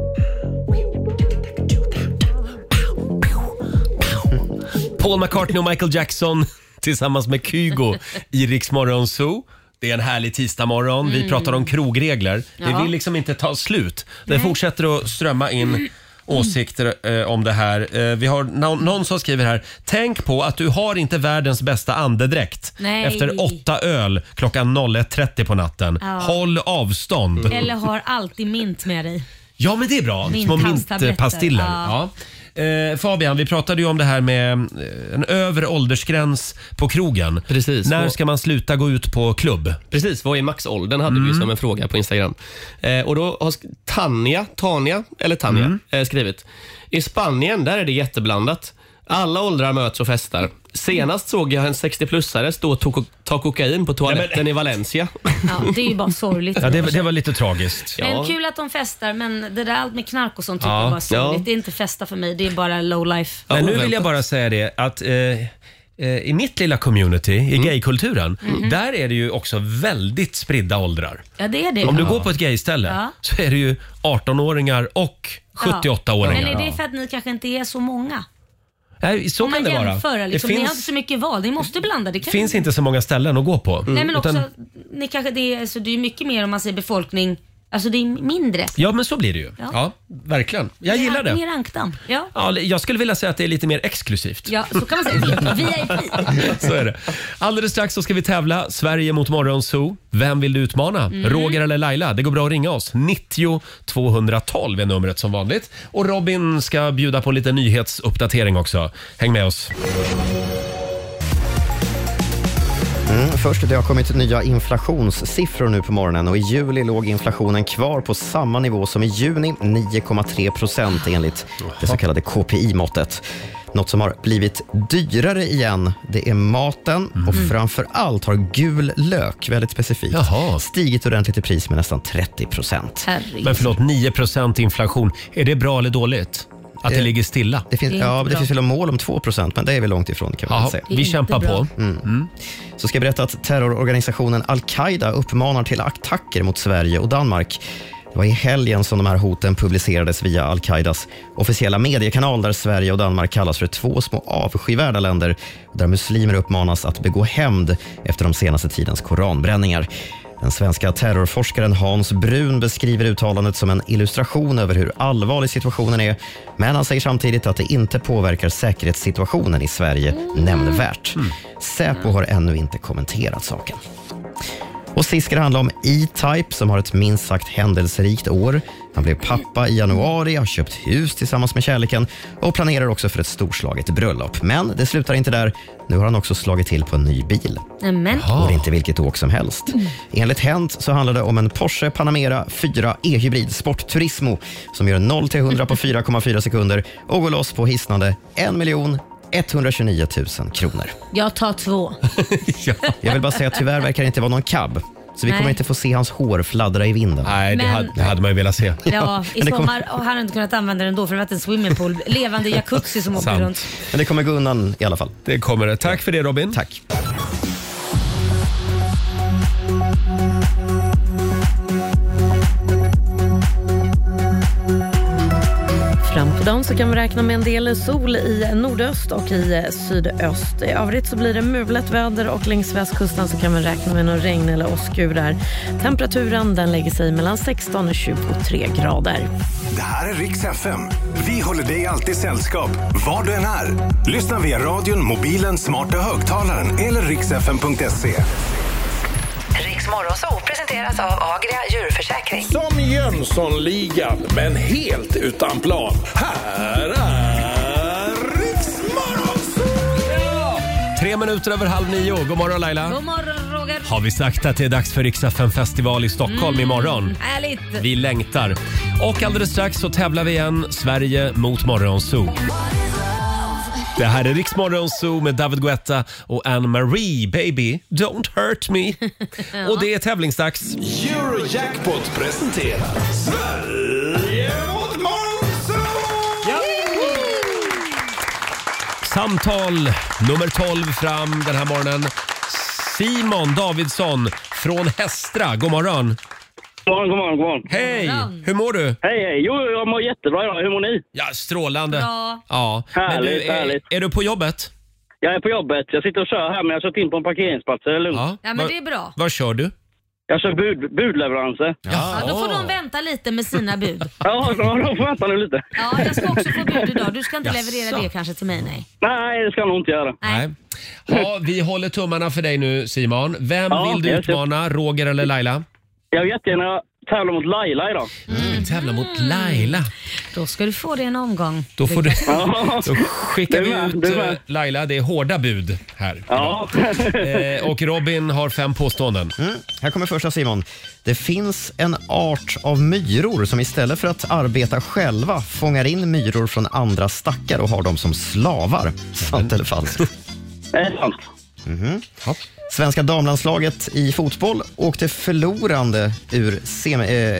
Speaker 1: Paul McCartney och Michael Jackson (laughs) tillsammans med Kygo i Rix Morgon Zoo. Det är en härlig tisdagmorgon. Vi
Speaker 8: Mm.
Speaker 1: pratar om krogregler. Det
Speaker 8: Ja.
Speaker 1: vill liksom inte ta slut. Det
Speaker 8: Nej.
Speaker 1: fortsätter att strömma in åsikter eh, om det här. Eh, vi har nå- någon som skriver här. Tänk på att du har inte världens bästa andedräkt
Speaker 2: Nej.
Speaker 1: efter åtta öl klockan 01.30 på natten.
Speaker 2: Ja.
Speaker 1: Håll avstånd.
Speaker 2: Eller har alltid mint med dig.
Speaker 1: Ja, men det är bra.
Speaker 2: Mint-
Speaker 1: Små
Speaker 2: halstabletter.
Speaker 1: mintpastiller. Ja.
Speaker 2: Ja.
Speaker 1: Eh, Fabian, vi pratade ju om det här med eh, en övre åldersgräns på krogen.
Speaker 8: Precis.
Speaker 1: När ska man sluta gå ut på klubb?
Speaker 8: (laughs) Precis, vad är maxåldern hade vi ju som en fråga på Instagram. Eh, och då har sk- Tanja, Tanja eller Tanja eh, skrivit. I Spanien, där är det jätteblandat. Alla åldrar möts och festar. Senast såg jag en 60-plussare stå och to- ta kokain på toaletten i (laughs) Valencia.
Speaker 2: Ja, det är ju bara sorgligt.
Speaker 1: var lite tragiskt.
Speaker 2: Men kul att de festar, men det där allt med knark och sånt tycker
Speaker 1: Ja.
Speaker 2: jag bara är sorgligt.
Speaker 1: Ja.
Speaker 2: Det är inte festa för mig, det är bara low life.
Speaker 1: Men nu vill jag bara säga det att eh, eh, i mitt lilla community, i gaykulturen,
Speaker 2: Mhm.
Speaker 1: där är det ju också väldigt spridda åldrar.
Speaker 2: Ja, det är det.
Speaker 1: Om du går på ett gayställe
Speaker 2: Ja.
Speaker 1: så är det ju 18-åringar och
Speaker 2: Ja.
Speaker 1: 78-åringar.
Speaker 2: Men är det för att ni kanske inte är så många?
Speaker 1: Nej, så
Speaker 2: Om
Speaker 1: kan
Speaker 2: man
Speaker 1: det vara.
Speaker 2: jämför, liksom,
Speaker 1: det
Speaker 2: Ni har inte
Speaker 1: finns,
Speaker 2: så mycket val, ni måste blanda. Det kan
Speaker 1: finns inte så många ställen att gå på.
Speaker 2: Nej men också,
Speaker 1: Utan-
Speaker 2: ni kanske, det, är, så det är mycket mer om man säger befolkning, alltså det är mindre.
Speaker 1: Ja, men så blir det ju. Ja,
Speaker 2: Ja.
Speaker 1: verkligen. Jag gillar
Speaker 2: Mer
Speaker 1: det.
Speaker 2: ankdamm. Ja.
Speaker 1: Ja, jag skulle vilja säga att det är lite mer exklusivt.
Speaker 2: ja, så kan man säga. VIP.
Speaker 1: Så är det. Alldeles strax så ska vi tävla. Sverige mot Morgonzoo. Vem vill du utmana?
Speaker 8: Mm.
Speaker 1: Roger eller Laila? Det går bra att ringa oss. 90 212 är numret som vanligt. Och Robin ska bjuda på lite nyhetsuppdatering också. Häng med oss.
Speaker 3: Mm, först, det har kommit nya inflationssiffror nu på morgonen och i juli låg inflationen kvar på samma nivå som i juni, 9,3 procent enligt det så kallade KPI-måttet. Något som har blivit dyrare igen, det är maten och framför allt har gul lök, väldigt specifikt, stigit ordentligt i pris med nästan 30 procent.
Speaker 2: Herregud.
Speaker 1: Men förlåt, 9 inflation. Är det bra eller dåligt? Att det
Speaker 3: Eh,
Speaker 1: ligger stilla?
Speaker 3: Det finns, ja, det finns väl mål om 2 men det är vi långt ifrån. kan man
Speaker 1: Jaha,
Speaker 3: säga.
Speaker 1: vi Det är inte kämpar bra. på.
Speaker 3: Mm. Så ska jag berätta att terrororganisationen al-Qaida uppmanar till attacker mot Sverige och Danmark. Det var i helgen som de här hoten publicerades via al-Qaidas officiella mediekanal där Sverige och Danmark kallas för två små avskyvärda länder där muslimer uppmanas att begå hämnd efter de senaste tidens koranbränningar. Den svenska terrorforskaren Hans Brun beskriver uttalandet som en illustration över hur allvarlig situationen är, men han säger samtidigt att det inte påverkar säkerhetssituationen i Sverige nämnvärt. Säpo har ännu inte kommenterat saken. Och sist ska det handla om E-Type som har ett minst sagt händelserikt år. Han blev pappa i januari, har köpt hus tillsammans med kärleken och planerar också för ett storslaget bröllop. Men det slutar inte där. Nu har han också slagit till på en ny bil.
Speaker 2: Nämen.
Speaker 3: Och det är inte vilket åk som helst. Enligt Hent så handlar det om en Porsche Panamera 4 e-hybrid Sport Turismo som gör 0 till 100 på 4,4 sekunder och går loss på hisnande 1 129 000 kronor.
Speaker 2: Jag tar två.
Speaker 3: Jag vill bara säga att tyvärr verkar det inte vara någon cab. Så vi
Speaker 2: Nej.
Speaker 3: kommer inte få se hans hår fladdra i vinden.
Speaker 1: Nej,
Speaker 2: det Men- hade- det
Speaker 1: man ju velat se.
Speaker 2: Ja, i sommar och han har inte kunnat använda den då för det har varit en swimmingpool. Levande jacuzzi som åker runt.
Speaker 3: Men det kommer gå undan i alla fall.
Speaker 1: Det kommer det. Tack för det Robin.
Speaker 3: Tack.
Speaker 11: Fram på dagen så kan vi räkna med en del sol i nordöst och i eh, sydöst. I övrigt så blir det mulet väder och längs västkusten så kan vi räkna med någon regn eller åskur där. Temperaturen den lägger sig mellan 16 och 23 grader.
Speaker 10: Det här är Rix FM. Vi håller dig alltid sällskap, var du än är. Lyssna via radion, mobilen, smarta högtalaren eller rixfm.se.
Speaker 12: Riksmorgonzoo presenteras av Agria djurförsäkring.
Speaker 10: Som Jönssonligan, men helt utan plan. Här är
Speaker 1: Tre minuter över halv nio. God morgon Laila.
Speaker 2: God morgon Roger.
Speaker 1: Har vi sagt att det är dags för Rix FM festival i Stockholm imorgon?
Speaker 2: Härligt.
Speaker 1: Vi längtar. Och alldeles strax så tävlar vi igen Sverige mot Morgonzoo. Det här är Rix Morgonzoo med David Guetta och Anne-Marie. Baby, don't hurt me. Och det är tävlingsdags.
Speaker 10: Eurojackpot presenterar Sverige mot
Speaker 1: Samtal nummer 12 fram den här morgonen. Simon Davidsson från Hästra. God morgon!
Speaker 13: God morgon, god morgon, god morgon.
Speaker 1: Hej!
Speaker 13: God morgon.
Speaker 1: Hur mår du?
Speaker 13: Hej, hej. Jo, jag mår jättebra idag. Hur mår ni?
Speaker 1: Ja, strålande.
Speaker 13: Bra.
Speaker 1: Ja. Men
Speaker 13: Härligt,
Speaker 1: du, är,
Speaker 13: härligt.
Speaker 1: Är du på jobbet?
Speaker 13: Jag är på jobbet. Jag sitter och kör här, men jag har kört in på en parkeringsplats. så Det är lugnt.
Speaker 1: Ja,
Speaker 2: Ja men det är bra.
Speaker 1: Vad kör du?
Speaker 13: Jag kör bud, budleveranser.
Speaker 2: Ja, då får de vänta lite med sina bud.
Speaker 13: Ja, de de får vänta nu lite.
Speaker 2: Ja, jag ska också få bud idag. Du ska inte
Speaker 1: Jaså.
Speaker 2: leverera det kanske till mig nej.
Speaker 13: Nej, det ska jag nog inte göra.
Speaker 1: Nej. Ja, vi håller tummarna för dig nu Simon. Vem
Speaker 13: Ja,
Speaker 1: vill du
Speaker 13: jag ser-
Speaker 1: utmana? Roger eller Laila?
Speaker 13: Jag vill jättegärna tävla mot Laila idag.
Speaker 1: Mm. Tävla mot Laila.
Speaker 2: Då ska du få det en omgång.
Speaker 1: Då, får du,
Speaker 13: Mm.
Speaker 2: Ja.
Speaker 1: då skickar
Speaker 13: Du
Speaker 1: vi
Speaker 13: med,
Speaker 1: ut
Speaker 13: du med.
Speaker 1: eh, Laila. Det är hårda bud här.
Speaker 13: Ja. (laughs)
Speaker 1: Eh, och Robin har fem påståenden.
Speaker 3: Här kommer första Simon. Det finns en art av myror som istället för att arbeta själva fångar in myror från andra stackar och har dem som slavar. Sant eller falskt?
Speaker 13: Det är sant.
Speaker 3: Mhm. Svenska damlandslaget i fotboll åkte förlorande, ur semi,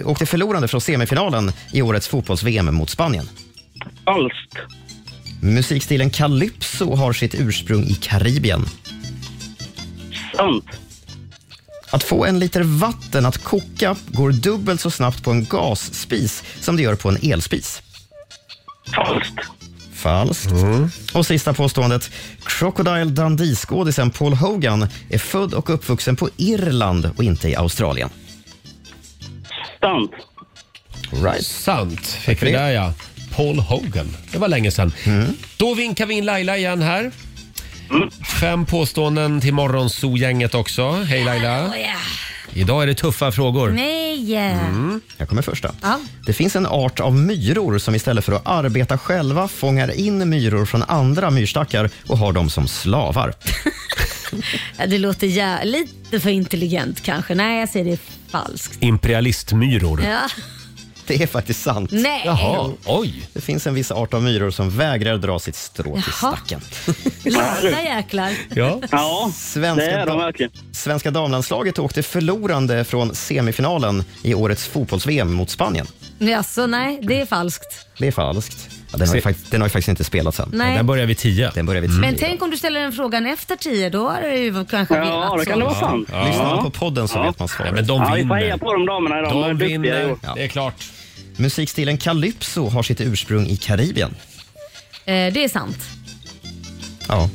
Speaker 3: eh, åkte förlorande från semifinalen i årets fotbolls-VM mot Spanien.
Speaker 13: Falskt.
Speaker 3: Musikstilen calypso har sitt ursprung i Karibien.
Speaker 13: Sant.
Speaker 3: Att få en liter vatten att koka går dubbelt så snabbt på en gasspis som det gör på en elspis.
Speaker 13: Falskt.
Speaker 3: Falskt.
Speaker 13: Mm.
Speaker 3: Och sista påståendet. Crocodile Dundee-skådisen Paul Hogan är född och uppvuxen på Irland och inte i Australien.
Speaker 13: Sant.
Speaker 3: Right.
Speaker 1: Sant fick vi där ja. Paul Hogan. Det var länge sedan. Då vinkar vi in Laila igen här. Fem påståenden till Morgonzoo-gänget också. Hej Laila.
Speaker 2: Oh, yeah.
Speaker 1: Idag är det tuffa frågor.
Speaker 2: Nej!
Speaker 3: Mm. Jag kommer första.
Speaker 2: Ja.
Speaker 3: Det finns en art av myror som istället för att arbeta själva fångar in myror från andra myrstackar och har dem som slavar. (laughs)
Speaker 2: Ja, Det låter ja, lite för intelligent kanske. Nej, jag säger det är falskt.
Speaker 1: Imperialistmyror.
Speaker 2: Ja.
Speaker 3: Det är faktiskt sant.
Speaker 2: Nej. Jaha,
Speaker 1: oj.
Speaker 3: Det finns en viss art av myror som vägrar dra sitt strå till
Speaker 2: Jaha.
Speaker 3: stacken.
Speaker 2: Lata jäklar.
Speaker 1: Ja.
Speaker 13: Ja,
Speaker 3: Svenska
Speaker 13: det är de
Speaker 3: dam-
Speaker 13: verkligen.
Speaker 3: Svenska damlandslaget åkte förlorande från semifinalen i årets fotbolls-VM mot Spanien.
Speaker 2: Jaså, nej, det är falskt.
Speaker 3: Det är falskt. Den har, ju faktiskt, den har ju faktiskt inte spelats än.
Speaker 2: Nej. Den
Speaker 1: börjar vid tio.
Speaker 3: Den börjar vid tio.
Speaker 2: Men tänk om du ställer den frågan efter tio, då har det ju kanske virrat så.
Speaker 3: Ja. Lyssnar man på podden så
Speaker 1: Ja.
Speaker 3: vet man svaret.
Speaker 1: Nej, men de Ja, vi får vinner. heja på
Speaker 13: de damerna idag. De är duktiga i år.
Speaker 1: Det är klart.
Speaker 3: Musikstilen calypso har sitt ursprung i Karibien.
Speaker 2: Eh, det är sant.
Speaker 3: Ja.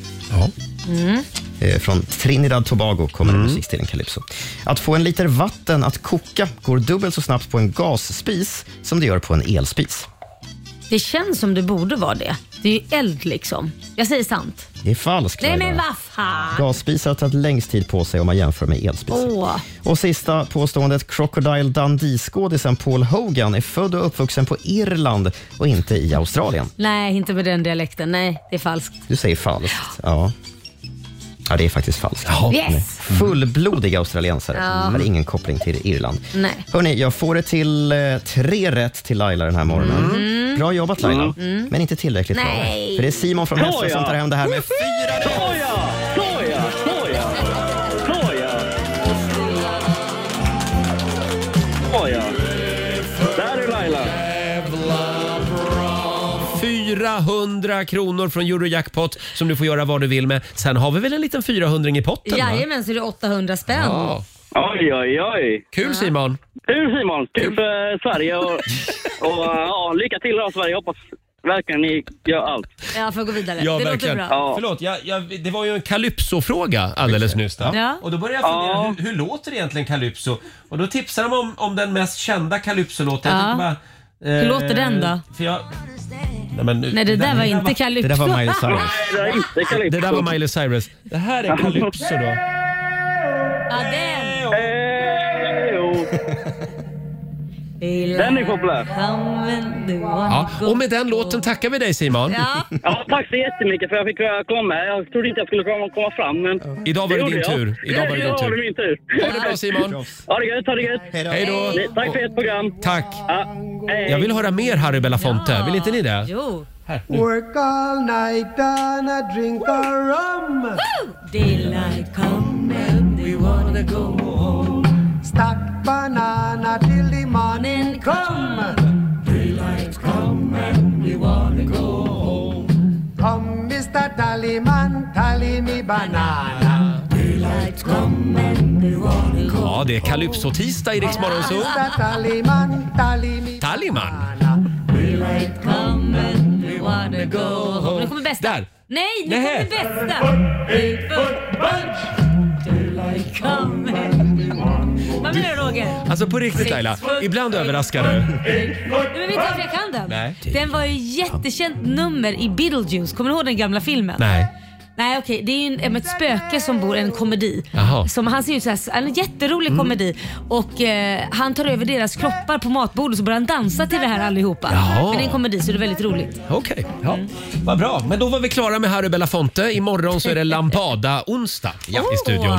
Speaker 2: Mm.
Speaker 3: Eh, Från Trinidad Tobago kommer
Speaker 1: Mm.
Speaker 3: musikstilen calypso. Att få en liter vatten att koka går dubbelt så snabbt på en gasspis som det gör på en elspis.
Speaker 2: Det känns som det borde vara det. Det är ju eld liksom. Jag säger sant.
Speaker 3: Det är falskt.
Speaker 2: Nej
Speaker 3: Laila.
Speaker 2: men vad fan!
Speaker 3: Gasspisar har tagit längst tid på sig om man jämför med elspisar.
Speaker 2: Åh.
Speaker 3: Och sista påståendet, Crocodile Dundee-skådisen Paul Hogan är född och uppvuxen på Irland och inte i Australien.
Speaker 2: Nej, inte med den dialekten. Nej, det är falskt.
Speaker 3: Du säger falskt. Ja. Ja, det är faktiskt falskt.
Speaker 2: Yes.
Speaker 3: Fullblodiga australiensare.
Speaker 2: Ja.
Speaker 3: Har ingen koppling till Irland.
Speaker 2: Nej.
Speaker 3: Hörni, jag får det till eh, tre rätt till Laila den här morgonen. Bra jobbat Laila,
Speaker 2: Mm.
Speaker 3: men inte tillräckligt
Speaker 2: Nej.
Speaker 3: bra. För det är Simon från Hässle som tar hem det här med fyra rätt.
Speaker 5: Såja! Såja! Såja!
Speaker 13: Såja! Där är Laila.
Speaker 1: 400 kronor från Eurojackpot som du får göra vad du vill med. Sen har vi väl en liten 400 i potten? va?
Speaker 2: Jajamän, så är det 800 spänn.
Speaker 1: Ja.
Speaker 13: Oj, oj, oj.
Speaker 1: Kul Simon.
Speaker 13: Kul Simon. Kul för Sverige och, och ja, lycka till då Sverige. Hoppas verkligen ni gör allt.
Speaker 2: Jag får gå vidare.
Speaker 1: Ja,
Speaker 2: det
Speaker 1: verkligen.
Speaker 2: låter bra.
Speaker 1: Ja. Förlåt, jag, jag, det var ju en calypso-fråga alldeles nyss. Då.
Speaker 2: Ja.
Speaker 1: Och då började jag fundera, hur, hur låter egentligen calypso? Och då tipsade de om, om den mest kända calypso-låten. Jag
Speaker 2: Ja.
Speaker 1: tänkte bara, eh,
Speaker 2: Hur låter den då?
Speaker 1: För jag, nej, men, nu-
Speaker 2: Nej, det där var inte
Speaker 1: Det
Speaker 2: calypso.
Speaker 1: där
Speaker 2: (laughs)
Speaker 1: var Miley Cyrus.
Speaker 2: Nej, det är inte
Speaker 1: Det
Speaker 2: calypso.
Speaker 1: där var Miley Cyrus. Det här är calypso då.
Speaker 2: Ja, den.
Speaker 1: Den är populär. Ja, och med den låten tackar vi dig Simon.
Speaker 13: Ja, tack så jättemycket för att jag fick eh, komma. Jag trodde inte jag skulle komma- komma fram, men...
Speaker 1: Idag var det
Speaker 13: gjorde
Speaker 1: din
Speaker 13: jag.
Speaker 1: tur. Idag var det din
Speaker 13: Idag var
Speaker 1: tur.
Speaker 13: det min tur.
Speaker 1: Ha det bra, Simon.
Speaker 13: Ha det gött, ha det gött.
Speaker 1: Hej då.
Speaker 13: Nej, Tack för ert program.
Speaker 1: Tack.
Speaker 13: Ja, hej.
Speaker 1: Jag vill höra mer Harry Belafonte, vill inte ni det?
Speaker 2: Jo.
Speaker 1: Här, nu.
Speaker 5: (laughs) Work all night and I drink a rum. Daylight come and we wanna go home. Stack banana till the morning come. Daylight come and we wanna go home. Come, Mr. Tallyman, tally me banana. Daylight come and we wanna go
Speaker 1: Ja, det är Calypso-tisdag i Rix Morgon Zoo.
Speaker 5: Mr. Tallyman, tally me
Speaker 1: Tallyman!
Speaker 5: Daylight come and we wanna go
Speaker 2: Nu kommer bästa.
Speaker 1: Där!
Speaker 2: Nej, nu
Speaker 1: Nähä.
Speaker 2: kommer bästa. Vad menar du Roger?
Speaker 1: Alltså på riktigt Laila, ibland överraskar du.
Speaker 2: Nej, Men vet du varför jag kan den?
Speaker 1: Nej.
Speaker 2: Den var ju jättekänt nummer i Beetlejuice. Kommer du ihåg den gamla filmen?
Speaker 1: Nej.
Speaker 2: Nej okej, det är ju en, ett spöke som bor en komedi.
Speaker 1: Jaha. Mm.
Speaker 2: Som, han ser ut så här, en jätterolig komedi och eh, han tar över deras kroppar på matbordet så börjar han dansa till det här allihopa.
Speaker 1: Jaha.
Speaker 2: Men det är en komedi så det är väldigt roligt.
Speaker 1: Okej, ja. vad bra. Men då var vi klara med Harry Belafonte. Imorgon så är det Lampada-onsdag i studion.